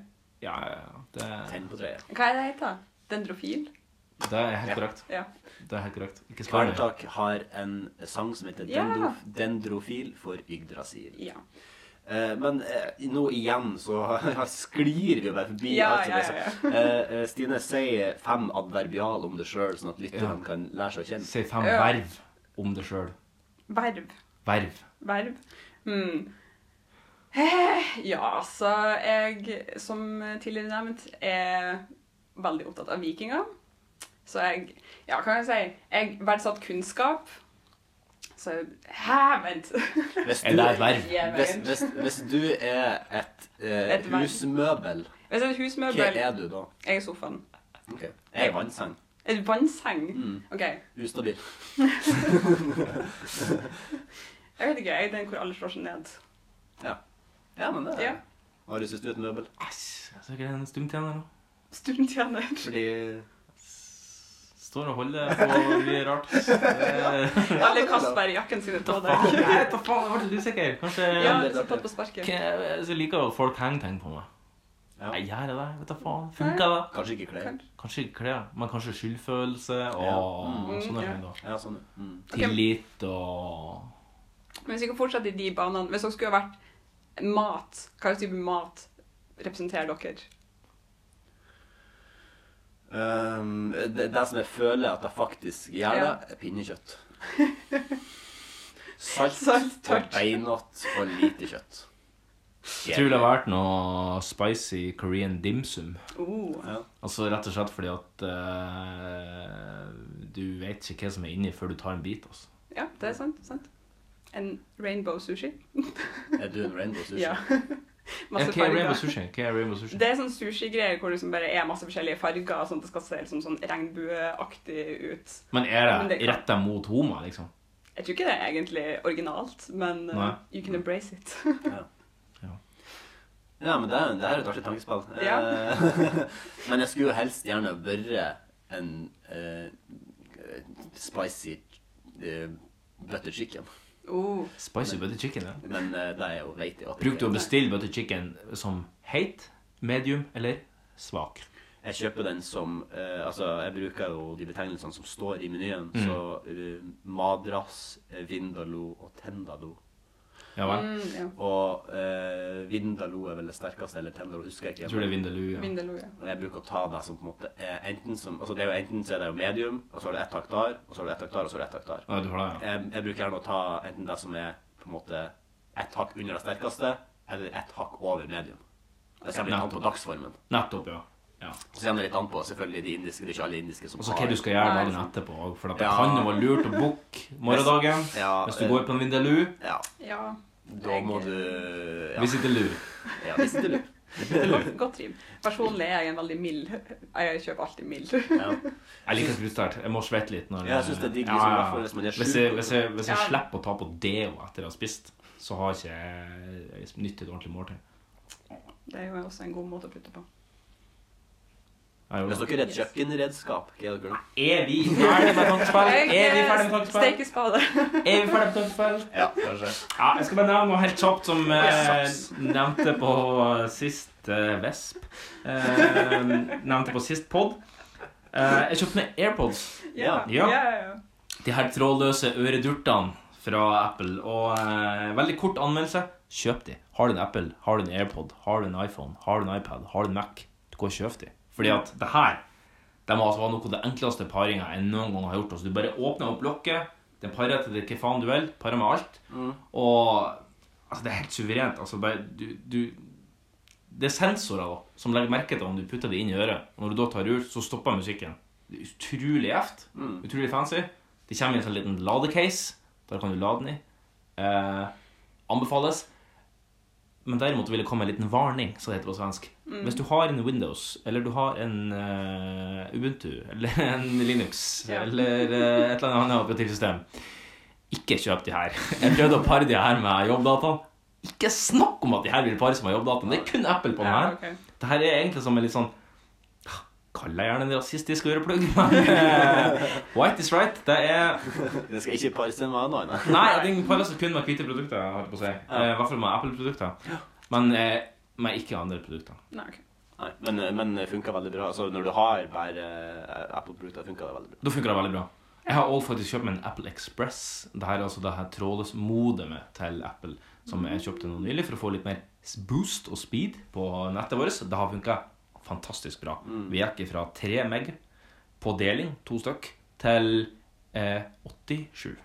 [SPEAKER 2] Ja, ja, ja. Det,
[SPEAKER 3] Tenn på treet.
[SPEAKER 4] Hva er det heter? Dendrofil?
[SPEAKER 2] det er helt korrekt.
[SPEAKER 4] Ja.
[SPEAKER 2] Det er helt korrekt. Ikke spør meg.
[SPEAKER 3] Kvartak har en sang som heter
[SPEAKER 4] Ja.
[SPEAKER 3] Dendro, Dendrofil for Yggdrasil.
[SPEAKER 4] ja.
[SPEAKER 3] Eh, men eh, nå igjen så sklir vi jo bare forbi.
[SPEAKER 4] Ja,
[SPEAKER 3] alt som
[SPEAKER 4] ja,
[SPEAKER 3] er sagt. Eh, eh, Stine, si fem adverbial om deg sjøl, sånn at lytterne
[SPEAKER 2] Ja.
[SPEAKER 3] kan lære seg å kjenne.
[SPEAKER 2] Si fem
[SPEAKER 4] Ja.
[SPEAKER 2] verv om deg sjøl.
[SPEAKER 4] Verv.
[SPEAKER 2] Verv.
[SPEAKER 4] Verv. Hmm. Eh, Ja, altså Jeg, som tidligere nevnt, er veldig opptatt av vikinger. Så jeg Ja, hva kan jeg si? Jeg verdsatte kunnskap. Så Hæ, vent!
[SPEAKER 3] Hvis
[SPEAKER 2] Er det et verv?
[SPEAKER 3] Hvis, hvis, hvis du er et, eh,
[SPEAKER 4] Et verv.
[SPEAKER 3] husmøbel,
[SPEAKER 4] Hvis jeg er et
[SPEAKER 3] hva
[SPEAKER 4] husmøbel,
[SPEAKER 3] er du da?
[SPEAKER 4] jeg er sofaen.
[SPEAKER 3] Ok. Jeg er vannseng.
[SPEAKER 4] Et vannseng? OK.
[SPEAKER 3] Ustabil.
[SPEAKER 4] Jeg vet ikke, jeg er den hvor alle slår seg ned.
[SPEAKER 3] Ja. ja, men det er
[SPEAKER 4] Ja.
[SPEAKER 3] Marius, hvis du er et møbel
[SPEAKER 2] Æsj, jeg ser ikke en stumtjener nå.
[SPEAKER 4] Stundtjener.
[SPEAKER 3] Fordi
[SPEAKER 2] Står og holder på mye rart. Eh,
[SPEAKER 4] Alle kaster bare jakken sine på deg.
[SPEAKER 2] Jeg vet da faen, jeg ble litt usikker. Kanskje
[SPEAKER 4] Ja, så tatt på sparket.
[SPEAKER 2] K- Jeg liker jo at folk henger ting på meg.
[SPEAKER 3] Ja.
[SPEAKER 2] Jeg gjør det, vet da faen. Funker det?
[SPEAKER 3] Kanskje ikke klær.
[SPEAKER 4] Kan-
[SPEAKER 2] Kanskje ikke klær, men kanskje skyldfølelse og
[SPEAKER 3] Ja.
[SPEAKER 4] Mm,
[SPEAKER 2] sånne
[SPEAKER 4] ja.
[SPEAKER 2] ting. da.
[SPEAKER 3] Ja, sånn. Mm.
[SPEAKER 2] Tillit og
[SPEAKER 4] Men hvis vi kan fortsette i de banene Hvis dere skulle ha vært mat, hva slags type mat representerer dere?
[SPEAKER 3] Um, det, det som jeg føler at jeg faktisk gjør det,
[SPEAKER 4] Ja.
[SPEAKER 3] er pinnekjøtt. Salt,
[SPEAKER 4] Salt, tørt.
[SPEAKER 3] og beinott og lite kjøtt.
[SPEAKER 2] Jeg tror det har vært noe spicy Korean dimsum.
[SPEAKER 4] Oh.
[SPEAKER 3] Ja.
[SPEAKER 2] Altså rett og slett fordi at eh, du vet ikke hva som er inni før du tar en bit. altså.
[SPEAKER 4] Ja, det er sant. sant. En rainbow sushi.
[SPEAKER 3] Er du en rainbow sushi?
[SPEAKER 4] Ja.
[SPEAKER 2] Ja,
[SPEAKER 4] Masse
[SPEAKER 2] Hva er rainbow
[SPEAKER 4] farger.
[SPEAKER 2] sushi? Hva er rainbow sushi?
[SPEAKER 4] Det er sånn sushigreier hvor det liksom bare er masse forskjellige farger, sånn at det skal se liksom sånn regnbueaktig ut.
[SPEAKER 2] Men er
[SPEAKER 4] Men
[SPEAKER 2] det
[SPEAKER 4] det kan-
[SPEAKER 2] retta mot homo, liksom?
[SPEAKER 4] Jeg tror ikke det er egentlig originalt, men uh,
[SPEAKER 2] Nei.
[SPEAKER 4] you can embrace it.
[SPEAKER 3] Ja, men det, er- det her er et artig tankespill.
[SPEAKER 4] Ja.
[SPEAKER 3] Eh, men jeg skulle jo helst gjerne vært en eh, spicy eh, butter chicken.
[SPEAKER 2] Uh.
[SPEAKER 4] oh.
[SPEAKER 2] Spicy butter chicken, ja.
[SPEAKER 3] Men eh, det er jo vet jeg jo at det
[SPEAKER 2] Bruk du å
[SPEAKER 3] ikke er.
[SPEAKER 2] bestille butter chicken som heit, medium eller svak?
[SPEAKER 3] Jeg kjøper den som eh, Altså, jeg bruker jo de betegnelsene som står i menyen.
[SPEAKER 2] Mm.
[SPEAKER 3] Så eh, madras, eh, vindaloo og tendalo.
[SPEAKER 2] Ja vel?
[SPEAKER 4] mm, ja.
[SPEAKER 3] Og eh, vindaloo er vel det sterkeste, eller tendalo husker jeg ikke.
[SPEAKER 2] Jeg tror det er vindaloo. Ja.
[SPEAKER 4] Vindelo, ja.
[SPEAKER 3] Men jeg bruker å ta det som på en måte eh, enten som Altså det er jo enten så er det jo medium, og så har du ett taktar, og så har du ett taktar, og så har du ett taktar.
[SPEAKER 2] Ja, du har det, ja.
[SPEAKER 3] Jeg, jeg bruker gjerne å ta enten det som er på en måte ett hakk under det sterkeste, eller ett hakk over medium. Det kommer litt an på dagsformen.
[SPEAKER 2] Nettopp, ja. ja.
[SPEAKER 3] Og så kommer det litt an på selvfølgelig de indiske, det Altså, er ikke alle indiske som
[SPEAKER 2] Og så hva du skal gjøre dagen etterpå også, for at det
[SPEAKER 3] Ja.
[SPEAKER 2] kan jo være lurt å booke morgendagen
[SPEAKER 3] Ja,
[SPEAKER 2] hvis du
[SPEAKER 3] eh,
[SPEAKER 2] går på en vindaloo.
[SPEAKER 3] Ja,
[SPEAKER 4] ja.
[SPEAKER 3] da må du Ja,
[SPEAKER 2] Vi sitter lu.
[SPEAKER 3] ja hvis ikke du
[SPEAKER 4] Godt, godt rim. Personlig er jeg en veldig mild. Jeg kjøper alltid mild.
[SPEAKER 3] ja.
[SPEAKER 2] Jeg liker skruttert. Jeg må svette litt når
[SPEAKER 3] Ja, jeg synes det er digg, liksom, i hvert fall hvis man er
[SPEAKER 2] Hvis jeg,
[SPEAKER 3] sjuk.
[SPEAKER 2] hvis jeg, hvis jeg
[SPEAKER 4] Ja.
[SPEAKER 2] slipper å ta på deo etter jeg har spist, så har ikke jeg jeg nytt et ordentlig måltid.
[SPEAKER 4] Det er jo også en god måte å putte på.
[SPEAKER 2] Jeg
[SPEAKER 3] Hvis
[SPEAKER 2] gjorde det.
[SPEAKER 3] dere er et kjøkkenredskap, hva er dere da?
[SPEAKER 2] Er vi ferdig med tankespill? Er
[SPEAKER 4] eh,
[SPEAKER 2] vi ferdig med tankespill?
[SPEAKER 4] Stekespade.
[SPEAKER 2] Er vi ferdig med tankespill?
[SPEAKER 3] Ja, kanskje.
[SPEAKER 2] Ja, jeg skal bare nevne noe helt kjapt som eh,
[SPEAKER 3] Saps.
[SPEAKER 2] nevnte på sist eh, Vesp. Eh, nevnte på sist pod. Eh, jeg kjøpte meg AirPods.
[SPEAKER 3] Ja.
[SPEAKER 2] Ja.
[SPEAKER 4] ja, ja.
[SPEAKER 2] De her trådløse øredurtene fra Apple. Og eh, veldig kort anmeldelse. Kjøp de. Har du en Apple, har du en AirPod, har du en iPhone, har du en iPad, har du en Mac, du går og kjøp de. Fordi at det her det må altså være noe av det enkleste paringa jeg noen gang har gjort. Altså, du bare åpner opp lokket, den parer til det hva faen du vil, parer med alt. Og altså, det er helt suverent. Altså, bare, du, du, det er sensorer da, som legger merke til om du putter det inn i øret. Og når du da tar ut, så stopper musikken. Det er utrolig gjevt. Utrolig fancy. Det kommer i en sånn liten ladecase. Der kan du lade den i. Eh, anbefales. Men derimot vil det komme en liten varning, som det heter på svensk. Hvis du har en Windows, eller du har en eh, Ubuntu, eller en Linux,
[SPEAKER 4] Ja.
[SPEAKER 2] eller eh, et eller annet annet operativsystem, ikke kjøp de her. Jeg prøvde å pare de her med jobbdataen. Ikke snakk om at de her vil pare seg med jobbdataen. Det er kun Apple på den
[SPEAKER 4] Ja,
[SPEAKER 2] her.
[SPEAKER 4] ok.
[SPEAKER 2] Det her er egentlig som en litt sånn Kall deg gjerne en rasistisk øreplugg, men eh, White is right. Det er
[SPEAKER 3] Det skal ikke pare seg med noe annet.
[SPEAKER 2] Nei, den parer seg kun med hvite produkter, holdt jeg på å si. Eh, I hvert fall med Apple-produkter. Men eh, med ikke andre produkter.
[SPEAKER 4] Nei, ok.
[SPEAKER 3] Nei, men, men det funker veldig bra. Altså, når du har bare eh, Apple-produkter, funker det veldig bra.
[SPEAKER 2] Da funker det veldig bra. Jeg har også faktisk kjøpt meg en Apple Express. Det her er altså det her trådløse modemet til Apple,
[SPEAKER 3] Mhm.
[SPEAKER 2] som jeg kjøpte nå nylig for å få litt mer boost og speed på nettet vårt. Det har funka fantastisk bra.
[SPEAKER 3] Mm.
[SPEAKER 2] Vi gikk fra 3 meg på deling, to stykk, til eh, 87.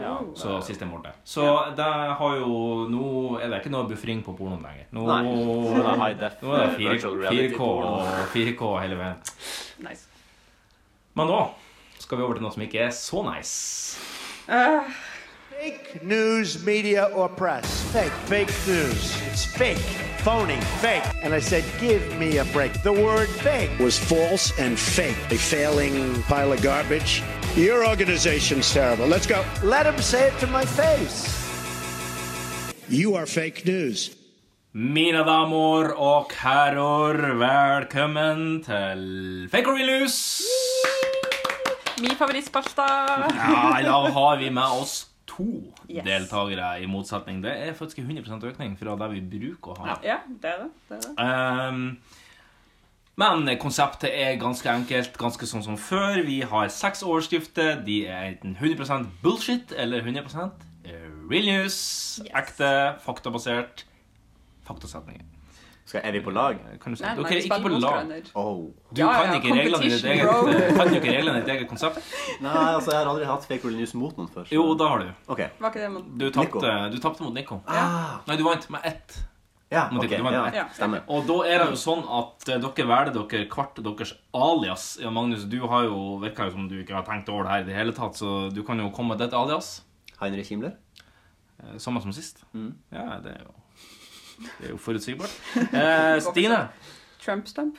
[SPEAKER 3] Ja,
[SPEAKER 2] Så sist jeg målte. Så det har jo Nå er det ikke noe buffring på pornoen lenger. Nå,
[SPEAKER 3] Nei. Nå er det high def,
[SPEAKER 2] nå er det fire-
[SPEAKER 3] virtual reality
[SPEAKER 2] 4K
[SPEAKER 3] porno.
[SPEAKER 2] og 4K hele veien.
[SPEAKER 4] Nice.
[SPEAKER 2] Men nå skal vi over til noe som ikke er så nice.
[SPEAKER 4] Eh,
[SPEAKER 8] Fake news, media, or press. Fake. Fake news. It's fake. Phony. Fake. And I said, give me a break. The word fake was false and fake. A failing pile of garbage. Your organization's terrible. Let's go. Let him say it to my face. You are fake news.
[SPEAKER 2] Mine damer og herrer, velkommen til Fake or Real News!
[SPEAKER 4] min favorittspalte.
[SPEAKER 2] Ja, I dag har vi med oss to
[SPEAKER 4] Yes.
[SPEAKER 2] deltakere, i motsetning. Det er faktisk en 100 økning fra det vi bruker å ha.
[SPEAKER 4] Ja, det er det. det, er det.
[SPEAKER 2] Ehm, men konseptet er ganske enkelt, ganske sånn som før. Vi har seks overskrifter. De er enten 100 bullshit eller 100 real news. Ekte, faktabasert faktasetninger.
[SPEAKER 3] Skal, er vi på lag?
[SPEAKER 2] Kan du si?
[SPEAKER 4] Nei,
[SPEAKER 2] Dere
[SPEAKER 4] nei,
[SPEAKER 2] er ikke på
[SPEAKER 4] spiller mot
[SPEAKER 2] lag.
[SPEAKER 4] hverandre.
[SPEAKER 3] Oh.
[SPEAKER 2] Du
[SPEAKER 4] Ja, ja,
[SPEAKER 2] kan ikke reglene i ditt eget,
[SPEAKER 4] competition, bro.
[SPEAKER 2] kan jo ikke reglene i ditt eget konsept.
[SPEAKER 3] Nei, altså, jeg har aldri hatt fake real news mot noen før. så-
[SPEAKER 2] Jo, det har du.
[SPEAKER 3] OK.
[SPEAKER 4] Var ikke det man
[SPEAKER 2] Du
[SPEAKER 3] Nico.
[SPEAKER 2] tapte du tapte mot Nico.
[SPEAKER 3] Ah,
[SPEAKER 2] Nei, du vant med ett.
[SPEAKER 3] ja,
[SPEAKER 2] Må
[SPEAKER 3] ok.
[SPEAKER 2] tippe, du må-
[SPEAKER 3] Ja,
[SPEAKER 4] Ja.
[SPEAKER 3] stemmer.
[SPEAKER 2] Og da er det jo sånn at eh, dere velger dere hvert deres alias. Ja, Magnus, du har jo virka som du ikke har tenkt over det her i det hele tatt, så du kan jo komme med ditt alias.
[SPEAKER 3] Heinrich Himmler?
[SPEAKER 2] Eh, Samme som sist. Ja, det er jo Det er jo forutsigbart. Eh, Stine.
[SPEAKER 4] Trump stump?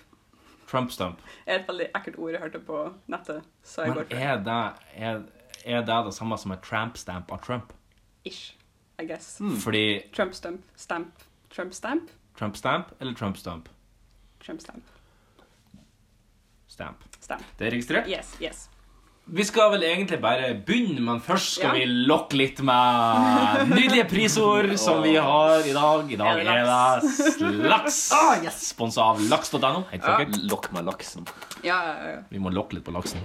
[SPEAKER 2] Trump stump.
[SPEAKER 4] Er et veldig ekkelt ord jeg hørte på nettet, så jeg
[SPEAKER 2] Men
[SPEAKER 4] går for
[SPEAKER 2] er det, er, er det det samme som et tramp stamp av Trump?
[SPEAKER 4] ish, I guess.
[SPEAKER 2] Fordi
[SPEAKER 4] Trump stump, stamp, Trump stamp,
[SPEAKER 2] Trump stamp eller Trump stump?
[SPEAKER 4] Trump stamp,
[SPEAKER 2] Stamp.
[SPEAKER 4] stamp.
[SPEAKER 2] Det er registrert.
[SPEAKER 4] Yes, yes.
[SPEAKER 2] Vi skal vel egentlig bare begynne, men først skal
[SPEAKER 4] Ja.
[SPEAKER 2] vi lokke litt med nydelige prisord som vi har i dag. I dag
[SPEAKER 4] Er det
[SPEAKER 2] er det Slaks!
[SPEAKER 3] Ah, yes!
[SPEAKER 2] Sponsa av laks.no. Helt sikkert.
[SPEAKER 3] Lokk meg laksen.
[SPEAKER 4] Ja, ja, ja.
[SPEAKER 2] Vi må lokke litt på laksen.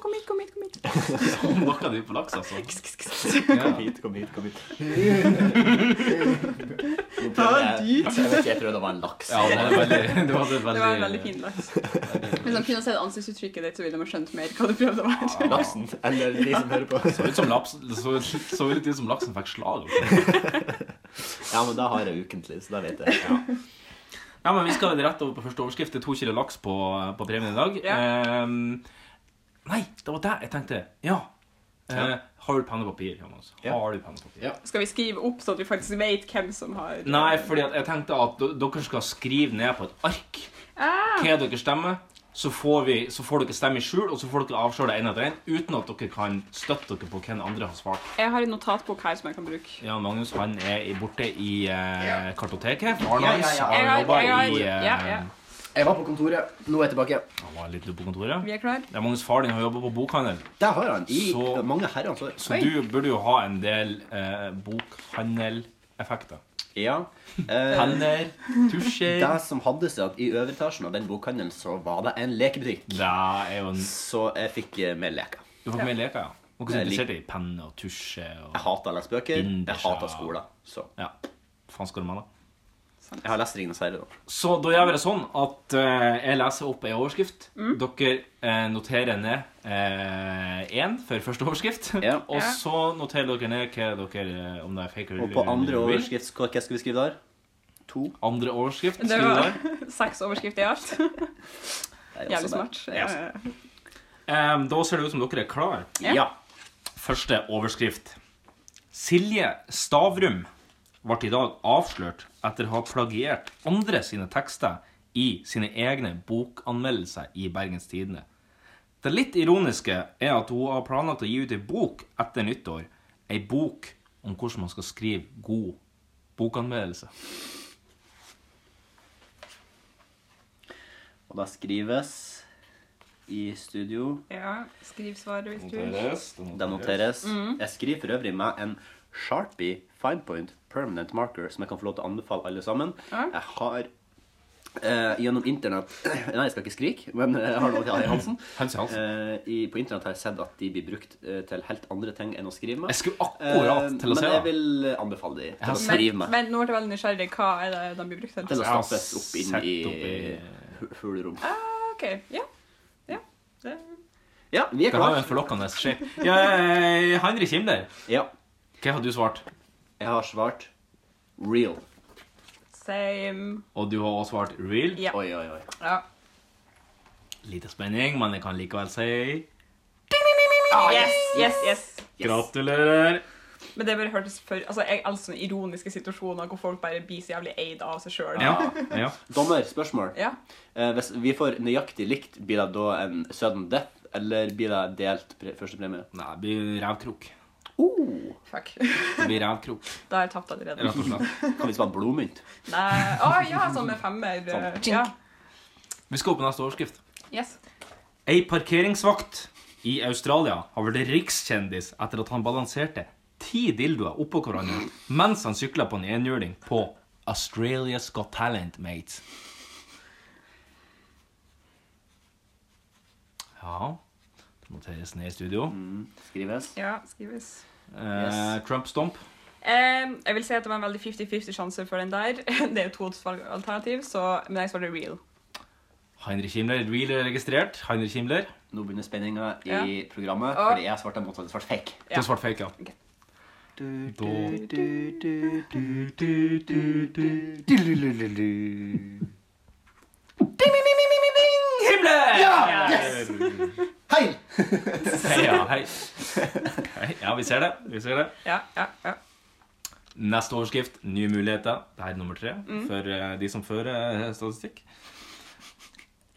[SPEAKER 4] Kom hit, kom hit, kom hit.
[SPEAKER 2] Lokka du på laks, altså?
[SPEAKER 3] Kom hit, kom hit, kom hit. Nå prøvde jeg, jeg, vet ikke, jeg prøvde å være en laks.
[SPEAKER 2] Ja, det var veldig, det var veldig,
[SPEAKER 4] Det var en veldig fin laks. Hvis de kunne sett ansiktsuttrykket ditt, så ville de ha skjønt mer hva du prøvde å være.
[SPEAKER 3] Laksen, eller de som hører på.
[SPEAKER 2] Så ut som, laps, så, så ut som laksen fikk slag. altså.
[SPEAKER 3] Ja, men da har jeg ukentlig, så da vet jeg.
[SPEAKER 2] Ja, men Vi skal vel rett over på første overskrift. Det er to kilo laks på, på premien i dag. Ehm, nei, det var det jeg tenkte. Ja. Eh, har du penn og papir? Jonas?
[SPEAKER 3] Ja.
[SPEAKER 2] Har du penn og papir?
[SPEAKER 4] Skal vi skrive opp sånn at vi faktisk vet hvem som har
[SPEAKER 2] Nei, fordi at jeg tenkte at d- dere skal skrive ned på et ark
[SPEAKER 4] Ah,
[SPEAKER 2] hva dere stemmer. Så får, vi, så får dere stemme i skjul, og så får dere avsløre det ene etter en uten at dere kan støtte dere på hvem andre har svart.
[SPEAKER 4] jeg har en notatbok her som jeg kan bruke.
[SPEAKER 2] Jan Magnus han er i- borte i eh, kartoteket. Faren
[SPEAKER 3] Ja, ja,
[SPEAKER 2] hans
[SPEAKER 3] ja.
[SPEAKER 2] har
[SPEAKER 4] Jeg har-
[SPEAKER 2] jobba
[SPEAKER 4] jeg har-
[SPEAKER 2] i eh,
[SPEAKER 4] ja, ja.
[SPEAKER 9] Jeg var på kontoret. Nå er jeg tilbake.
[SPEAKER 2] Han var litt på kontoret.
[SPEAKER 4] Vi er klar.
[SPEAKER 2] Ja, Magnus far din har jobba på bokhandel,
[SPEAKER 3] Der har han. I
[SPEAKER 2] Så-
[SPEAKER 3] mange herrens år.
[SPEAKER 2] så du burde jo ha en del eh, bokhandeleffekter.
[SPEAKER 3] Ja. Eh,
[SPEAKER 2] Penner, tusjer
[SPEAKER 3] det som hadde seg at i øveretasjen av den bokhandelen så var det en lekebutikk.
[SPEAKER 2] Det er jo en
[SPEAKER 3] Så jeg fikk eh, med leker.
[SPEAKER 2] Du får med leker, ja. Noen som
[SPEAKER 3] Jeg
[SPEAKER 2] er
[SPEAKER 3] lik-
[SPEAKER 2] interessert i penner og tusjer og
[SPEAKER 3] Jeg hater å lese bøker. Jeg
[SPEAKER 2] Binders, ja.
[SPEAKER 3] hater skolen. Så
[SPEAKER 2] Ja. Faen skal du med, da.
[SPEAKER 3] jeg har lest 'Ringenes herre', da.
[SPEAKER 2] Så da gjør vi det sånn at eh, jeg leser opp ei overskrift.
[SPEAKER 3] Mm.
[SPEAKER 2] Dere eh, noterer ned én for første overskrift.
[SPEAKER 3] Ja.
[SPEAKER 2] og så noterer dere ned hva dere eh, om det er fake
[SPEAKER 3] Og på andre
[SPEAKER 2] eller-
[SPEAKER 3] overskrift, hva hva skal vi skrive der? To?
[SPEAKER 2] Andre overskrift.
[SPEAKER 4] Det
[SPEAKER 2] skriver
[SPEAKER 4] var
[SPEAKER 2] der.
[SPEAKER 4] seks overskrifter i alt.
[SPEAKER 3] Det er også
[SPEAKER 4] Jævlig
[SPEAKER 3] der.
[SPEAKER 4] smart. Ja, ja, ja.
[SPEAKER 2] Em, da ser det ut som dere er klar.
[SPEAKER 4] Ja.
[SPEAKER 3] Ja.
[SPEAKER 2] Første overskrift. Silje Stavrum ble i dag avslørt etter å ha plagiert andre sine tekster i sine egne bokanmeldelser i Bergens Tidende. Det litt ironiske er at hun har planlagt å gi ut ei bok etter nyttår. Ei bok om hvordan man skal skrive god bokanmeldelse.
[SPEAKER 3] Og da skrives i studio.
[SPEAKER 4] ja. Skriv svaret hvis du vil.
[SPEAKER 3] Det noteres.
[SPEAKER 4] Mm.
[SPEAKER 3] Jeg skriver for øvrig med en Sharpie Fine Point Permanent Marker, som jeg kan få lov til å anbefale alle sammen.
[SPEAKER 4] Ja.
[SPEAKER 3] Jeg har eh, gjennom internett Nei, jeg skal ikke skrike, men eh, jeg har noe til Ari Hansen.
[SPEAKER 2] Hans i halsen.
[SPEAKER 3] Eh, i, på internett har jeg sett at de blir brukt eh, til helt andre ting enn å skrive med.
[SPEAKER 2] Jeg skulle akkurat
[SPEAKER 3] Eh,
[SPEAKER 2] til å si
[SPEAKER 3] Men jeg
[SPEAKER 2] det.
[SPEAKER 3] vil anbefale de til
[SPEAKER 2] har
[SPEAKER 3] å
[SPEAKER 2] sett-
[SPEAKER 3] skrive
[SPEAKER 4] Men,
[SPEAKER 3] med.
[SPEAKER 4] men nå er jeg veldig nysgjerrig. Hva er det de blir brukt til?
[SPEAKER 3] Til å
[SPEAKER 2] Jeg har
[SPEAKER 3] stappes opp inn
[SPEAKER 2] sett
[SPEAKER 3] i
[SPEAKER 2] opp
[SPEAKER 3] hu- hulrom.
[SPEAKER 4] Ah, OK. Ja. Ja. Det.
[SPEAKER 3] Ja, vi er
[SPEAKER 2] Det har jo
[SPEAKER 3] klare.
[SPEAKER 2] en forlokkende skje. Ja, eh, Henrik Kimler,
[SPEAKER 3] Ja,
[SPEAKER 2] hva har du svart?
[SPEAKER 3] jeg har svart real.
[SPEAKER 4] Same.
[SPEAKER 2] Og du har også svart real.
[SPEAKER 4] Ja.
[SPEAKER 3] Oi, oi, oi.
[SPEAKER 4] ja.
[SPEAKER 2] Lite spenning, men jeg kan likevel si
[SPEAKER 4] Ah, Yes, yes, yes.
[SPEAKER 3] Yes.
[SPEAKER 2] gratulerer.
[SPEAKER 4] Men det bare hørtes for Altså, jeg elsker sånne ironiske situasjoner hvor folk bare blir så jævlig eid av seg sjøl.
[SPEAKER 2] Ja, ja.
[SPEAKER 3] Dommer, spørsmål.
[SPEAKER 4] Ja.
[SPEAKER 3] Eh, hvis vi får nøyaktig likt, blir det da en sudden death, eller blir det delt pre førstepremie?
[SPEAKER 2] Nei, det blir rævkrok.
[SPEAKER 3] Oh,
[SPEAKER 4] Fuck.
[SPEAKER 2] Det blir rævkrok,
[SPEAKER 4] Da har jeg tapt allerede.
[SPEAKER 2] rett og slett.
[SPEAKER 3] kan vi svare blodmynt?
[SPEAKER 4] Nei. Å ja, sånn med femmer. eh, Ja.
[SPEAKER 2] Vi skal opp på neste overskrift.
[SPEAKER 4] Yes.
[SPEAKER 2] Ei parkeringsvakt i Australia har vært rikskjendis etter at han balanserte ti dildoer oppå hverandre mens han sykla på en enhjuling på Australia's Got Talent, mate. Ja Det noteres ned i studio.
[SPEAKER 3] Skrives.
[SPEAKER 4] Ja, skrives.
[SPEAKER 2] Eh, Trump Stomp.
[SPEAKER 4] Em, jeg vil si at det var en veldig 50-50 sjanse for den der. Det er jo to alternativ, så, men jeg svarte real.
[SPEAKER 2] Heinrich Himmler. Real er registrert. Heinrich Himmler.
[SPEAKER 3] Nå begynner spenninga i
[SPEAKER 4] Ja.
[SPEAKER 3] programmet,
[SPEAKER 4] Å.
[SPEAKER 3] fordi jeg svarte motsatt svart fake.
[SPEAKER 2] Det er svart fake, ja. Da
[SPEAKER 9] Hei!
[SPEAKER 2] Hei, ja, hei. hei. Ja, vi ser det. Vi ser det.
[SPEAKER 4] Ja, ja, ja.
[SPEAKER 2] Neste overskrift, nye muligheter. Det er nummer tre for eh, de som fører eh, statistikk.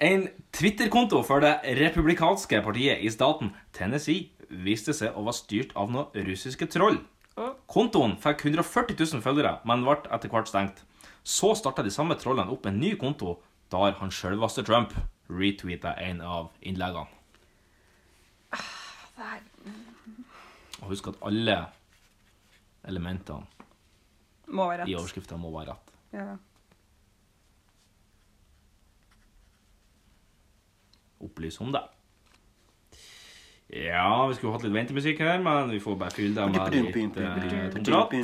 [SPEAKER 2] En Twitter-konto for det republikanske partiet i staten Tennessee viste seg å være styrt av noen russiske troll.
[SPEAKER 4] Å.
[SPEAKER 2] Kontoen fikk 140 000 følgere, men ble etter hvert stengt. Så starta de samme trollene opp en ny konto, der han sjølveste Trump retweeta en av innleggene.
[SPEAKER 4] Det her-
[SPEAKER 2] Og husk at alle elementene
[SPEAKER 4] Må være
[SPEAKER 2] i
[SPEAKER 4] rett.
[SPEAKER 2] overskrifta må være rett.
[SPEAKER 4] Ja.
[SPEAKER 2] opplyse om det. Ja, vi skulle hatt litt ventemusikk her, men vi får bare fylle det med litt eh, tom prat.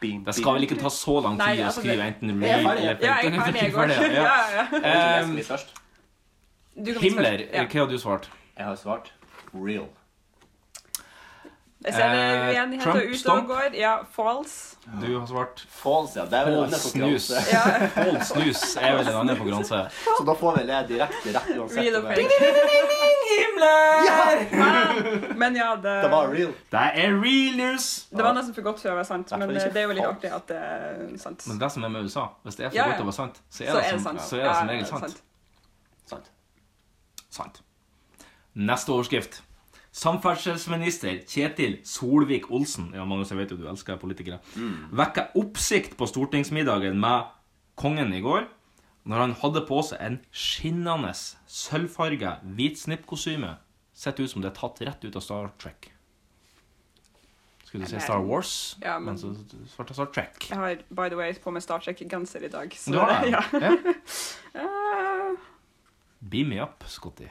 [SPEAKER 2] Det skal vel ikke ta så lang
[SPEAKER 4] Nei,
[SPEAKER 2] tid å
[SPEAKER 4] altså, det-
[SPEAKER 2] skrive enten real
[SPEAKER 3] ferdig.
[SPEAKER 2] eller
[SPEAKER 4] ja, jeg er ferdig, jeg går.
[SPEAKER 2] Ferdig,
[SPEAKER 4] Ja,
[SPEAKER 2] ja.
[SPEAKER 4] ja.
[SPEAKER 2] Ehm,
[SPEAKER 3] Jeg har
[SPEAKER 4] Du kan
[SPEAKER 2] Himmler,
[SPEAKER 4] spørre-
[SPEAKER 2] hva
[SPEAKER 4] Ja.
[SPEAKER 2] har du svart?
[SPEAKER 3] svart real.
[SPEAKER 4] Jeg ser
[SPEAKER 2] Eh,
[SPEAKER 4] det uenigheter
[SPEAKER 2] Trump,
[SPEAKER 4] ute og
[SPEAKER 2] stomp.
[SPEAKER 4] går. Ja, false.
[SPEAKER 2] Du har svart
[SPEAKER 3] False, ja. Det er vel en
[SPEAKER 2] Hold
[SPEAKER 3] annen
[SPEAKER 2] snus.
[SPEAKER 3] konkurranse.
[SPEAKER 4] Ja,
[SPEAKER 2] Hold snus er vel en annen konkurranse.
[SPEAKER 3] Så da får vel jeg direkte rett uansett.
[SPEAKER 4] real
[SPEAKER 3] om
[SPEAKER 4] og
[SPEAKER 3] jeg-
[SPEAKER 4] fake. Himmler! Men ja, det,
[SPEAKER 3] Det var real.
[SPEAKER 2] Det er real news!
[SPEAKER 4] det var nesten for godt til å være sant, men eh,
[SPEAKER 3] Hvertfall ikke
[SPEAKER 4] det er jo litt
[SPEAKER 3] false.
[SPEAKER 4] artig at det er sant.
[SPEAKER 2] Men det som er med USA, hvis det er for
[SPEAKER 4] Ja, ja.
[SPEAKER 2] godt å være sant, så er
[SPEAKER 4] Så
[SPEAKER 2] det som, Så er det
[SPEAKER 4] Ja,
[SPEAKER 2] som
[SPEAKER 4] ja,
[SPEAKER 2] regel sant.
[SPEAKER 3] Sant.
[SPEAKER 2] Sant. Neste overskrift. Samferdselsminister Kjetil Solvik-Olsen Ja, Magnus, jeg vet jo du elsker politikere. Vekka oppsikt på stortingsmiddagen med kongen i går når han hadde på seg en skinnende sølvfarga hvit snippkostyme. Sett ut som det er tatt rett ut av Star Trek. Skulle du si
[SPEAKER 4] Nei.
[SPEAKER 2] Star Wars?
[SPEAKER 4] Ja, men-
[SPEAKER 2] så svarte Star Trek.
[SPEAKER 4] Jeg har by the way på meg Star Trek-genser i dag. Så,
[SPEAKER 2] Du har det?
[SPEAKER 4] Ja.
[SPEAKER 2] Ja.
[SPEAKER 4] Eh,
[SPEAKER 2] Beam me up, Scotty.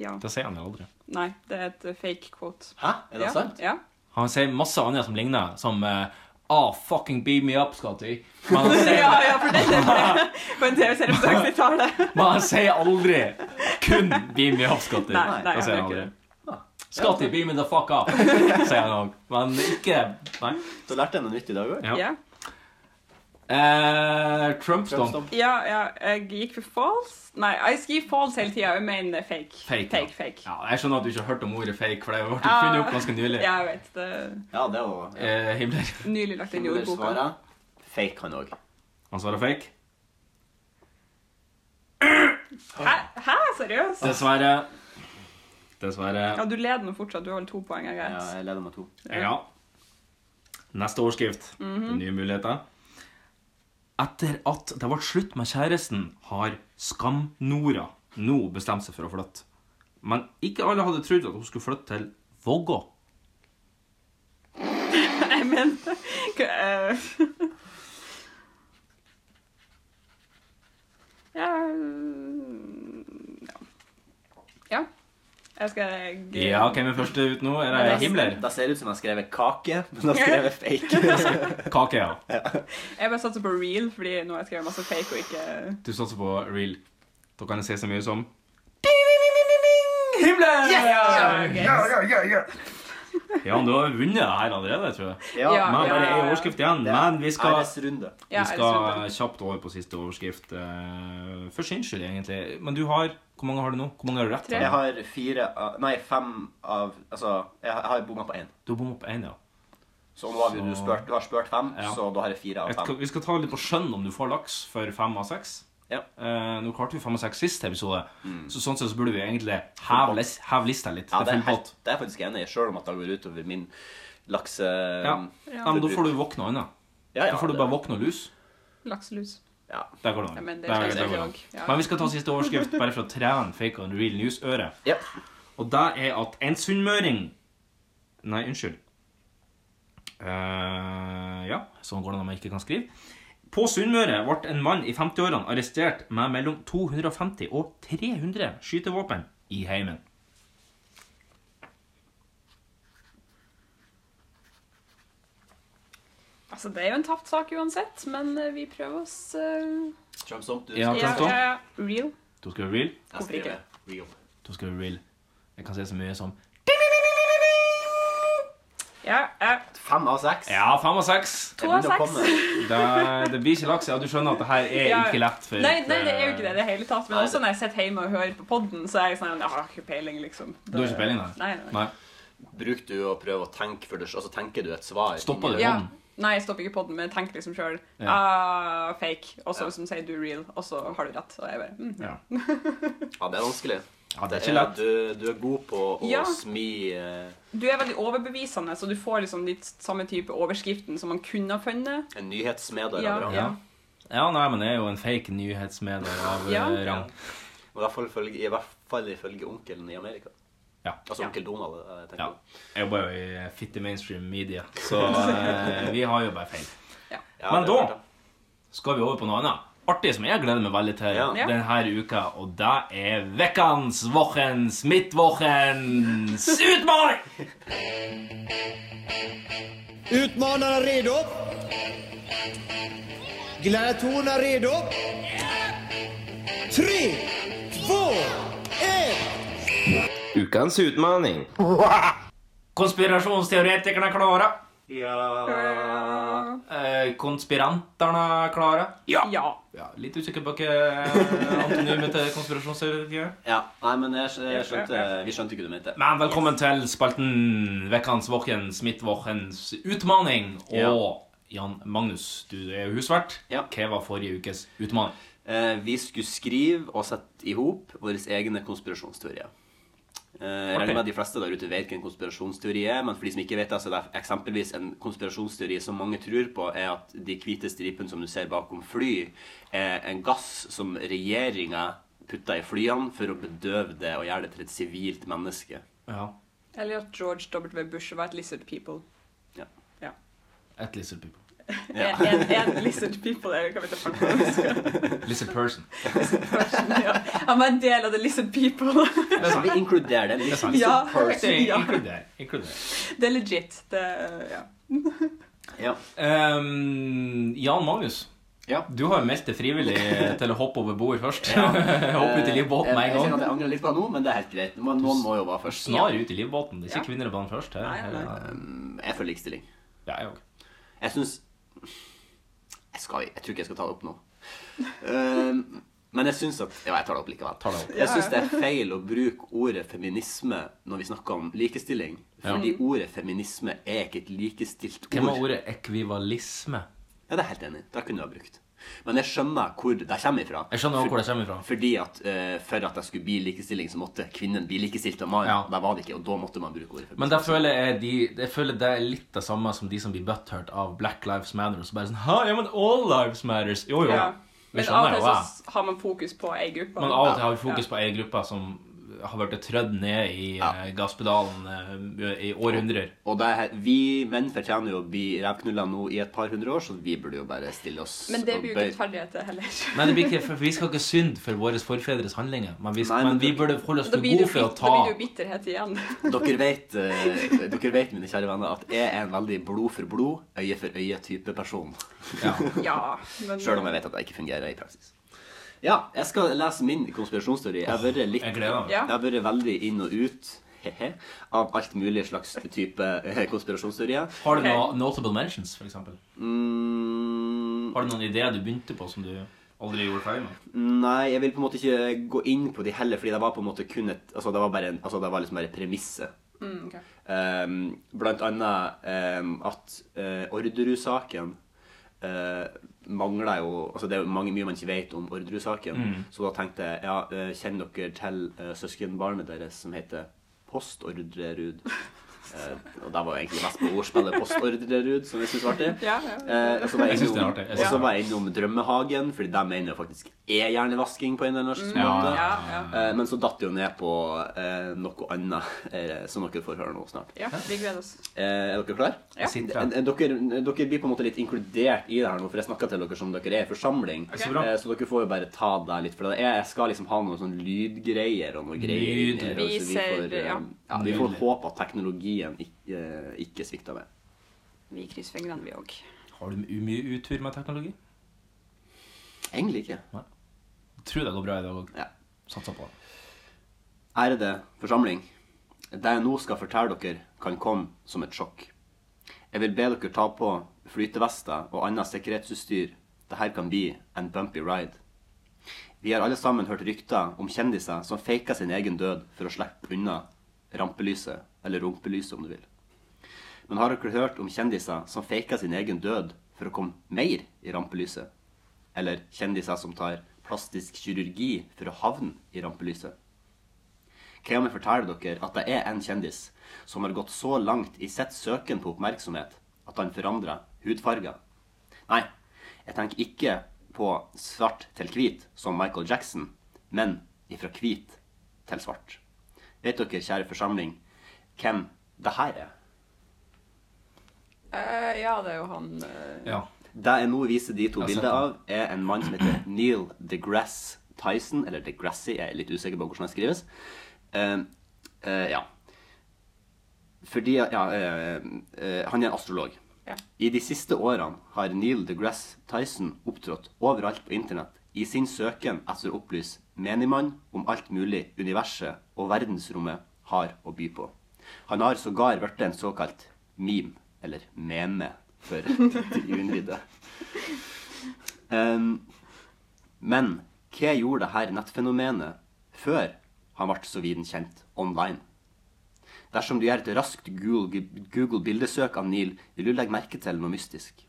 [SPEAKER 4] ja.
[SPEAKER 2] Det sier han jo aldri.
[SPEAKER 4] Nei, det er et eh, fake quote.
[SPEAKER 3] Hæ? Er det
[SPEAKER 4] ja.
[SPEAKER 3] sant?
[SPEAKER 4] Ja.
[SPEAKER 2] Han sier masse annet som ligner, som eh, Ah, fucking beam me up, Scotty. Men han sier,
[SPEAKER 4] ja, ja, for det er det. På en TV-serie på 60-tallet.
[SPEAKER 2] men han sier aldri kun beam me up, Scotty.
[SPEAKER 4] Nei, nei,
[SPEAKER 2] Det
[SPEAKER 4] jeg
[SPEAKER 2] sier han
[SPEAKER 4] bruker
[SPEAKER 2] aldri. Ah,
[SPEAKER 4] det.
[SPEAKER 2] Scotty, beam me the fuck up, sier han òg. Men ikke Nei.
[SPEAKER 3] Så lærte jeg noe nytt i dag òg.
[SPEAKER 2] Ja.
[SPEAKER 4] Ja.
[SPEAKER 2] Eh, Trump-stomp.
[SPEAKER 4] Ja, ja, jeg gikk for false. Nei, jeg skriver false hele tida. Jeg mener fake.
[SPEAKER 2] Fake, ja.
[SPEAKER 4] fake. fake.
[SPEAKER 2] Ja, jeg skjønner at du ikke har hørt om ordet fake, for det ble
[SPEAKER 4] Ja.
[SPEAKER 2] funnet opp ganske nylig.
[SPEAKER 4] Ah. Ja, jeg vet. Det er
[SPEAKER 3] Ja, det var ja.
[SPEAKER 2] Eh, Himmler.
[SPEAKER 4] nylig lagt inn i
[SPEAKER 3] Himmler
[SPEAKER 4] ordboka.
[SPEAKER 3] svarer Fake han òg.
[SPEAKER 2] Han svarer fake.
[SPEAKER 4] Hæ? Hæ? Seriøst?
[SPEAKER 2] Dessverre. Dessverre.
[SPEAKER 4] Ja, du leder nå fortsatt. Du har vel to poeng, jeg
[SPEAKER 3] Ja,
[SPEAKER 4] vet.
[SPEAKER 3] jeg leder med to.
[SPEAKER 2] Ja. Neste overskrift.
[SPEAKER 4] Mhm.
[SPEAKER 2] Nye muligheter. Etter at det ble slutt med kjæresten, har Skam-Nora nå bestemt seg for å flytte. Men ikke alle hadde trodd at hun skulle flytte til Vågå.
[SPEAKER 4] Jeg mente Hva, eh, Ja Ja. Jeg skal
[SPEAKER 2] Ja, hvem er første ut nå? Er det Himmler?
[SPEAKER 3] Da ser det ut som jeg har skrevet kake, men da skrev jeg fake.
[SPEAKER 2] Kake, ja.
[SPEAKER 4] Jeg bare satser på real, fordi nå har jeg skrevet masse fake og ikke
[SPEAKER 2] Du satser på real. Da kan jeg se så mye som Himmler! Ja, men du har vunnet det her allerede, tror jeg.
[SPEAKER 4] Ja,
[SPEAKER 2] Men
[SPEAKER 4] ja,
[SPEAKER 2] bare
[SPEAKER 4] ja,
[SPEAKER 2] ei
[SPEAKER 4] ja.
[SPEAKER 2] overskrift igjen. Men vi skal
[SPEAKER 3] Æresrunde.
[SPEAKER 4] Ja,
[SPEAKER 2] vi
[SPEAKER 4] jeg
[SPEAKER 2] skal
[SPEAKER 4] skal...
[SPEAKER 2] kjapt over på siste overskrift. eh, For sin skyld, egentlig. Men du har Hvor mange har du nå? Hvor mange har du rett?
[SPEAKER 4] Tre.
[SPEAKER 2] da?
[SPEAKER 3] Jeg har fire av Nei, fem av Altså, jeg har- jeg har bomma på én.
[SPEAKER 2] Du har bommet på én, ja.
[SPEAKER 3] Så nå har vi, du,
[SPEAKER 2] Så-
[SPEAKER 3] spurt, du har spurt fem,
[SPEAKER 2] Ja.
[SPEAKER 3] så da har jeg
[SPEAKER 2] Jeg
[SPEAKER 3] fire av
[SPEAKER 2] skal-
[SPEAKER 3] fem.
[SPEAKER 2] Vi skal ta litt på skjønn om du får laks for fem av seks.
[SPEAKER 3] Ja.
[SPEAKER 2] Eh, nå klarte vi fem av seks sist episode, så sånn sett så burde vi egentlig heve, lis heve lista litt.
[SPEAKER 3] Mm. Ja, det er,
[SPEAKER 2] full pott.
[SPEAKER 3] helt, det er jeg faktisk enig i, sjøl om at det går utover min lakse...
[SPEAKER 2] Ja. Nei, men da får du våkne øynene.
[SPEAKER 3] Ja, ja,
[SPEAKER 2] da får du
[SPEAKER 3] det-
[SPEAKER 2] bare våkne og lus.
[SPEAKER 4] Lakselus.
[SPEAKER 3] Ja.
[SPEAKER 2] Der går det an.
[SPEAKER 4] Ja, men det
[SPEAKER 2] Der- der
[SPEAKER 4] skal jeg
[SPEAKER 2] går det an.
[SPEAKER 4] også. Ja.
[SPEAKER 2] Men vi skal ta siste overskrift, bare for å trene fake on real news-øret.
[SPEAKER 3] Ja.
[SPEAKER 2] Og det er at en sunnmøring Nei, unnskyld. Eh, ja, sånn går det når man ikke kan skrive. På Sunnmøre ble en mann i 50-årene arrestert med mellom 250 og 300 skytevåpen i heimen.
[SPEAKER 4] Altså, det er jo en tapt sak uansett, men eh, vi prøver oss eh,
[SPEAKER 3] Trump Stomp, du
[SPEAKER 2] Ja,
[SPEAKER 4] ja,
[SPEAKER 2] Trump Stomp.
[SPEAKER 4] ja, ja. Real.
[SPEAKER 2] Da skal vi real.
[SPEAKER 3] Jeg skriver real.
[SPEAKER 2] Da skal vi real. Jeg kan si så mye som
[SPEAKER 4] Ja, ja.
[SPEAKER 3] Fem av seks.
[SPEAKER 2] Ja, fem og seks.
[SPEAKER 4] To av
[SPEAKER 3] Jeg begynner å
[SPEAKER 4] seks.
[SPEAKER 3] komme.
[SPEAKER 2] Det, det blir ikke laks. Ja, du skjønner at det her er
[SPEAKER 4] Ja.
[SPEAKER 2] ikke lett for
[SPEAKER 4] Nei, nei, det er jo ikke det i det hele tatt. Men
[SPEAKER 3] Nei,
[SPEAKER 4] også når jeg sitter hjemme og hører på podden, så er jeg sånn Jeg har ikke peiling, liksom.
[SPEAKER 2] Du har ikke peiling, nei?
[SPEAKER 4] Nei, nei.
[SPEAKER 2] Nei.
[SPEAKER 3] Bruker du å prøve å tenke for deg selv, altså tenker du et svar?
[SPEAKER 2] Stopper
[SPEAKER 3] inni-
[SPEAKER 2] det?
[SPEAKER 4] Ja.
[SPEAKER 2] Podden.
[SPEAKER 4] Nei, jeg stopper ikke podden, men jeg tenker liksom sjøl ah, fake. Og så som sier du real, og så har du rett. Og jeg bare mm.
[SPEAKER 2] Ja.
[SPEAKER 3] Ja, det er vanskelig.
[SPEAKER 2] ja, det er ikke lett.
[SPEAKER 3] Du, du er god på å
[SPEAKER 4] Ja.
[SPEAKER 3] smi eh,
[SPEAKER 4] Du er veldig overbevisende, så du får liksom litt samme type overskriften som man kunne ha funnet.
[SPEAKER 3] en nyhetsmedie.
[SPEAKER 4] Ja,
[SPEAKER 3] bra.
[SPEAKER 4] ja.
[SPEAKER 2] Ja, nei, men det er jo en fake nyhetsmedier av
[SPEAKER 4] Ja.
[SPEAKER 2] eh, rang.
[SPEAKER 3] I hvert fall ifølge, I hvert fall ifølge onkelen i Amerika.
[SPEAKER 2] Ja.
[SPEAKER 3] Altså
[SPEAKER 4] Ja.
[SPEAKER 3] onkel Donald. jeg tenker
[SPEAKER 2] Ja.
[SPEAKER 3] på.
[SPEAKER 2] Jeg jobber jo i fitte mainstream media, så eh, vi har jo bare feil.
[SPEAKER 3] Ja,
[SPEAKER 2] Men
[SPEAKER 3] det er
[SPEAKER 2] da-
[SPEAKER 3] klart,
[SPEAKER 2] Skal vi over på noe annet? Artig som jeg gleder meg veldig til
[SPEAKER 3] Ja.
[SPEAKER 4] Ja.
[SPEAKER 2] denne uka, og det er vekkans, vochens, midtvochens utmark!
[SPEAKER 8] Utmanarna redo? Gladiatorerna redo? Tre, två, ett!
[SPEAKER 2] Ukens utmaning. Konspirasjonsteoretikerne er klare. Eh, konspiranterne er klare.
[SPEAKER 4] Ja.
[SPEAKER 2] Ja, litt usikker på hva antonymet til konspirasjonsteoretikere er.
[SPEAKER 3] ja. ja. Nei, men jeg, skj- jeg
[SPEAKER 4] Ja,
[SPEAKER 3] skjønte,
[SPEAKER 4] ja,
[SPEAKER 3] vi skjønte ikke hva du mente.
[SPEAKER 2] Men velkommen til spalten Vekkans Våkens Midtvåkens Utmaning. Og Jan Magnus, du er jo husvert.
[SPEAKER 3] Ja.
[SPEAKER 2] Hva var forrige ukes utmaning?
[SPEAKER 3] Eh, vi skulle skrive og sette i hop våre egne konspirasjonsteorier. Eh, Jeg regner med at de fleste der ute vet hva en konspirasjonsteori er, men for de som ikke vet det, så er det eksempelvis en konspirasjonsteori som mange tror på, er at de hvite stripene som du ser bakom fly, er en gass som regjeringa putter i flyene for å bedøve det og gjøre det til et sivilt menneske.
[SPEAKER 2] Ja.
[SPEAKER 4] Eller at George W. Bush var et lizard people.
[SPEAKER 3] Ja.
[SPEAKER 4] Ja.
[SPEAKER 2] Et lizard people.
[SPEAKER 3] Ja.
[SPEAKER 4] En, en lizard people, eller hva vet jeg faen hva det skal
[SPEAKER 2] Lizard person.
[SPEAKER 4] være. Ja. Han var en del av the lizard people.
[SPEAKER 3] Så vi inkluderer det.
[SPEAKER 2] Det er sant.
[SPEAKER 4] Ja.
[SPEAKER 2] Ja.
[SPEAKER 4] ja.
[SPEAKER 2] Inkluder. Inkluder.
[SPEAKER 4] Det er legit. Det, ja.
[SPEAKER 3] Ja.
[SPEAKER 2] Ehm, Jan Magnus,
[SPEAKER 9] Ja.
[SPEAKER 2] du har jo meldt deg frivillig til å hoppe over bord først.
[SPEAKER 3] Ja.
[SPEAKER 2] hoppe ut i livbåten med
[SPEAKER 3] Eh, Jeg-
[SPEAKER 2] en
[SPEAKER 3] Jeg ser at
[SPEAKER 2] gang.
[SPEAKER 3] jeg angrer litt på det nå, men det er helt greit. Men noen må jo være først.
[SPEAKER 2] Snar ut i livbåten. Det er ikke
[SPEAKER 4] Ja.
[SPEAKER 2] kvinner i banen først. Her.
[SPEAKER 4] Nei, nei.
[SPEAKER 2] Her er-
[SPEAKER 3] Jeg føler likestilling.
[SPEAKER 2] Ja, jeg òg.
[SPEAKER 3] Jeg syns jeg, skal- jeg tror ikke jeg skal ta det opp nå. Ehm, men jeg syns at Ja, jeg tar det opp likevel.
[SPEAKER 2] Tar det opp.
[SPEAKER 3] Jeg syns det er feil å bruke ordet feminisme når vi snakker om likestilling. Fordi ordet feminisme er ikke et likestilt
[SPEAKER 2] Hvem
[SPEAKER 3] ord.
[SPEAKER 2] har ordet ekvivalisme?
[SPEAKER 3] Ja, det er jeg helt enig. i. Det kunne jeg ha brukt. Men jeg skjønner hvor det kommer ifra.
[SPEAKER 2] Jeg skjønner også hvor det kommer fra.
[SPEAKER 3] Fordi at eh, For at det skulle bli likestilling, så måtte kvinnen bli likestilt av mannen.
[SPEAKER 2] Ja.
[SPEAKER 3] Da var det ikke, og da måtte man bruke ordet feminisme.
[SPEAKER 2] Men da føler jeg, de, jeg føler det er litt det samme som de som blir butthurt av Black Lives Matter. Og så bare sånn Hæ, ja, men all lives matters. Jo, jo.
[SPEAKER 4] Ja.
[SPEAKER 2] Vi
[SPEAKER 4] Men av og
[SPEAKER 2] skjønner jo
[SPEAKER 4] til så
[SPEAKER 2] det.
[SPEAKER 4] s- har man fokus på ei gruppe.
[SPEAKER 2] Men av og til har vi fokus på ei gruppe som har vært trødd ned i eh, gasspedalen eh, i århundrer.
[SPEAKER 3] Og det er, he- vi menn fortjener jo å bli revknulla nå i et par hundre år, så vi burde jo bare stille oss
[SPEAKER 4] Men det
[SPEAKER 3] og
[SPEAKER 4] blir jo
[SPEAKER 3] bøye-
[SPEAKER 4] ikke rettferdighet heller.
[SPEAKER 2] Nei, det blir ikke, for vi skal ikke synde for våre forfedres handlinger, men vi,
[SPEAKER 3] Nei, men
[SPEAKER 2] men vi
[SPEAKER 3] det-
[SPEAKER 2] burde holde oss
[SPEAKER 4] Da
[SPEAKER 2] for
[SPEAKER 4] blir
[SPEAKER 2] gode
[SPEAKER 4] det jo
[SPEAKER 2] for å
[SPEAKER 4] bit- da
[SPEAKER 2] ta
[SPEAKER 4] blir det jo bitterhet igjen.
[SPEAKER 3] Dere vet, eh, dere vet, mine kjære venner, at jeg er en veldig blod for blod, øye for øye-type person.
[SPEAKER 4] Ja, men
[SPEAKER 3] Sjøl om jeg vet at det ikke fungerer i praksis. Ja, jeg skal lese min konspirasjonsteori. Jeg har vært litt
[SPEAKER 2] Jeg gleder meg.
[SPEAKER 4] Ja.
[SPEAKER 3] Jeg har vært veldig inn og ut hehe, av alt mulig slags type eh, konspirasjonsteorier.
[SPEAKER 2] Har du
[SPEAKER 4] Ok.
[SPEAKER 2] noen notable mentions, for eksempel?
[SPEAKER 3] Mm,
[SPEAKER 2] Har du noen ideer du begynte på som du aldri gjorde ferdig med?
[SPEAKER 3] Nei, jeg vil på en måte ikke gå inn på de heller, fordi det var på en måte kun et Altså, det var, bare en, altså, det var liksom bare premisset.
[SPEAKER 4] Mm, ok.
[SPEAKER 3] Ehm, blant annet ehm, at eh, Orderud-saken eh, mangler jo Altså, det er jo mange, mye man ikke vet om Orderud-saken.
[SPEAKER 2] Mm.
[SPEAKER 3] Så da tenkte jeg ja, eh, kjenner dere til eh, søskenbarnet deres som heter Postordrerud? Eh, og det var jo egentlig mest på ordspillet Postordrerud, som jeg syntes var artig.
[SPEAKER 4] Ja, ja.
[SPEAKER 3] Eh, og så var jeg
[SPEAKER 2] Jeg synes det er
[SPEAKER 3] innom-
[SPEAKER 2] artig. Jeg
[SPEAKER 3] og
[SPEAKER 2] synes
[SPEAKER 3] så
[SPEAKER 2] det er
[SPEAKER 3] var jeg innom Drømmehagen, fordi de mener jo faktisk er hjernevasking på en eller annen slags måte.
[SPEAKER 4] Ja, ja.
[SPEAKER 3] Eh, Men så datt det jo ned på eh, noe annet, eh, som dere får høre nå snart.
[SPEAKER 4] ja, vi gleder oss.
[SPEAKER 3] Eh, er dere klare?
[SPEAKER 4] Ja.
[SPEAKER 2] Sitt,
[SPEAKER 3] Eh, eh, Dere, dere blir på en måte litt inkludert i det her nå, for jeg snakker til dere som dere er i forsamling.
[SPEAKER 2] Så bra.
[SPEAKER 3] Eh, Så dere får jo bare ta det litt. For det er, jeg skal liksom ha noen sånn lydgreier og noen greier. inn her,
[SPEAKER 2] Lyd.
[SPEAKER 3] og så
[SPEAKER 4] Vi ser,
[SPEAKER 3] får, eh,
[SPEAKER 4] ja.
[SPEAKER 3] ja, vi får
[SPEAKER 2] Nydelig.
[SPEAKER 3] håpe at teknologien ikke, eh, ikke svikter meg.
[SPEAKER 4] Vi krysser fingrene, vi òg.
[SPEAKER 2] Har du mye utur med teknologi?
[SPEAKER 3] Egentlig ikke.
[SPEAKER 2] Tror det går bra i dag òg.
[SPEAKER 3] Ja.
[SPEAKER 2] Satser på det.
[SPEAKER 3] Ærede forsamling. Det jeg nå skal fortelle dere, kan komme som et sjokk. Jeg vil be dere ta på flytevester og annet sikkerhetsutstyr. Dette kan bli en bumpy ride. Vi har alle sammen hørt rykter om kjendiser som faker sin egen død for å slippe unna rampelyset, eller rumpelyset om du vil. Men har dere hørt om kjendiser som faker sin egen død for å komme mer i rampelyset? Eller kjendiser som tar plastisk kirurgi for å havne i rampelyset? Hva om jeg forteller dere at det er en kjendis som har gått så langt i sitt søken på oppmerksomhet at han forandrer hudfarger? Nei, jeg tenker ikke på svart til hvit som Michael Jackson, men ifra hvit til svart. Vet dere, kjære forsamling, hvem det her er?
[SPEAKER 4] Eh, ja, det er jo han eh,
[SPEAKER 2] Ja.
[SPEAKER 3] Det jeg nå viser de to
[SPEAKER 2] Jeg har sett
[SPEAKER 3] bilder av,
[SPEAKER 2] den.
[SPEAKER 3] er en mann som heter Neil deGrasse Tyson, eller DeGrasse, jeg er litt usikker på hvordan det skrives. Eh, eh, ja. Fordi ja, eh, eh, han er en astrolog.
[SPEAKER 4] Ja.
[SPEAKER 3] I de siste årene har Neil deGrasse Tyson opptrådt overalt på internett i sin søken etter å opplyse menigmann om alt mulig universet og verdensrommet har å by på. Han har sågar blitt en såkalt meme, eller meme, for de uinnvidde. Um, men hva gjorde dette nettfenomenet før han ble så viden kjent online? Dersom du gjør et raskt Google- Google-bildesøk av Neil, vil du legge merke til noe mystisk.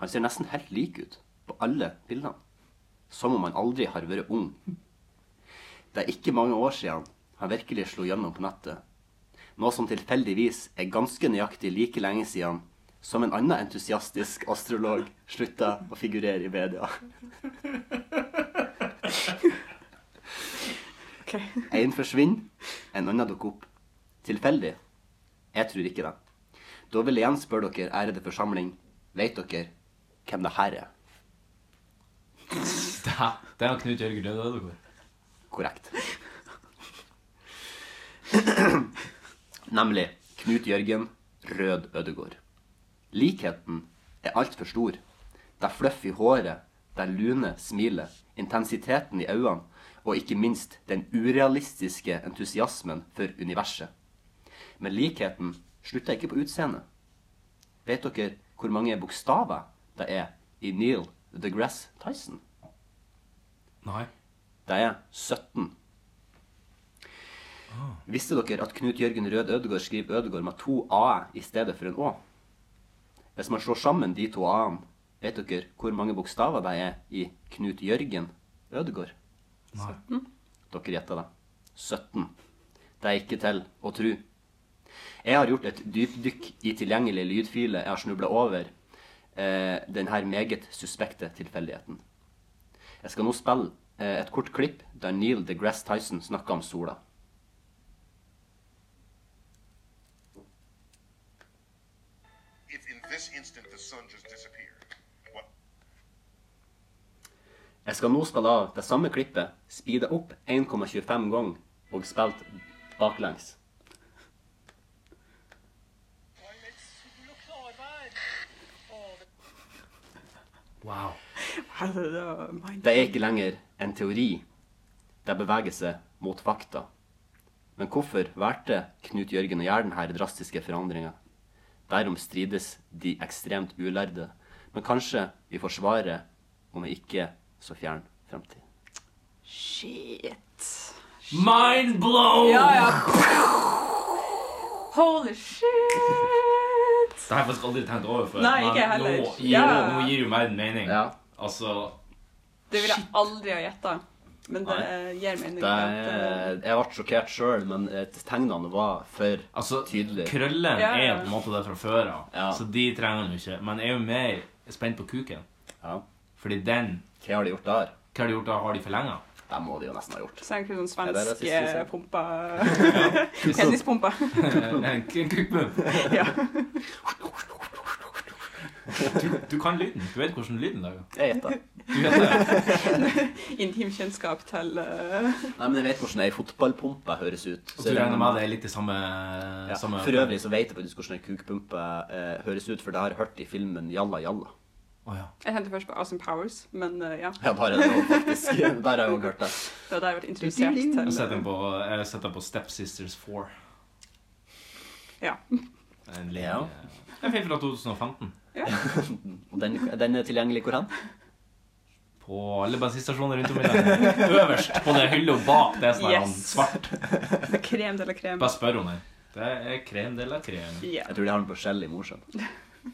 [SPEAKER 3] Han ser nesten helt lik ut på alle bildene. Som om han aldri har vært ung. Det er ikke mange år siden har virkelig slo gjennom på nettet. Noe som tilfeldigvis er ganske nøyaktig like lenge siden som en annen entusiastisk astrolog slutta å figurere i media.
[SPEAKER 4] Ok.
[SPEAKER 3] En forsvinner, en annen dukker opp. Tilfeldig? Jeg tror ikke det. Da vil jeg igjen spørre dere, ærede forsamling, vet dere hvem det her er?
[SPEAKER 2] Det er- det er Knut Jørgen Rødødegård.
[SPEAKER 3] Korrekt. Nemlig Knut Jørgen Rød Ødegård. Likheten er altfor stor. Det er fluff i håret, det lune smilet, intensiteten i øynene og ikke minst den urealistiske entusiasmen for universet. Men likheten slutter ikke på utseendet. Vet dere hvor mange bokstaver det er i Neil DeGrasse Tyson?
[SPEAKER 2] Nei.
[SPEAKER 3] Det er 17. Visste dere at Knut Jørgen Rød Ødegård skriver Ødegård med to a i stedet for en å? Hvis man slår sammen de to a-ene, vet dere hvor mange bokstaver det er i Knut Jørgen Ødegård?
[SPEAKER 2] Nei.
[SPEAKER 3] Dere gjetter det. 17. Det er ikke til å tru. Jeg har gjort et dypdykk i tilgjengelige lydfiler jeg har snubla over eh, denne meget suspekte tilfeldigheten. Jeg skal nå spille eh, et kort klipp der Neil deGrasse Tyson snakker om sola.
[SPEAKER 10] If in this instant the sun just disappeared, what
[SPEAKER 3] Jeg skal nå spille av det samme klippet, speeda opp 1,25 ganger og spilt baklengs.
[SPEAKER 2] Wow.
[SPEAKER 3] Det er ikke lenger en teori. Det beveger seg mot fakta. Men hvorfor valgte Knut Jørgen å gjøre denne drastiske forandringa? Derom strides de ekstremt ulærde. Men kanskje vi får svaret om en ikke så fjern fremtid.
[SPEAKER 4] Shit.
[SPEAKER 2] Mind blown!
[SPEAKER 4] Ja, ja. Holy shit.
[SPEAKER 2] Det har jeg faktisk aldri tenkt over før.
[SPEAKER 4] Nei, ikke
[SPEAKER 2] men
[SPEAKER 4] jeg heller.
[SPEAKER 2] Nå gir,
[SPEAKER 4] Ja.
[SPEAKER 2] nå gir jo meg en mening.
[SPEAKER 3] Ja.
[SPEAKER 2] Altså
[SPEAKER 4] Det ville jeg aldri ha gjetta. Men det gir mening.
[SPEAKER 3] Det,
[SPEAKER 4] at, eh,
[SPEAKER 3] er- jeg ble sjokkert sjøl, men eh, tegnene var for
[SPEAKER 2] Altså,
[SPEAKER 3] tydelige.
[SPEAKER 2] Krøllen
[SPEAKER 4] Ja, ja.
[SPEAKER 2] er på en måte der fra før av,
[SPEAKER 3] Ja.
[SPEAKER 2] så de trenger han jo ikke. Men jeg er jo mer spent på kuken.
[SPEAKER 3] Ja.
[SPEAKER 2] Fordi den
[SPEAKER 3] Hva har de gjort der?
[SPEAKER 2] Hva har de gjort da? Har de forlenga?
[SPEAKER 3] Det må de jo nesten ha gjort.
[SPEAKER 4] Så er det sånn
[SPEAKER 3] Ja, det er det
[SPEAKER 4] svensk
[SPEAKER 3] siste du
[SPEAKER 4] eh,
[SPEAKER 3] sa.
[SPEAKER 4] pumpa Penispumpa.
[SPEAKER 2] En kukbump?
[SPEAKER 4] ja.
[SPEAKER 2] Du, du kan lyden. Du vet hvordan lyden lager.
[SPEAKER 3] Jeg gjetter.
[SPEAKER 2] Du vet det.
[SPEAKER 4] Intim kjennskap til eh,
[SPEAKER 3] Nei, men jeg vet hvordan ei fotballpumpe høres ut.
[SPEAKER 2] Og du regner med det er litt det samme,
[SPEAKER 3] Ja.
[SPEAKER 2] samme
[SPEAKER 3] For øvrig så vet jeg faktisk hvordan ei kukpumpe eh, høres ut, for det har jeg hørt i filmen Jalla Jalla.
[SPEAKER 2] Å, ja.
[SPEAKER 4] Jeg tenkte først på Austin Powers, men eh, ja.
[SPEAKER 3] Ja, bare det også, faktisk. Der har jeg jo hørt det.
[SPEAKER 4] Det var da jeg ble introdusert
[SPEAKER 2] Jeg
[SPEAKER 4] til
[SPEAKER 2] setter den på, jeg setter den på Step Sisters 4.
[SPEAKER 4] Ja.
[SPEAKER 2] En liten,
[SPEAKER 3] Ja.
[SPEAKER 2] En film fra 2015.
[SPEAKER 3] Og den, den er tilgjengelig hvor hen?
[SPEAKER 2] På alle bensinstasjoner rundt om i landet. Øverst på den hylla bak det som er sånn
[SPEAKER 4] Yes.
[SPEAKER 2] svart.
[SPEAKER 4] Det er krem de la crème.
[SPEAKER 2] Bare spør om den. Det er krem de la krem.
[SPEAKER 4] Ja,
[SPEAKER 3] Jeg tror de har den på Shell i Mosjøen.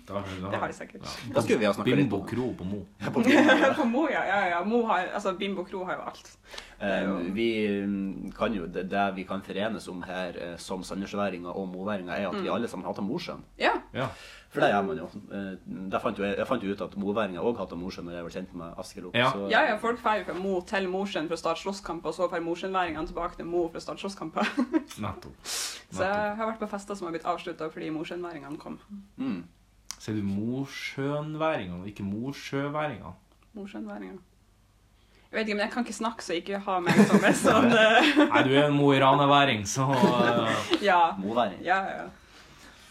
[SPEAKER 2] Da har du- da
[SPEAKER 4] det har
[SPEAKER 2] har
[SPEAKER 4] de
[SPEAKER 2] du-
[SPEAKER 4] sikkert.
[SPEAKER 3] Da skulle vi ha snakket litt
[SPEAKER 2] Bimbo
[SPEAKER 3] om
[SPEAKER 2] Kro på Mo.
[SPEAKER 4] På Mo, ja. ja, ja. Mo har, altså, Bimbo Kro har jo alt.
[SPEAKER 3] Eh, Vi mm, kan jo, det, det vi kan forenes om her eh, som sandnesværinger og moværinger, er at vi alle sammen hater Mosjøen.
[SPEAKER 4] Ja.
[SPEAKER 2] Ja.
[SPEAKER 3] For det gjør man jo. Eh, der fant jo jeg, jeg fant jo ut at moværinger òg hater Mosjøen når jeg ble kjent med Askelop.
[SPEAKER 2] Ja.
[SPEAKER 3] så-
[SPEAKER 4] Ja, ja, folk drar jo fra Mo til Mosjøen for å starte slåsskamper, og så drar mosjøenværingene tilbake til Mo for å starte slåsskamper.
[SPEAKER 2] Nettopp.
[SPEAKER 4] Så jeg har vært på fester som har blitt avslutta fordi mosjøenværingene kom.
[SPEAKER 2] Sier du Mosjøenværingene, ikke Mosjøværingene?
[SPEAKER 4] Mosjøenværingene. Jeg vet ikke, men jeg kan ikke snakke, så ikke ha meg som en sånn eh,
[SPEAKER 2] Nei, du er en Mo i Rana-væring, så eh,
[SPEAKER 4] Ja.
[SPEAKER 3] Moværing.
[SPEAKER 4] Ja, ja.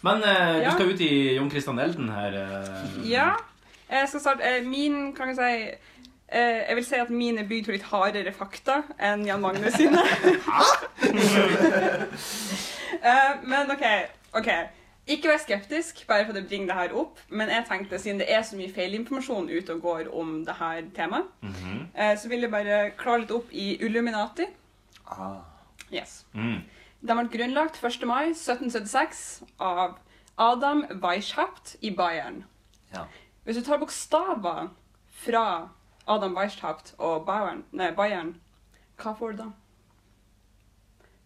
[SPEAKER 2] Men eh, du
[SPEAKER 4] Ja.
[SPEAKER 2] skal ut i Jon Christian Elden her. eh.
[SPEAKER 4] ja. Jeg skal starte eh, Min, kan jeg si eh, Jeg vil si at min er bygd på litt hardere fakta enn Jan Magnus sine. Eh, men OK. ok. Ikke vær skeptisk, bare for å bringe det her opp. Men jeg tenkte, siden det er så mye feilinformasjon ute og går om det her temaet, eh, så vil jeg bare klare litt opp i Illuminati.
[SPEAKER 3] Ah.
[SPEAKER 4] Yes.
[SPEAKER 2] Mm.
[SPEAKER 4] De ble grunnlagt 1. mai 1776 av Adam Weishaupt i Bayern.
[SPEAKER 3] Ja.
[SPEAKER 4] Hvis du tar bokstaver fra Adam Weishaupt og Bayern, nei, Bayern hva får du da?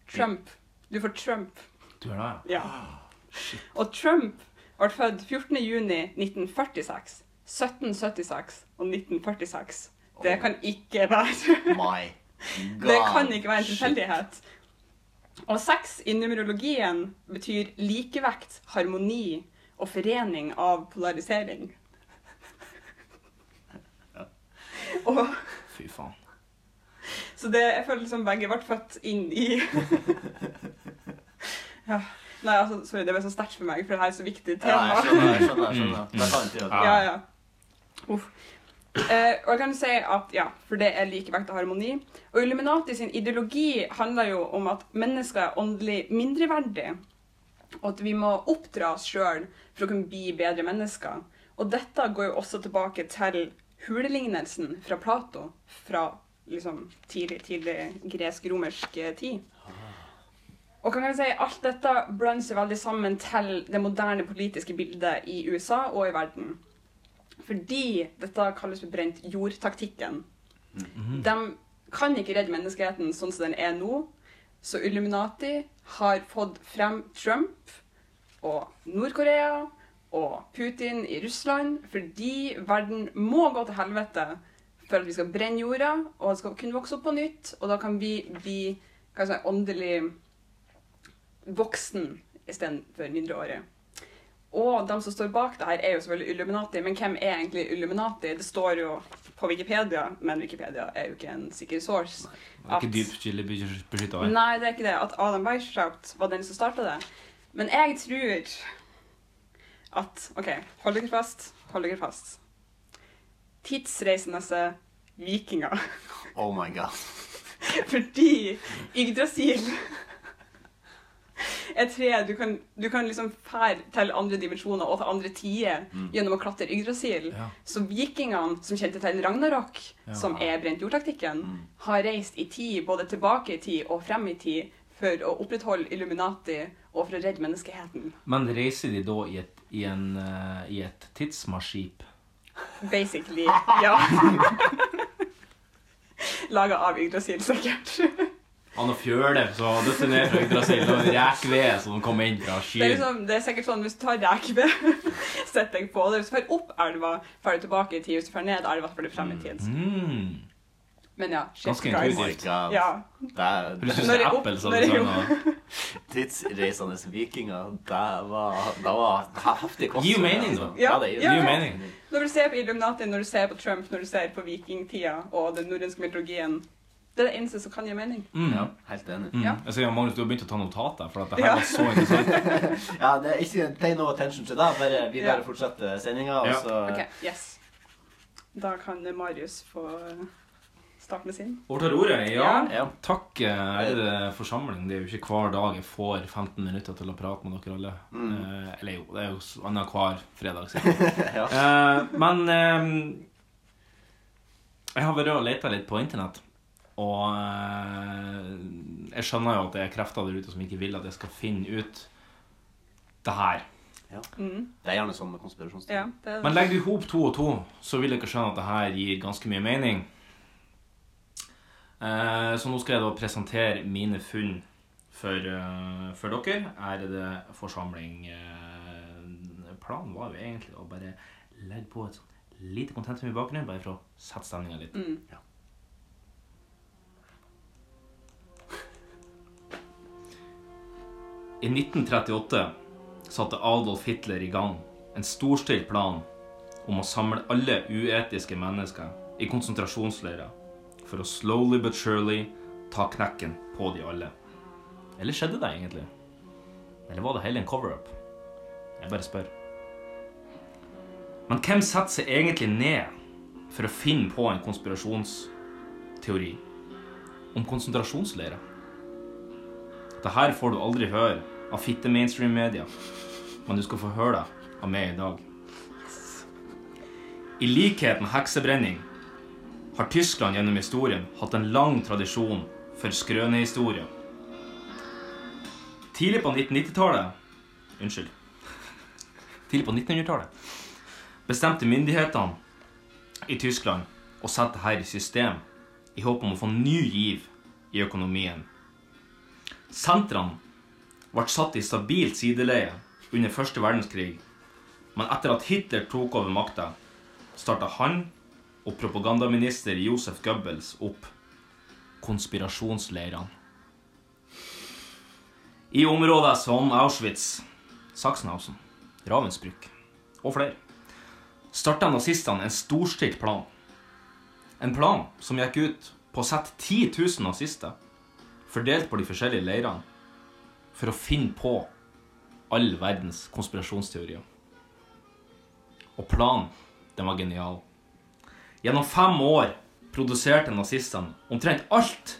[SPEAKER 4] Trump. Du får Trump.
[SPEAKER 2] Du gjør det, ja. Ah,
[SPEAKER 4] Ja. Og Trump ble født 14. juni 1946, 1776 og 1946. Det kan ikke være
[SPEAKER 3] My
[SPEAKER 4] Det kan ikke være en tilfeldighet. Og sex i numerologien betyr likevekt, harmoni og forening av polarisering. Og,
[SPEAKER 2] Fy faen.
[SPEAKER 4] så det, jeg føler som begge ble født inn i ja. Nei, altså, sorry, det ble så sterkt for meg, for det her er så viktig tema.
[SPEAKER 3] Ja, jeg skjønner, jeg skjønner, jeg skjønner.
[SPEAKER 2] Mm.
[SPEAKER 3] Da kan vi til det.
[SPEAKER 4] Ja, ja. Uff. Eh, og jeg kan jo si at ja, for det er likevekt og harmoni. Og Illuminati sin ideologi handler jo om at mennesker er åndelig mindreverdige. Og at vi må oppdra oss sjøl for å kunne bli bedre mennesker. Og dette går jo også tilbake til hulelignelsen fra Plato fra liksom tidlig, tidlig gresk-romersk eh, tid. Og kan jeg si, alt dette blander seg veldig sammen til det moderne politiske bildet i USA og i verden. Fordi dette kalles for brent jord-taktikken. De kan ikke redde menneskeheten sånn som den er nå. Så Illuminati har fått frem Trump og Nord-Korea og Putin i Russland fordi verden må gå til helvete for at vi skal brenne jorda, og det skal kunne vokse opp på nytt, og da kan vi bli hva skal jeg si, åndelig voksen istedenfor mindreårig. Og de som står bak det her, er jo selvfølgelig Illuminati, men hvem er egentlig Illuminati? Det står jo på Wikipedia, men Wikipedia er jo ikke en sikker source.
[SPEAKER 2] Det er ikke dypt kildebeskytta her.
[SPEAKER 4] Nei, det er ikke det. At Adam Weishaupt var den som starta det. Men jeg tror at OK, hold dere fast. Hold dere fast. Tidsreisende vikinger.
[SPEAKER 3] Oh my god.
[SPEAKER 4] Fordi Yggdrasil er tre du kan, du kan liksom fære til andre dimensjoner og til andre tider
[SPEAKER 11] Mm.
[SPEAKER 4] gjennom å klatre Yggdrasil.
[SPEAKER 11] Ja.
[SPEAKER 4] Så vikingene som kjente til Ragnarok,
[SPEAKER 11] Ja. Mm.
[SPEAKER 4] som er brent jordtaktikken, har reist i tid, både tilbake i tid og frem i tid, for å opprettholde Illuminati og for å redde menneskeheten.
[SPEAKER 2] Men reiser de da i et, i en, eh, i et tidsmaskip?
[SPEAKER 4] Basically. Ja. Laga av Yggdrasil, sikkert.
[SPEAKER 2] Han og fjøle så døtter ned fra Yggdrasil og rekved som kom inn fra
[SPEAKER 4] Det er,
[SPEAKER 2] skyen.
[SPEAKER 4] liksom, det er sikkert sånn, Hvis du tar rekve, sett deg på det. Hvis du drar opp elva, drar du tilbake i tid. Hvis du drar ned elva, så drar du frem i tid.
[SPEAKER 2] Mm.
[SPEAKER 4] Men ja, shit,
[SPEAKER 2] Ganske
[SPEAKER 4] guys.
[SPEAKER 2] intuitivt.
[SPEAKER 3] Oh my God.
[SPEAKER 4] Ja.
[SPEAKER 3] Det er
[SPEAKER 2] Høres ut som Når jeg opp- Apple som når jeg
[SPEAKER 3] liksom,
[SPEAKER 2] sånn, opp-
[SPEAKER 3] Tidsreisende vikinger, det var, det var heftig kost.
[SPEAKER 2] Gir jo mening, da.
[SPEAKER 3] Ja, det gir
[SPEAKER 4] Ja,
[SPEAKER 3] gir
[SPEAKER 4] ja. Når du ser på Illuminati, når du ser på Trump, når du ser på vikingtida og den nordiske mytologien Det er det eneste som kan gi mening.
[SPEAKER 2] Mm. Ja,
[SPEAKER 3] helt enig.
[SPEAKER 2] Mm.
[SPEAKER 4] Ja.
[SPEAKER 2] Jeg ser, Magnus, du har begynt å ta notater, for at det her
[SPEAKER 4] Ja.
[SPEAKER 2] var så interessant.
[SPEAKER 3] Ja, det er ikke pay no attention til det. Bare, vi
[SPEAKER 4] Ja.
[SPEAKER 3] bare fortsetter sendinga, og
[SPEAKER 2] Ja.
[SPEAKER 3] så
[SPEAKER 4] OK, yes. Da kan Marius få starte med sin.
[SPEAKER 2] Overtar ordet, ja.
[SPEAKER 4] Ja.
[SPEAKER 2] Takk, eh, ærede forsamling. Det er jo ikke hver dag jeg får 15 minutter til å prate med dere alle.
[SPEAKER 3] Mm.
[SPEAKER 2] Eh, eller jo, det er jo s- annenhver fredag. sikkert. eh, men eh, jeg har vært og leta litt på internett. Og eh, jeg skjønner jo at det er krefter der ute som ikke vil at jeg skal finne ut det her.
[SPEAKER 3] Ja.
[SPEAKER 4] Mm.
[SPEAKER 3] Det er gjerne sånn med konspirasjonsteorier.
[SPEAKER 4] Ja, det er
[SPEAKER 2] Men legger du ihop to og to, så vil dere skjønne at det her gir ganske mye mening. Eh, Så nå skal jeg da presentere mine funn for, eh, for dere. Ærede forsamling. Eh, Planen var jo egentlig å bare legge på et sånt lite kontentum i bakgrunnen, bare for å sette stemninga litt.
[SPEAKER 4] Mm.
[SPEAKER 2] I 1938 satte Adolf Hitler i gang en storstilt plan om å samle alle uetiske mennesker i konsentrasjonsleirer for å slowly but surely ta knekken på de alle. Eller skjedde det egentlig? Eller var det hele en cover-up? Jeg bare spør. Men hvem setter seg egentlig ned for å finne på en konspirasjonsteori om konsentrasjonsleirer? Det her får du aldri høre av fitte mainstream media, men du skal få høre det av meg i dag. I likhet med heksebrenning har Tyskland gjennom historien hatt en lang tradisjon for skrønehistorier. Tidlig på 1990-tallet Unnskyld. Tidlig på 1900-tallet bestemte myndighetene i Tyskland å sette dette i system i håp om å få ny giv i økonomien. Sentrene ble satt i stabilt sideleie under første verdenskrig, men etter at Hitler tok over makta, starta han og propagandaminister Josef Goebbels opp konspirasjonsleirene. I områder som Auschwitz, Sachsenhausen, Ravensbrück og flere starta nazistene en storstilt plan. En plan som gikk ut på å sette 10 000 nazister fordelt på de forskjellige leirene for å finne på all verdens konspirasjonsteorier. Og planen, den var genial. Gjennom fem år produserte nazistene omtrent alt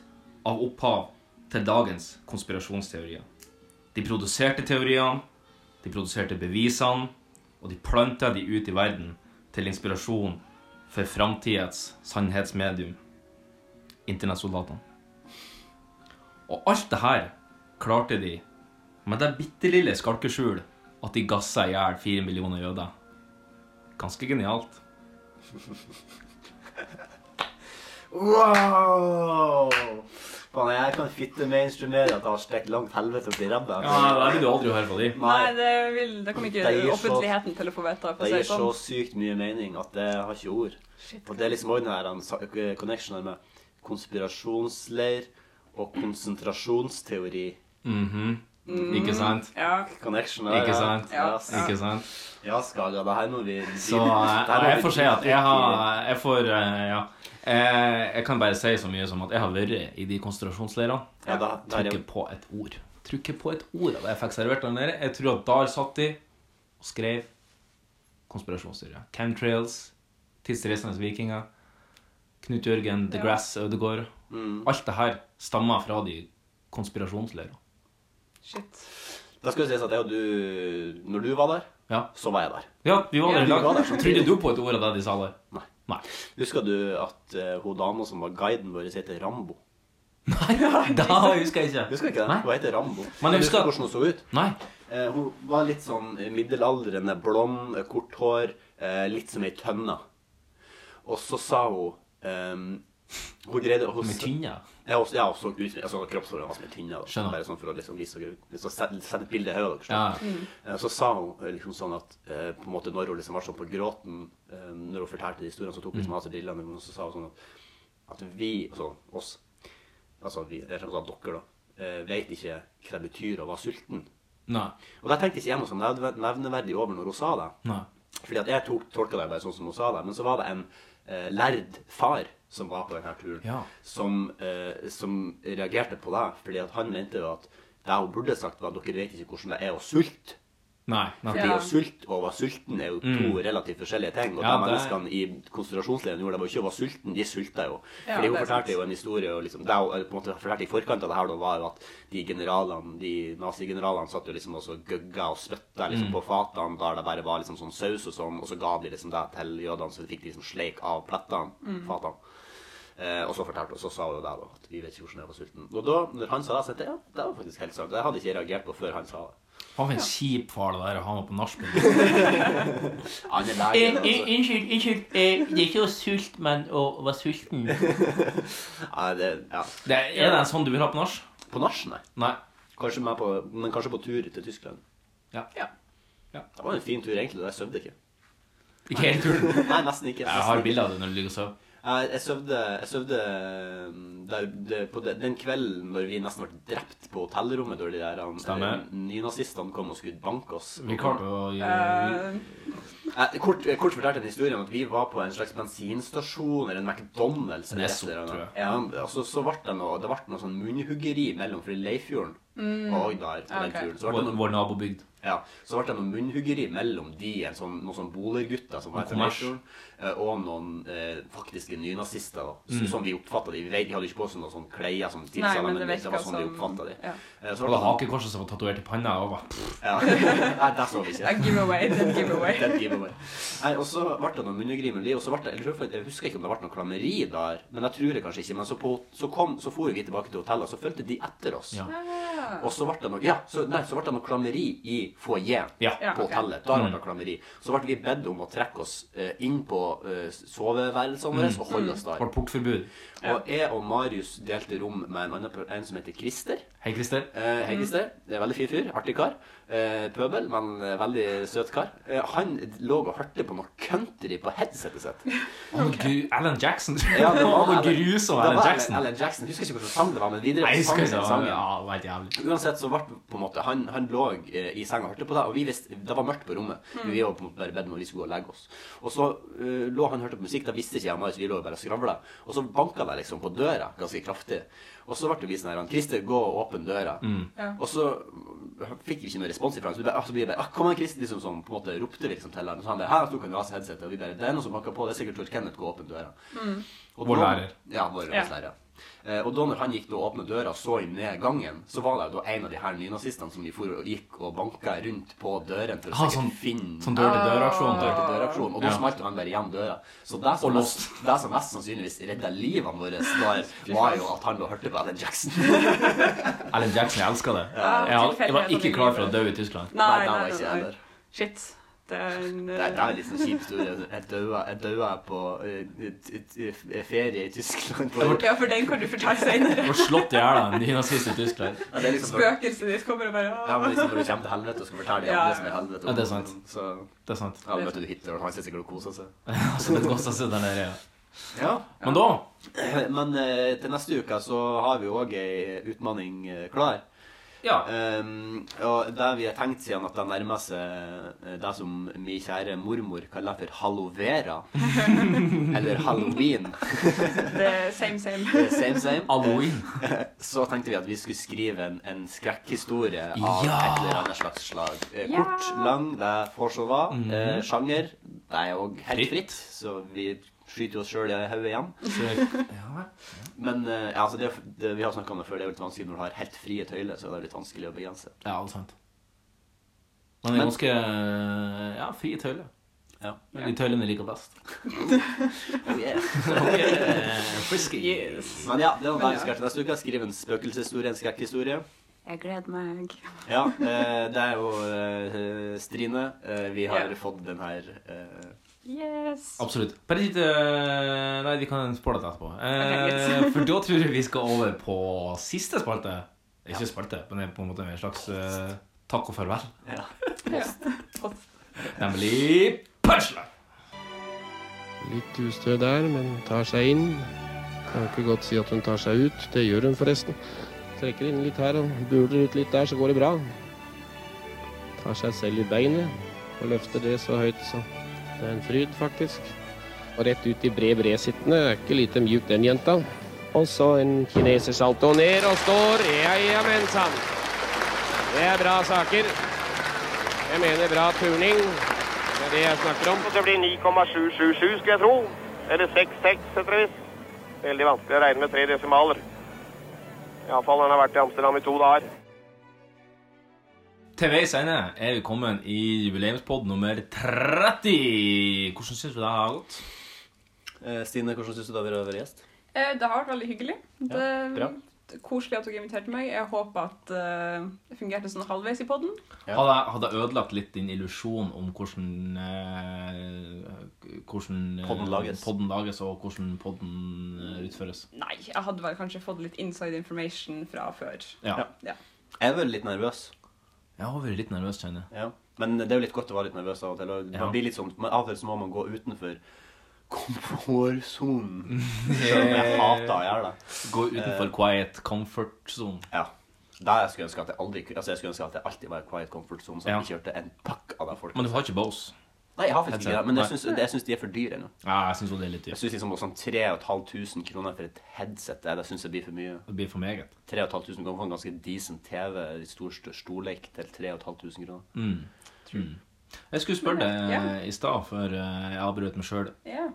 [SPEAKER 2] av opphav til dagens konspirasjonsteorier. De produserte teoriene, de produserte bevisene, og de planta de ut i verden til inspirasjon for framtidas sannhetsmedium, internettsoldatene. Og alt det her klarte de med det bitte lille skalkeskjul at de gassa i hjel fire millioner jøder. Ganske genialt.
[SPEAKER 3] Wow! Faen, jeg kan fitte mainstreamere at jeg har stekt langt helvete opp i ræva.
[SPEAKER 2] Ja, det vil du aldri høre på de.
[SPEAKER 4] Nei, det, vil, det kommer ikke
[SPEAKER 3] Det gir så-
[SPEAKER 4] offentligheten til å få vite. for å
[SPEAKER 3] Det
[SPEAKER 4] si
[SPEAKER 3] gir så
[SPEAKER 4] sånn.
[SPEAKER 3] sykt mye mening at det har ikke ord.
[SPEAKER 4] Shit.
[SPEAKER 3] Og det er liksom også den her han sa- eh, connectionen her med konspirasjonsleir og konsentrasjonsteori.
[SPEAKER 2] Mhm. Ikke sant?
[SPEAKER 4] Ja.
[SPEAKER 3] Connection der,
[SPEAKER 2] Ikke
[SPEAKER 3] ja.
[SPEAKER 2] sant?
[SPEAKER 3] Ja.
[SPEAKER 2] Ikke sant?
[SPEAKER 3] Ja, Skaga, det her må vi
[SPEAKER 2] Så eh, og jeg får si at jeg har Jeg får eh, Ja. Eh, Jeg kan bare si så mye som at jeg har vært i de konsentrasjonsleirene.
[SPEAKER 3] Ja, da- der, ja.
[SPEAKER 2] Tror ikke på et ord. Tror ikke på et ord av det jeg fikk servert der nede. Jeg tror at der satt de og skrev konspirasjonsteorier. Chemtrails, tidsreisende vikinger, Knut Jørgen, The
[SPEAKER 3] Ja.
[SPEAKER 2] Grass, Ødegård.
[SPEAKER 3] Mm.
[SPEAKER 2] Alt det her stammer fra de konspirasjonsleirene.
[SPEAKER 4] Shit.
[SPEAKER 3] Da skal det sies at jeg og du Når du var der, så var jeg der.
[SPEAKER 2] Ja, vi var der i
[SPEAKER 3] Vi var
[SPEAKER 2] dag.
[SPEAKER 3] der samtidig.
[SPEAKER 2] Trodde du på et ord av det de sa der? Nei.
[SPEAKER 3] Husker du at eh, hun dama som var guiden vår, heter Rambo?
[SPEAKER 2] Da husker jeg ikke.
[SPEAKER 3] Husker du ikke det? Hun heter Rambo.
[SPEAKER 2] Men jeg husker-
[SPEAKER 3] husker du hvordan hun så ut?
[SPEAKER 2] Nei.
[SPEAKER 3] Eh, hun var litt sånn middelaldrende, blond, eh, kort hår, eh, litt som ei tønne. Og så sa hun ehm, Hun greide hun,
[SPEAKER 2] Med tynne?
[SPEAKER 3] Ja, hun, ja, hun så ut altså, kroppsformen var som ei tynne. da.
[SPEAKER 2] Skjønner.
[SPEAKER 3] Bare sånn for å liksom vise dere- liksom, sette, sette et bilde her. Dere,
[SPEAKER 2] Ja.
[SPEAKER 3] skjønner. Eh, Så sa hun eh, liksom sånn at eh, på en måte når hun liksom var sånn på gråten eh, Når hun fortalte de historiene, så tok hun
[SPEAKER 2] Mm.
[SPEAKER 3] liksom av seg brillene og så sa hun sånn at, at vi, altså oss Altså vi, det er sånn at dere, da, eh, vet ikke hva det betyr å være sulten.
[SPEAKER 2] Nei.
[SPEAKER 3] Og det tenkte ikke jeg noe sånn nevne- nevneverdig over når hun sa det.
[SPEAKER 2] Nei.
[SPEAKER 3] Fordi at jeg tok, tolka det bare sånn som hun sa det. Men så var det en eh, lærd far som var på denne turen,
[SPEAKER 2] Ja.
[SPEAKER 3] som, eh, som reagerte på det. Fordi at han mente jo at det hun burde sagt, var at dere vet ikke hvordan det er å sulte.
[SPEAKER 2] Nei. nei.
[SPEAKER 3] Fordi å sulte og å være sulten er jo to
[SPEAKER 2] Mm.
[SPEAKER 3] relativt forskjellige ting. Og
[SPEAKER 2] Ja,
[SPEAKER 3] de
[SPEAKER 2] det-
[SPEAKER 3] menneskene i konsentrasjonsleiren gjorde det var ikke å være sulten, de sulta jo.
[SPEAKER 2] Ja,
[SPEAKER 3] Fordi hun
[SPEAKER 2] det er sant.
[SPEAKER 3] fortalte jo en historie, og liksom, det hun eh, på en måte fortalte i forkant av det her, da, var jo at de generalene, de nazigeneralene satt jo liksom og så gøgga og spytta liksom,
[SPEAKER 2] Mm.
[SPEAKER 3] på fatene der det bare var liksom sånn saus og sånn, og så ga de liksom det til jødene, så de fikk liksom sleik av plettene,
[SPEAKER 2] Mm.
[SPEAKER 3] fatene. Eh, og så fortalte hun, så sa hun jo det, da, at vi vet ikke hvordan det er å være sulten. Og da, når han sa det, så tenkte jeg ja, det var faktisk helt sant. Det hadde ikke jeg reagert på før han sa det.
[SPEAKER 2] Han var en kjip far det der å ha med på nachspiel.
[SPEAKER 3] Han er
[SPEAKER 12] Eh,
[SPEAKER 3] lege.
[SPEAKER 12] eh, Unnskyld, unnskyld. Eh, det er ikke å sulte, men å være sulten.
[SPEAKER 3] Ja, det, ja.
[SPEAKER 2] Det er- er det en sånn du vil ha på nach?
[SPEAKER 3] På nach, nei.
[SPEAKER 2] Nei.
[SPEAKER 3] Kanskje med på, men kanskje på tur til Tyskland.
[SPEAKER 2] Ja.
[SPEAKER 3] Det var en fin tur, egentlig. og Jeg sovde ikke.
[SPEAKER 2] Ikke hele turen?
[SPEAKER 3] Nei, nesten ikke.
[SPEAKER 2] Jeg har bilder av det når du ligger og sover.
[SPEAKER 3] Jeg, jeg sovde, jeg sovde um, der, det, på den, den kvelden når vi nesten ble drept på hotellrommet da de der um,
[SPEAKER 2] Stemmer.
[SPEAKER 3] eh, nynazistene kom og skulle banke oss.
[SPEAKER 2] Vi klarte å
[SPEAKER 4] Eh,
[SPEAKER 3] Jeg, kort, jeg kort fortalte en historie om at vi var på en slags bensinstasjon eller en McDonald's. eller
[SPEAKER 2] Nesodd,
[SPEAKER 3] et eller annet.
[SPEAKER 2] tror jeg.
[SPEAKER 3] Ja, og så, så ble det noe, det ble noe sånn munnhuggeri mellom fra Leifjorden
[SPEAKER 2] Mm.
[SPEAKER 3] og der. på den
[SPEAKER 2] Ok.
[SPEAKER 3] turen. Så ble det
[SPEAKER 2] Vår-
[SPEAKER 3] noe-
[SPEAKER 2] vår nabobygd.
[SPEAKER 3] Ja, så ble det noe munnhuggeri mellom de, en sånn, noen sånn bolergutter som var
[SPEAKER 2] Noen
[SPEAKER 3] fra
[SPEAKER 2] kommers.
[SPEAKER 3] Leifjorden, eh, og noen eh, faktiske nynazister, da, s-
[SPEAKER 2] Mm.
[SPEAKER 3] som vi oppfattet de. Vi vet, de hadde ikke på seg noen sånn kleier som tilsa
[SPEAKER 4] Nei,
[SPEAKER 3] dem,
[SPEAKER 4] men
[SPEAKER 3] men
[SPEAKER 4] det
[SPEAKER 3] det, var
[SPEAKER 4] virket
[SPEAKER 3] sånn de
[SPEAKER 4] som-
[SPEAKER 3] oppfattet de.
[SPEAKER 4] ja.
[SPEAKER 3] Eh,
[SPEAKER 2] Og
[SPEAKER 3] så
[SPEAKER 2] det
[SPEAKER 3] ble det sånn-
[SPEAKER 2] hakekorset som var tatovert i panna. Og bare,
[SPEAKER 3] ja. Nei, det så vi ikke.
[SPEAKER 4] Det er giveaway, det er giveaway.
[SPEAKER 3] Det er giveaway. Nei, og så ble det noe munnegrimeri, og så ble det, jeg, tror, jeg husker ikke om det ble noe klammeri der, men jeg tror det kanskje ikke, men så, på, så kom, så for vi tilbake til hotellet, og så følte de etter oss.
[SPEAKER 2] Ja.
[SPEAKER 4] Ah.
[SPEAKER 3] Og så ble det noe, ja, så, nei, så ble det noe klammeri i foajeen
[SPEAKER 2] Ja. Ja,
[SPEAKER 3] på
[SPEAKER 2] ok.
[SPEAKER 3] hotellet. Da ble
[SPEAKER 2] Mm.
[SPEAKER 3] det klammeri. Så ble vi bedt om å trekke oss eh, inn på eh, soveværelsene våre
[SPEAKER 2] Mm.
[SPEAKER 3] og holde oss der.
[SPEAKER 2] Har portforbud.
[SPEAKER 3] Og jeg og Marius delte rom med en annen per- en som heter Christer.
[SPEAKER 2] Hei, Christer.
[SPEAKER 3] Eh, hei, Christer. Det er en Veldig fin fyr. Artig kar. Eh, pøbel, men eh, veldig søt kar. Eh, han lå og hørte på noe country på headsetet sitt.
[SPEAKER 2] Å, Gud, Alan Jackson.
[SPEAKER 3] Ja, det var
[SPEAKER 2] noe
[SPEAKER 3] Alan-
[SPEAKER 2] grusom
[SPEAKER 3] det
[SPEAKER 2] Alan
[SPEAKER 3] var
[SPEAKER 2] Jackson.
[SPEAKER 3] Alan Jackson. Husker ikke hvilken sang det var, men videre
[SPEAKER 2] Nei, jeg husker
[SPEAKER 3] sangen-
[SPEAKER 2] ikke.
[SPEAKER 3] sangen.
[SPEAKER 2] Ja, det var helt jævlig.
[SPEAKER 3] Uansett så ble det på en måte Han, han lå eh, i senga og hørte på det, og vi visste Det var mørkt på rommet.
[SPEAKER 2] Mm.
[SPEAKER 3] Vi var på en måte bare bedt om at vi skulle gå og legge oss. Og så eh, lå han og hørte på musikk, da visste ikke jeg og Marius, vi lå bare og skravla. Og så banka det liksom på døra ganske kraftig. Og så ble vi sånn her han, Christer, gå og åpne døra.
[SPEAKER 2] Mm.
[SPEAKER 4] Ja.
[SPEAKER 3] Og så eh, fikk vi ikke noe respons ifra han, så vi bare, så vi bare ah, Kom an, Christer, liksom sånn på en måte ropte vi liksom til han. Og så han bare Her tok han av seg headsetet, og vi bare Det er noen som banker på, det er sikkert George Kenneth, gå og åpne døra.
[SPEAKER 2] Mm.
[SPEAKER 3] Og
[SPEAKER 2] Vår
[SPEAKER 3] da-
[SPEAKER 2] lærer.
[SPEAKER 3] Ja, vår
[SPEAKER 2] Ja.
[SPEAKER 3] lærer. Eh, Og da når han gikk da og åpnet døra og så inn ned gangen, så var det jo da en av de her nynazistene som de for, og gikk og banka rundt på dørene for å
[SPEAKER 2] Ah,
[SPEAKER 3] sikkert
[SPEAKER 2] sånn-
[SPEAKER 3] finne
[SPEAKER 2] sånn dør-til-dør-aksjon.
[SPEAKER 3] Dør til dør-aksjon. Og da
[SPEAKER 2] Ja.
[SPEAKER 3] smalt jo han bare igjen døra. Så det som,
[SPEAKER 2] Og
[SPEAKER 3] mest, det som mest sannsynligvis redda livene våre der, var jo at han da hørte på Alan Jackson.
[SPEAKER 2] Alan Jackson, jeg elsker det.
[SPEAKER 3] Ja,
[SPEAKER 2] Jeg, har- jeg var
[SPEAKER 4] tilfeldighetene
[SPEAKER 2] ikke
[SPEAKER 4] i
[SPEAKER 2] klar
[SPEAKER 4] livet.
[SPEAKER 2] for å dø i Tyskland.
[SPEAKER 4] Nei,
[SPEAKER 3] det var
[SPEAKER 4] nei,
[SPEAKER 3] ikke
[SPEAKER 4] nei,
[SPEAKER 3] jeg
[SPEAKER 4] nei.
[SPEAKER 3] der.
[SPEAKER 4] Shit. Det er en
[SPEAKER 3] Det, det er litt sånn kjip historie. Jeg daua- Jeg daua på eh, t- t- t- ferie i Tyskland.
[SPEAKER 4] Ja, for den kan du fortelle senere.
[SPEAKER 2] Jeg ble slått i hjel av en nynazist i Tyskland.
[SPEAKER 3] Ja, det er liksom for-
[SPEAKER 4] Spøkelset ditt kommer og bare
[SPEAKER 3] Ja, men liksom når du kommer til helvete og skal fortelle de
[SPEAKER 4] Ja,
[SPEAKER 3] andre
[SPEAKER 4] ja.
[SPEAKER 3] som er i helvete
[SPEAKER 2] Ja, det er sant.
[SPEAKER 3] Så,
[SPEAKER 2] Det er sant.
[SPEAKER 3] Ja, møter du Hitler, og han sitter sikkert og koser seg.
[SPEAKER 2] Så det koster seg der nede, ja.
[SPEAKER 3] Ja.
[SPEAKER 2] Men da
[SPEAKER 3] Men eh, til neste uke så har vi òg ei utmanning eh, klar. Ehm,
[SPEAKER 2] Ja.
[SPEAKER 3] og det vi har tenkt siden at det nærmer seg eh, det som min kjære mormor kaller for hallovera. eller halloween.
[SPEAKER 4] Det er same, same.
[SPEAKER 3] Eh, Same, same.
[SPEAKER 2] Halloween.
[SPEAKER 3] Eh, Så tenkte vi at vi skulle skrive en, en skrekkhistorie av
[SPEAKER 2] Ja!
[SPEAKER 3] et eller annet slags slag. Eh,
[SPEAKER 2] Ja!
[SPEAKER 3] Kort, lang, det får så hva. Eh,
[SPEAKER 2] Mhm.
[SPEAKER 3] Sjanger, det er òg helt fritt, så vi skyter oss sjøl i hodet igjen. Men eh, ja, altså det, det, vi har snakka om det før, det er jo litt vanskelig når du har helt frie tøyler, så er det litt vanskelig å begrense.
[SPEAKER 2] Ja, det er sant. Men det er ganske ja, frie tøyler.
[SPEAKER 3] Ja.
[SPEAKER 2] De tøylene jeg liker best.
[SPEAKER 3] Oh, yeah.
[SPEAKER 2] Oh, yeah. Frisky.
[SPEAKER 3] Men ja, det var det
[SPEAKER 4] Men
[SPEAKER 3] vi
[SPEAKER 4] ja.
[SPEAKER 3] skal til neste uke. Skriv en spøkelseshistorie, en skrekkhistorie.
[SPEAKER 4] Jeg gleder meg.
[SPEAKER 3] Ja, eh, det er jo eh, Strine. Eh, vi har
[SPEAKER 4] Ja.
[SPEAKER 3] fått den her eh,
[SPEAKER 4] Yes.
[SPEAKER 2] Absolutt. Bare litt eh, Nei, vi kan spåle det etterpå. Eh,
[SPEAKER 4] Ok, greit.
[SPEAKER 2] for da tror jeg vi skal over på siste spalte. Ikke spalte, men det er på en måte en slags eh, takk og farvel. Nemlig punchline!
[SPEAKER 13] Litt ustø der, men tar seg inn. Kan ikke godt si at hun tar seg ut. Det gjør hun forresten. Trekker inn litt her og buler ut litt der, så går det bra. Tar seg selv i beinet og løfter det så høyt, så det er en fryd, faktisk. Og rett ut i bred, bred sittende. Er Ikke lite mjuk, den jenta. Og så en kinesersalto ned og står. Ja, ja, men sann. Det er bra saker. Jeg mener bra turning. Det er det jeg snakker om. Det blir 9,777, skulle jeg tro.
[SPEAKER 8] Eller 6-6, etter det vis. Veldig vanskelig å regne med tre desimaler. Iallfall når han har vært i Amsterdam i to dager.
[SPEAKER 2] Til veis ende er vi kommet i jubileumspod nummer 30. Hvordan syns du det har gått?
[SPEAKER 3] Eh, Stine, hvordan syns du det har vært å være gjest?
[SPEAKER 4] Eh, Det har vært veldig hyggelig. Det
[SPEAKER 3] bra.
[SPEAKER 4] det er Koselig at dere inviterte meg. Jeg håper at eh, det fungerte sånn halvveis i podden.
[SPEAKER 2] Hadde, jeg- hadde jeg ødelagt litt din illusjon om hvordan eh, Hvordan eh,
[SPEAKER 3] Podden lages.
[SPEAKER 2] podden lages, og hvordan podden eh, utføres?
[SPEAKER 4] Nei, jeg hadde vel kanskje fått litt inside information fra før.
[SPEAKER 2] Ja.
[SPEAKER 4] Ja.
[SPEAKER 3] Jeg har vært litt nervøs.
[SPEAKER 2] Jeg har vært litt nervøs, kjenner jeg.
[SPEAKER 3] Ja. Men det er jo litt godt å være litt nervøs av og til. Og
[SPEAKER 2] Ja.
[SPEAKER 3] man blir litt sånn, men av og til så må man gå utenfor komfortsonen. Selv om jeg hater å gjøre det.
[SPEAKER 2] Gå utenfor
[SPEAKER 3] Eh,
[SPEAKER 2] quiet comfort zone.
[SPEAKER 3] Ja. Der skulle jeg ønske at jeg aldri Altså jeg skulle ønske at jeg alltid var i quiet comfort zone, så jeg
[SPEAKER 2] Ja.
[SPEAKER 3] ikke hørte en pakk av de folka.
[SPEAKER 2] Men du har ikke Bose?
[SPEAKER 3] Nei, jeg har faktisk ikke det. Men jeg
[SPEAKER 2] Nei.
[SPEAKER 3] syns, jeg syns de er for dyre ennå.
[SPEAKER 2] Ja, jeg syns det er litt
[SPEAKER 3] Jeg
[SPEAKER 2] dyrt.
[SPEAKER 3] syns liksom sånn 3500 kroner for et headset det, det syns jeg blir for mye.
[SPEAKER 2] Det blir for meget.
[SPEAKER 3] 3500 kroner for en ganske decent TV, i stor stor- storleik til 3500 kroner.
[SPEAKER 2] Mm. Mm. Jeg skulle spørre deg
[SPEAKER 3] Ja.
[SPEAKER 2] eh, i stad, før eh, jeg avbrøt meg sjøl.
[SPEAKER 4] Ja.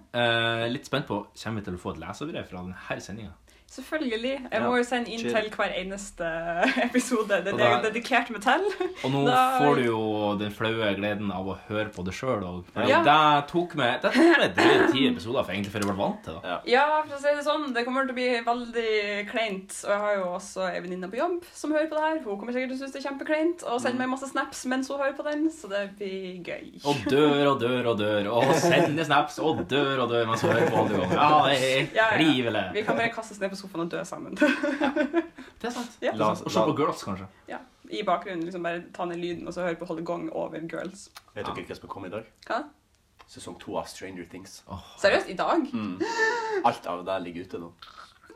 [SPEAKER 2] Litt spent på Kommer vi til å få et leserbrev fra denne sendinga?
[SPEAKER 4] Selvfølgelig. Jeg
[SPEAKER 2] Ja,
[SPEAKER 4] må jo sende inn
[SPEAKER 2] chill.
[SPEAKER 4] til hver eneste episode.
[SPEAKER 2] Og
[SPEAKER 4] Det er det jeg
[SPEAKER 2] da-
[SPEAKER 4] dedikerte meg til.
[SPEAKER 2] Og nå
[SPEAKER 4] Da-
[SPEAKER 2] får du jo den flaue gleden av å høre på det sjøl òg.
[SPEAKER 4] Ja.
[SPEAKER 2] Det tok meg det tok meg drøye ti episoder for egentlig for jeg ble vant til det.
[SPEAKER 4] Ja, for å si det sånn, det kommer til å bli veldig kleint. Og jeg har jo også ei venninne på jobb som hører på det her. Hun kommer sikkert til å synes det er kjempekleint og sender meg masse snaps mens hun hører på den, så det blir gøy.
[SPEAKER 2] Og dør og dør og dør og sender snaps og dør og dør mens jeg hører på radioen. Ja, det
[SPEAKER 4] Ja,
[SPEAKER 2] er
[SPEAKER 4] ja.
[SPEAKER 2] trivelig.
[SPEAKER 4] Vi kan bare kaste oss ned på sofaen og dø sammen.
[SPEAKER 2] Det er sant.
[SPEAKER 4] Ja.
[SPEAKER 2] Og se på Girls, kanskje.
[SPEAKER 4] Ja, I bakgrunnen liksom bare ta ned lyden og så høre på Holde Gong over Girls.
[SPEAKER 3] Vet dere hva som kom i dag?
[SPEAKER 4] Hva?
[SPEAKER 3] Sesong to av Stranger Things.
[SPEAKER 4] Seriøst? I dag?
[SPEAKER 3] Mm. Alt av det ligger ute nå.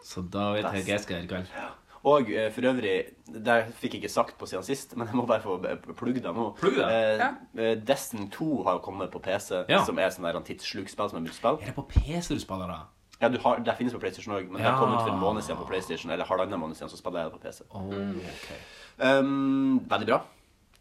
[SPEAKER 2] Så da vet jeg
[SPEAKER 3] Best.
[SPEAKER 2] hva jeg skal gjøre i kveld.
[SPEAKER 3] Og eh, for øvrig, det fikk jeg ikke sagt på siden sist, men jeg må bare få eh, plugge det nå.
[SPEAKER 2] Plugg det.
[SPEAKER 3] Eh,
[SPEAKER 2] Ja.
[SPEAKER 3] eh, Destiny 2 har jo kommet på PC,
[SPEAKER 2] Ja.
[SPEAKER 3] som er sånn der en tidsslukspill som er multispill.
[SPEAKER 2] Er det på PC du spiller, da?
[SPEAKER 3] Ja, du har, det finnes på PlayStation òg, men det
[SPEAKER 2] Ja.
[SPEAKER 3] kom ut for en måned siden på PlayStation. Eller halvannen måned siden, så spiller jeg det på PC.
[SPEAKER 2] Mm. ok.
[SPEAKER 3] Um, veldig bra.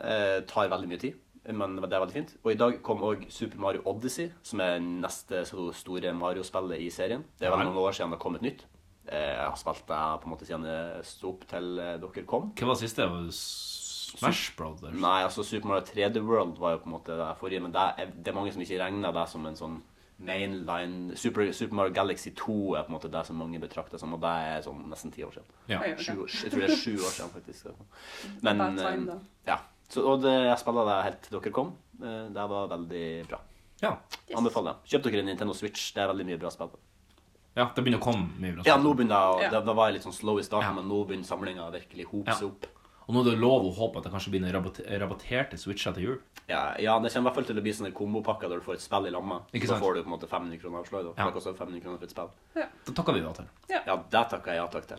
[SPEAKER 3] Eh, tar veldig mye tid, men det er veldig fint. Og i dag kom òg Super Mario Odyssey, som er neste så store Mario-spillet i serien. Det er
[SPEAKER 2] Ja.
[SPEAKER 3] vel noen år siden det kom et nytt. Eh, jeg har spilt det på en måte siden det sto opp til eh, dere kom.
[SPEAKER 2] Hva var det siste? Var det Smash Brothers?
[SPEAKER 3] Nei, altså Super Mario 3D World var jo på en måte det forrige, men det er, det er mange som ikke regner det som en sånn mainline Super, Super Mario Galaxy 2 er på en måte det som mange betrakter som, og det er sånn nesten ti år siden.
[SPEAKER 2] Ja. Oi, ok.
[SPEAKER 3] Sju år, jeg tror det er sju år siden, faktisk. Men
[SPEAKER 2] About time, Mm. da.
[SPEAKER 3] eh, ja. Så, og det, jeg spilla det helt til dere kom. Eh, Det var veldig bra.
[SPEAKER 2] Ja.
[SPEAKER 3] Anbefaler det. Kjøp dere en Nintendo Switch. Det er veldig mye bra spill.
[SPEAKER 2] Ja, det begynner å komme mye bra.
[SPEAKER 3] Ja, nå begynner jeg å
[SPEAKER 2] Ja.
[SPEAKER 3] det, det var jeg litt sånn slow i starten, men nå begynner samlinga virkelig hope
[SPEAKER 2] Ja.
[SPEAKER 3] seg opp.
[SPEAKER 2] Og nå er det lov å håpe at det kanskje blir noen rabatte- rabatterte switcher til jul.
[SPEAKER 3] Ja, ja, det kommer i hvert fall til å bli sånne kombopakker der du får et spill i lamma.
[SPEAKER 2] Ikke
[SPEAKER 3] Så
[SPEAKER 2] sant?
[SPEAKER 3] får du på en måte 500 kroner avslag. Da.
[SPEAKER 2] Ja.
[SPEAKER 3] Det koster 500 kroner for et spill.
[SPEAKER 4] Ja.
[SPEAKER 2] Da takker vi ja til.
[SPEAKER 4] Ja.
[SPEAKER 3] det takker jeg ja takk til.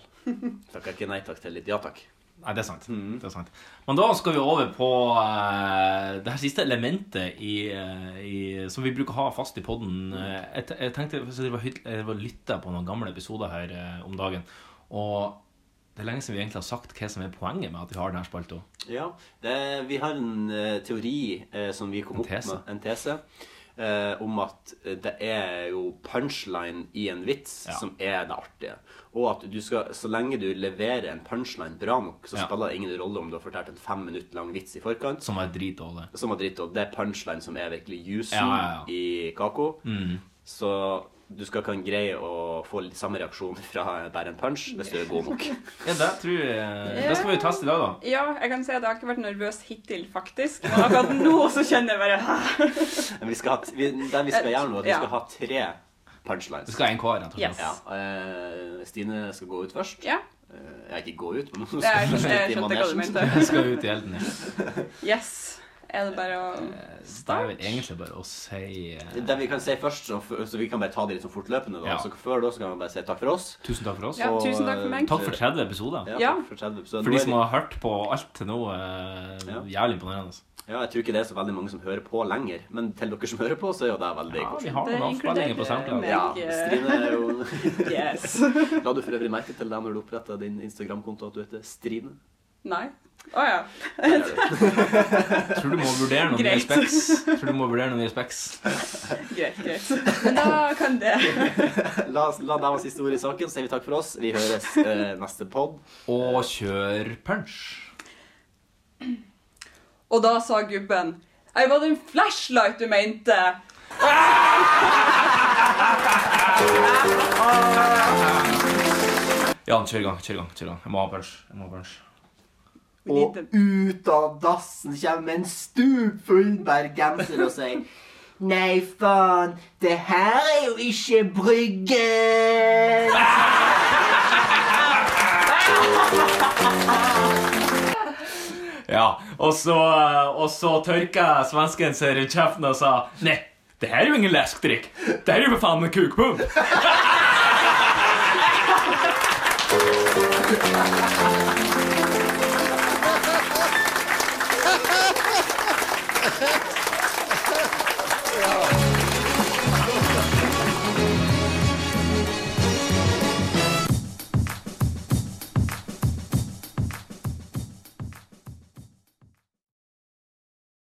[SPEAKER 3] Takker ikke nei takk til litt ja takk.
[SPEAKER 2] Nei, det er sant.
[SPEAKER 3] Mm.
[SPEAKER 2] Det er sant. Men da skal vi over på eh, det her siste elementet i, eh, i, som vi bruker å ha fast i poden. jeg, te- jeg tenkte så jeg var hyt- eh, jeg var lytta på noen gamle episoder her eh, om dagen. Og det er lenge siden vi egentlig har sagt hva som er poenget med at vi har denne spalta.
[SPEAKER 3] Ja, det, vi har en eh, teori eh, som vi kom opp med, en tese, eh, om at det er jo punchline i en vits som er det artige. Og at du skal, så lenge du leverer en punchline bra nok, så
[SPEAKER 2] Ja.
[SPEAKER 3] spiller det ingen rolle om du har fortalt en fem minutter lang vits i forkant.
[SPEAKER 2] Som er dritdårlig.
[SPEAKER 3] Som er dritdårlig. Det er punchline som er virkelig juicen
[SPEAKER 2] Ja, ja, ja.
[SPEAKER 3] i Kako.
[SPEAKER 2] Mm.
[SPEAKER 3] Så du skal kan greie å få litt samme reaksjon fra bare en punch hvis du er god nok.
[SPEAKER 2] Ja, det tror jeg Det skal vi jo teste i dag, da.
[SPEAKER 4] Ja, jeg kan si at jeg har ikke vært nervøs hittil, faktisk. Men akkurat nå så kjenner jeg bare «Hæ?»
[SPEAKER 3] Men vi skal ha, vi, det vi skal gjøre nå, er at vi
[SPEAKER 4] Eh, Ja.
[SPEAKER 3] skal ha tre punchlines.
[SPEAKER 2] Vi skal ha en hver, rett og slett.
[SPEAKER 3] Ja, eh, Stine skal gå ut først.
[SPEAKER 4] Ja.
[SPEAKER 3] Eh, jeg ikke gå ut, men hun
[SPEAKER 4] Nei,
[SPEAKER 3] skal
[SPEAKER 4] jeg
[SPEAKER 3] først ut i
[SPEAKER 4] skjønte hva du
[SPEAKER 3] manesjen.
[SPEAKER 4] mente. Jeg skal
[SPEAKER 2] ut i elden,
[SPEAKER 4] Yes. Er det bare å
[SPEAKER 3] Eh,
[SPEAKER 2] Det er vel egentlig bare å si eh,
[SPEAKER 3] Det vi kan si først, så, så vi kan bare ta det litt sånn fortløpende, da.
[SPEAKER 2] Ja.
[SPEAKER 3] Så før da så kan vi bare si takk for oss.
[SPEAKER 2] Tusen takk for oss.
[SPEAKER 4] Ja, tusen takk for meg.
[SPEAKER 2] Takk for 30 episoder.
[SPEAKER 3] Ja, takk for 30 episoder.
[SPEAKER 2] For
[SPEAKER 3] Nå
[SPEAKER 2] de
[SPEAKER 3] er
[SPEAKER 2] som
[SPEAKER 3] vi-
[SPEAKER 2] har hørt på alt til nå, eh, jævlig imponerende. altså.
[SPEAKER 3] Ja, jeg tror ikke det er så veldig mange som hører på lenger, men til dere som hører på, så er jo det eh, veldig
[SPEAKER 2] Ja,
[SPEAKER 3] koselig.
[SPEAKER 2] vi har noen Det inkluderer avspillinger på SoundCloud. meg.
[SPEAKER 3] Ja, Strine er jo La du for øvrig merke til det når du oppretta din Instagram-konto at du heter Strine?
[SPEAKER 4] Nei. Å ja.
[SPEAKER 2] Tror du må vurdere noen nye
[SPEAKER 4] Greit.
[SPEAKER 2] specs. Tror du må vurdere noen nye specs.
[SPEAKER 4] Greit, greit. Men da kan det
[SPEAKER 3] La, oss- la det være siste ord i saken, så sier vi takk for oss. Vi høres eh, neste pod.
[SPEAKER 2] Og kjør punch.
[SPEAKER 4] Og da sa gubben Ei, var det en flashlight du mente?
[SPEAKER 2] Jan, kjør i gang. kjør i gang, kjør i gang. Jeg må ha punch. jeg må ha punch.
[SPEAKER 3] Og ut av dassen kommer en stupfull bergenser og sier
[SPEAKER 9] Nei, faen. Det her er jo ikke Bryggen.
[SPEAKER 2] Ja, Og så, og så tørka svensken seg rundt kjeften og sa Nei, det her er jo ingen leskedrikk. Det her er jo for faen meg kukpung.
[SPEAKER 9] Ja.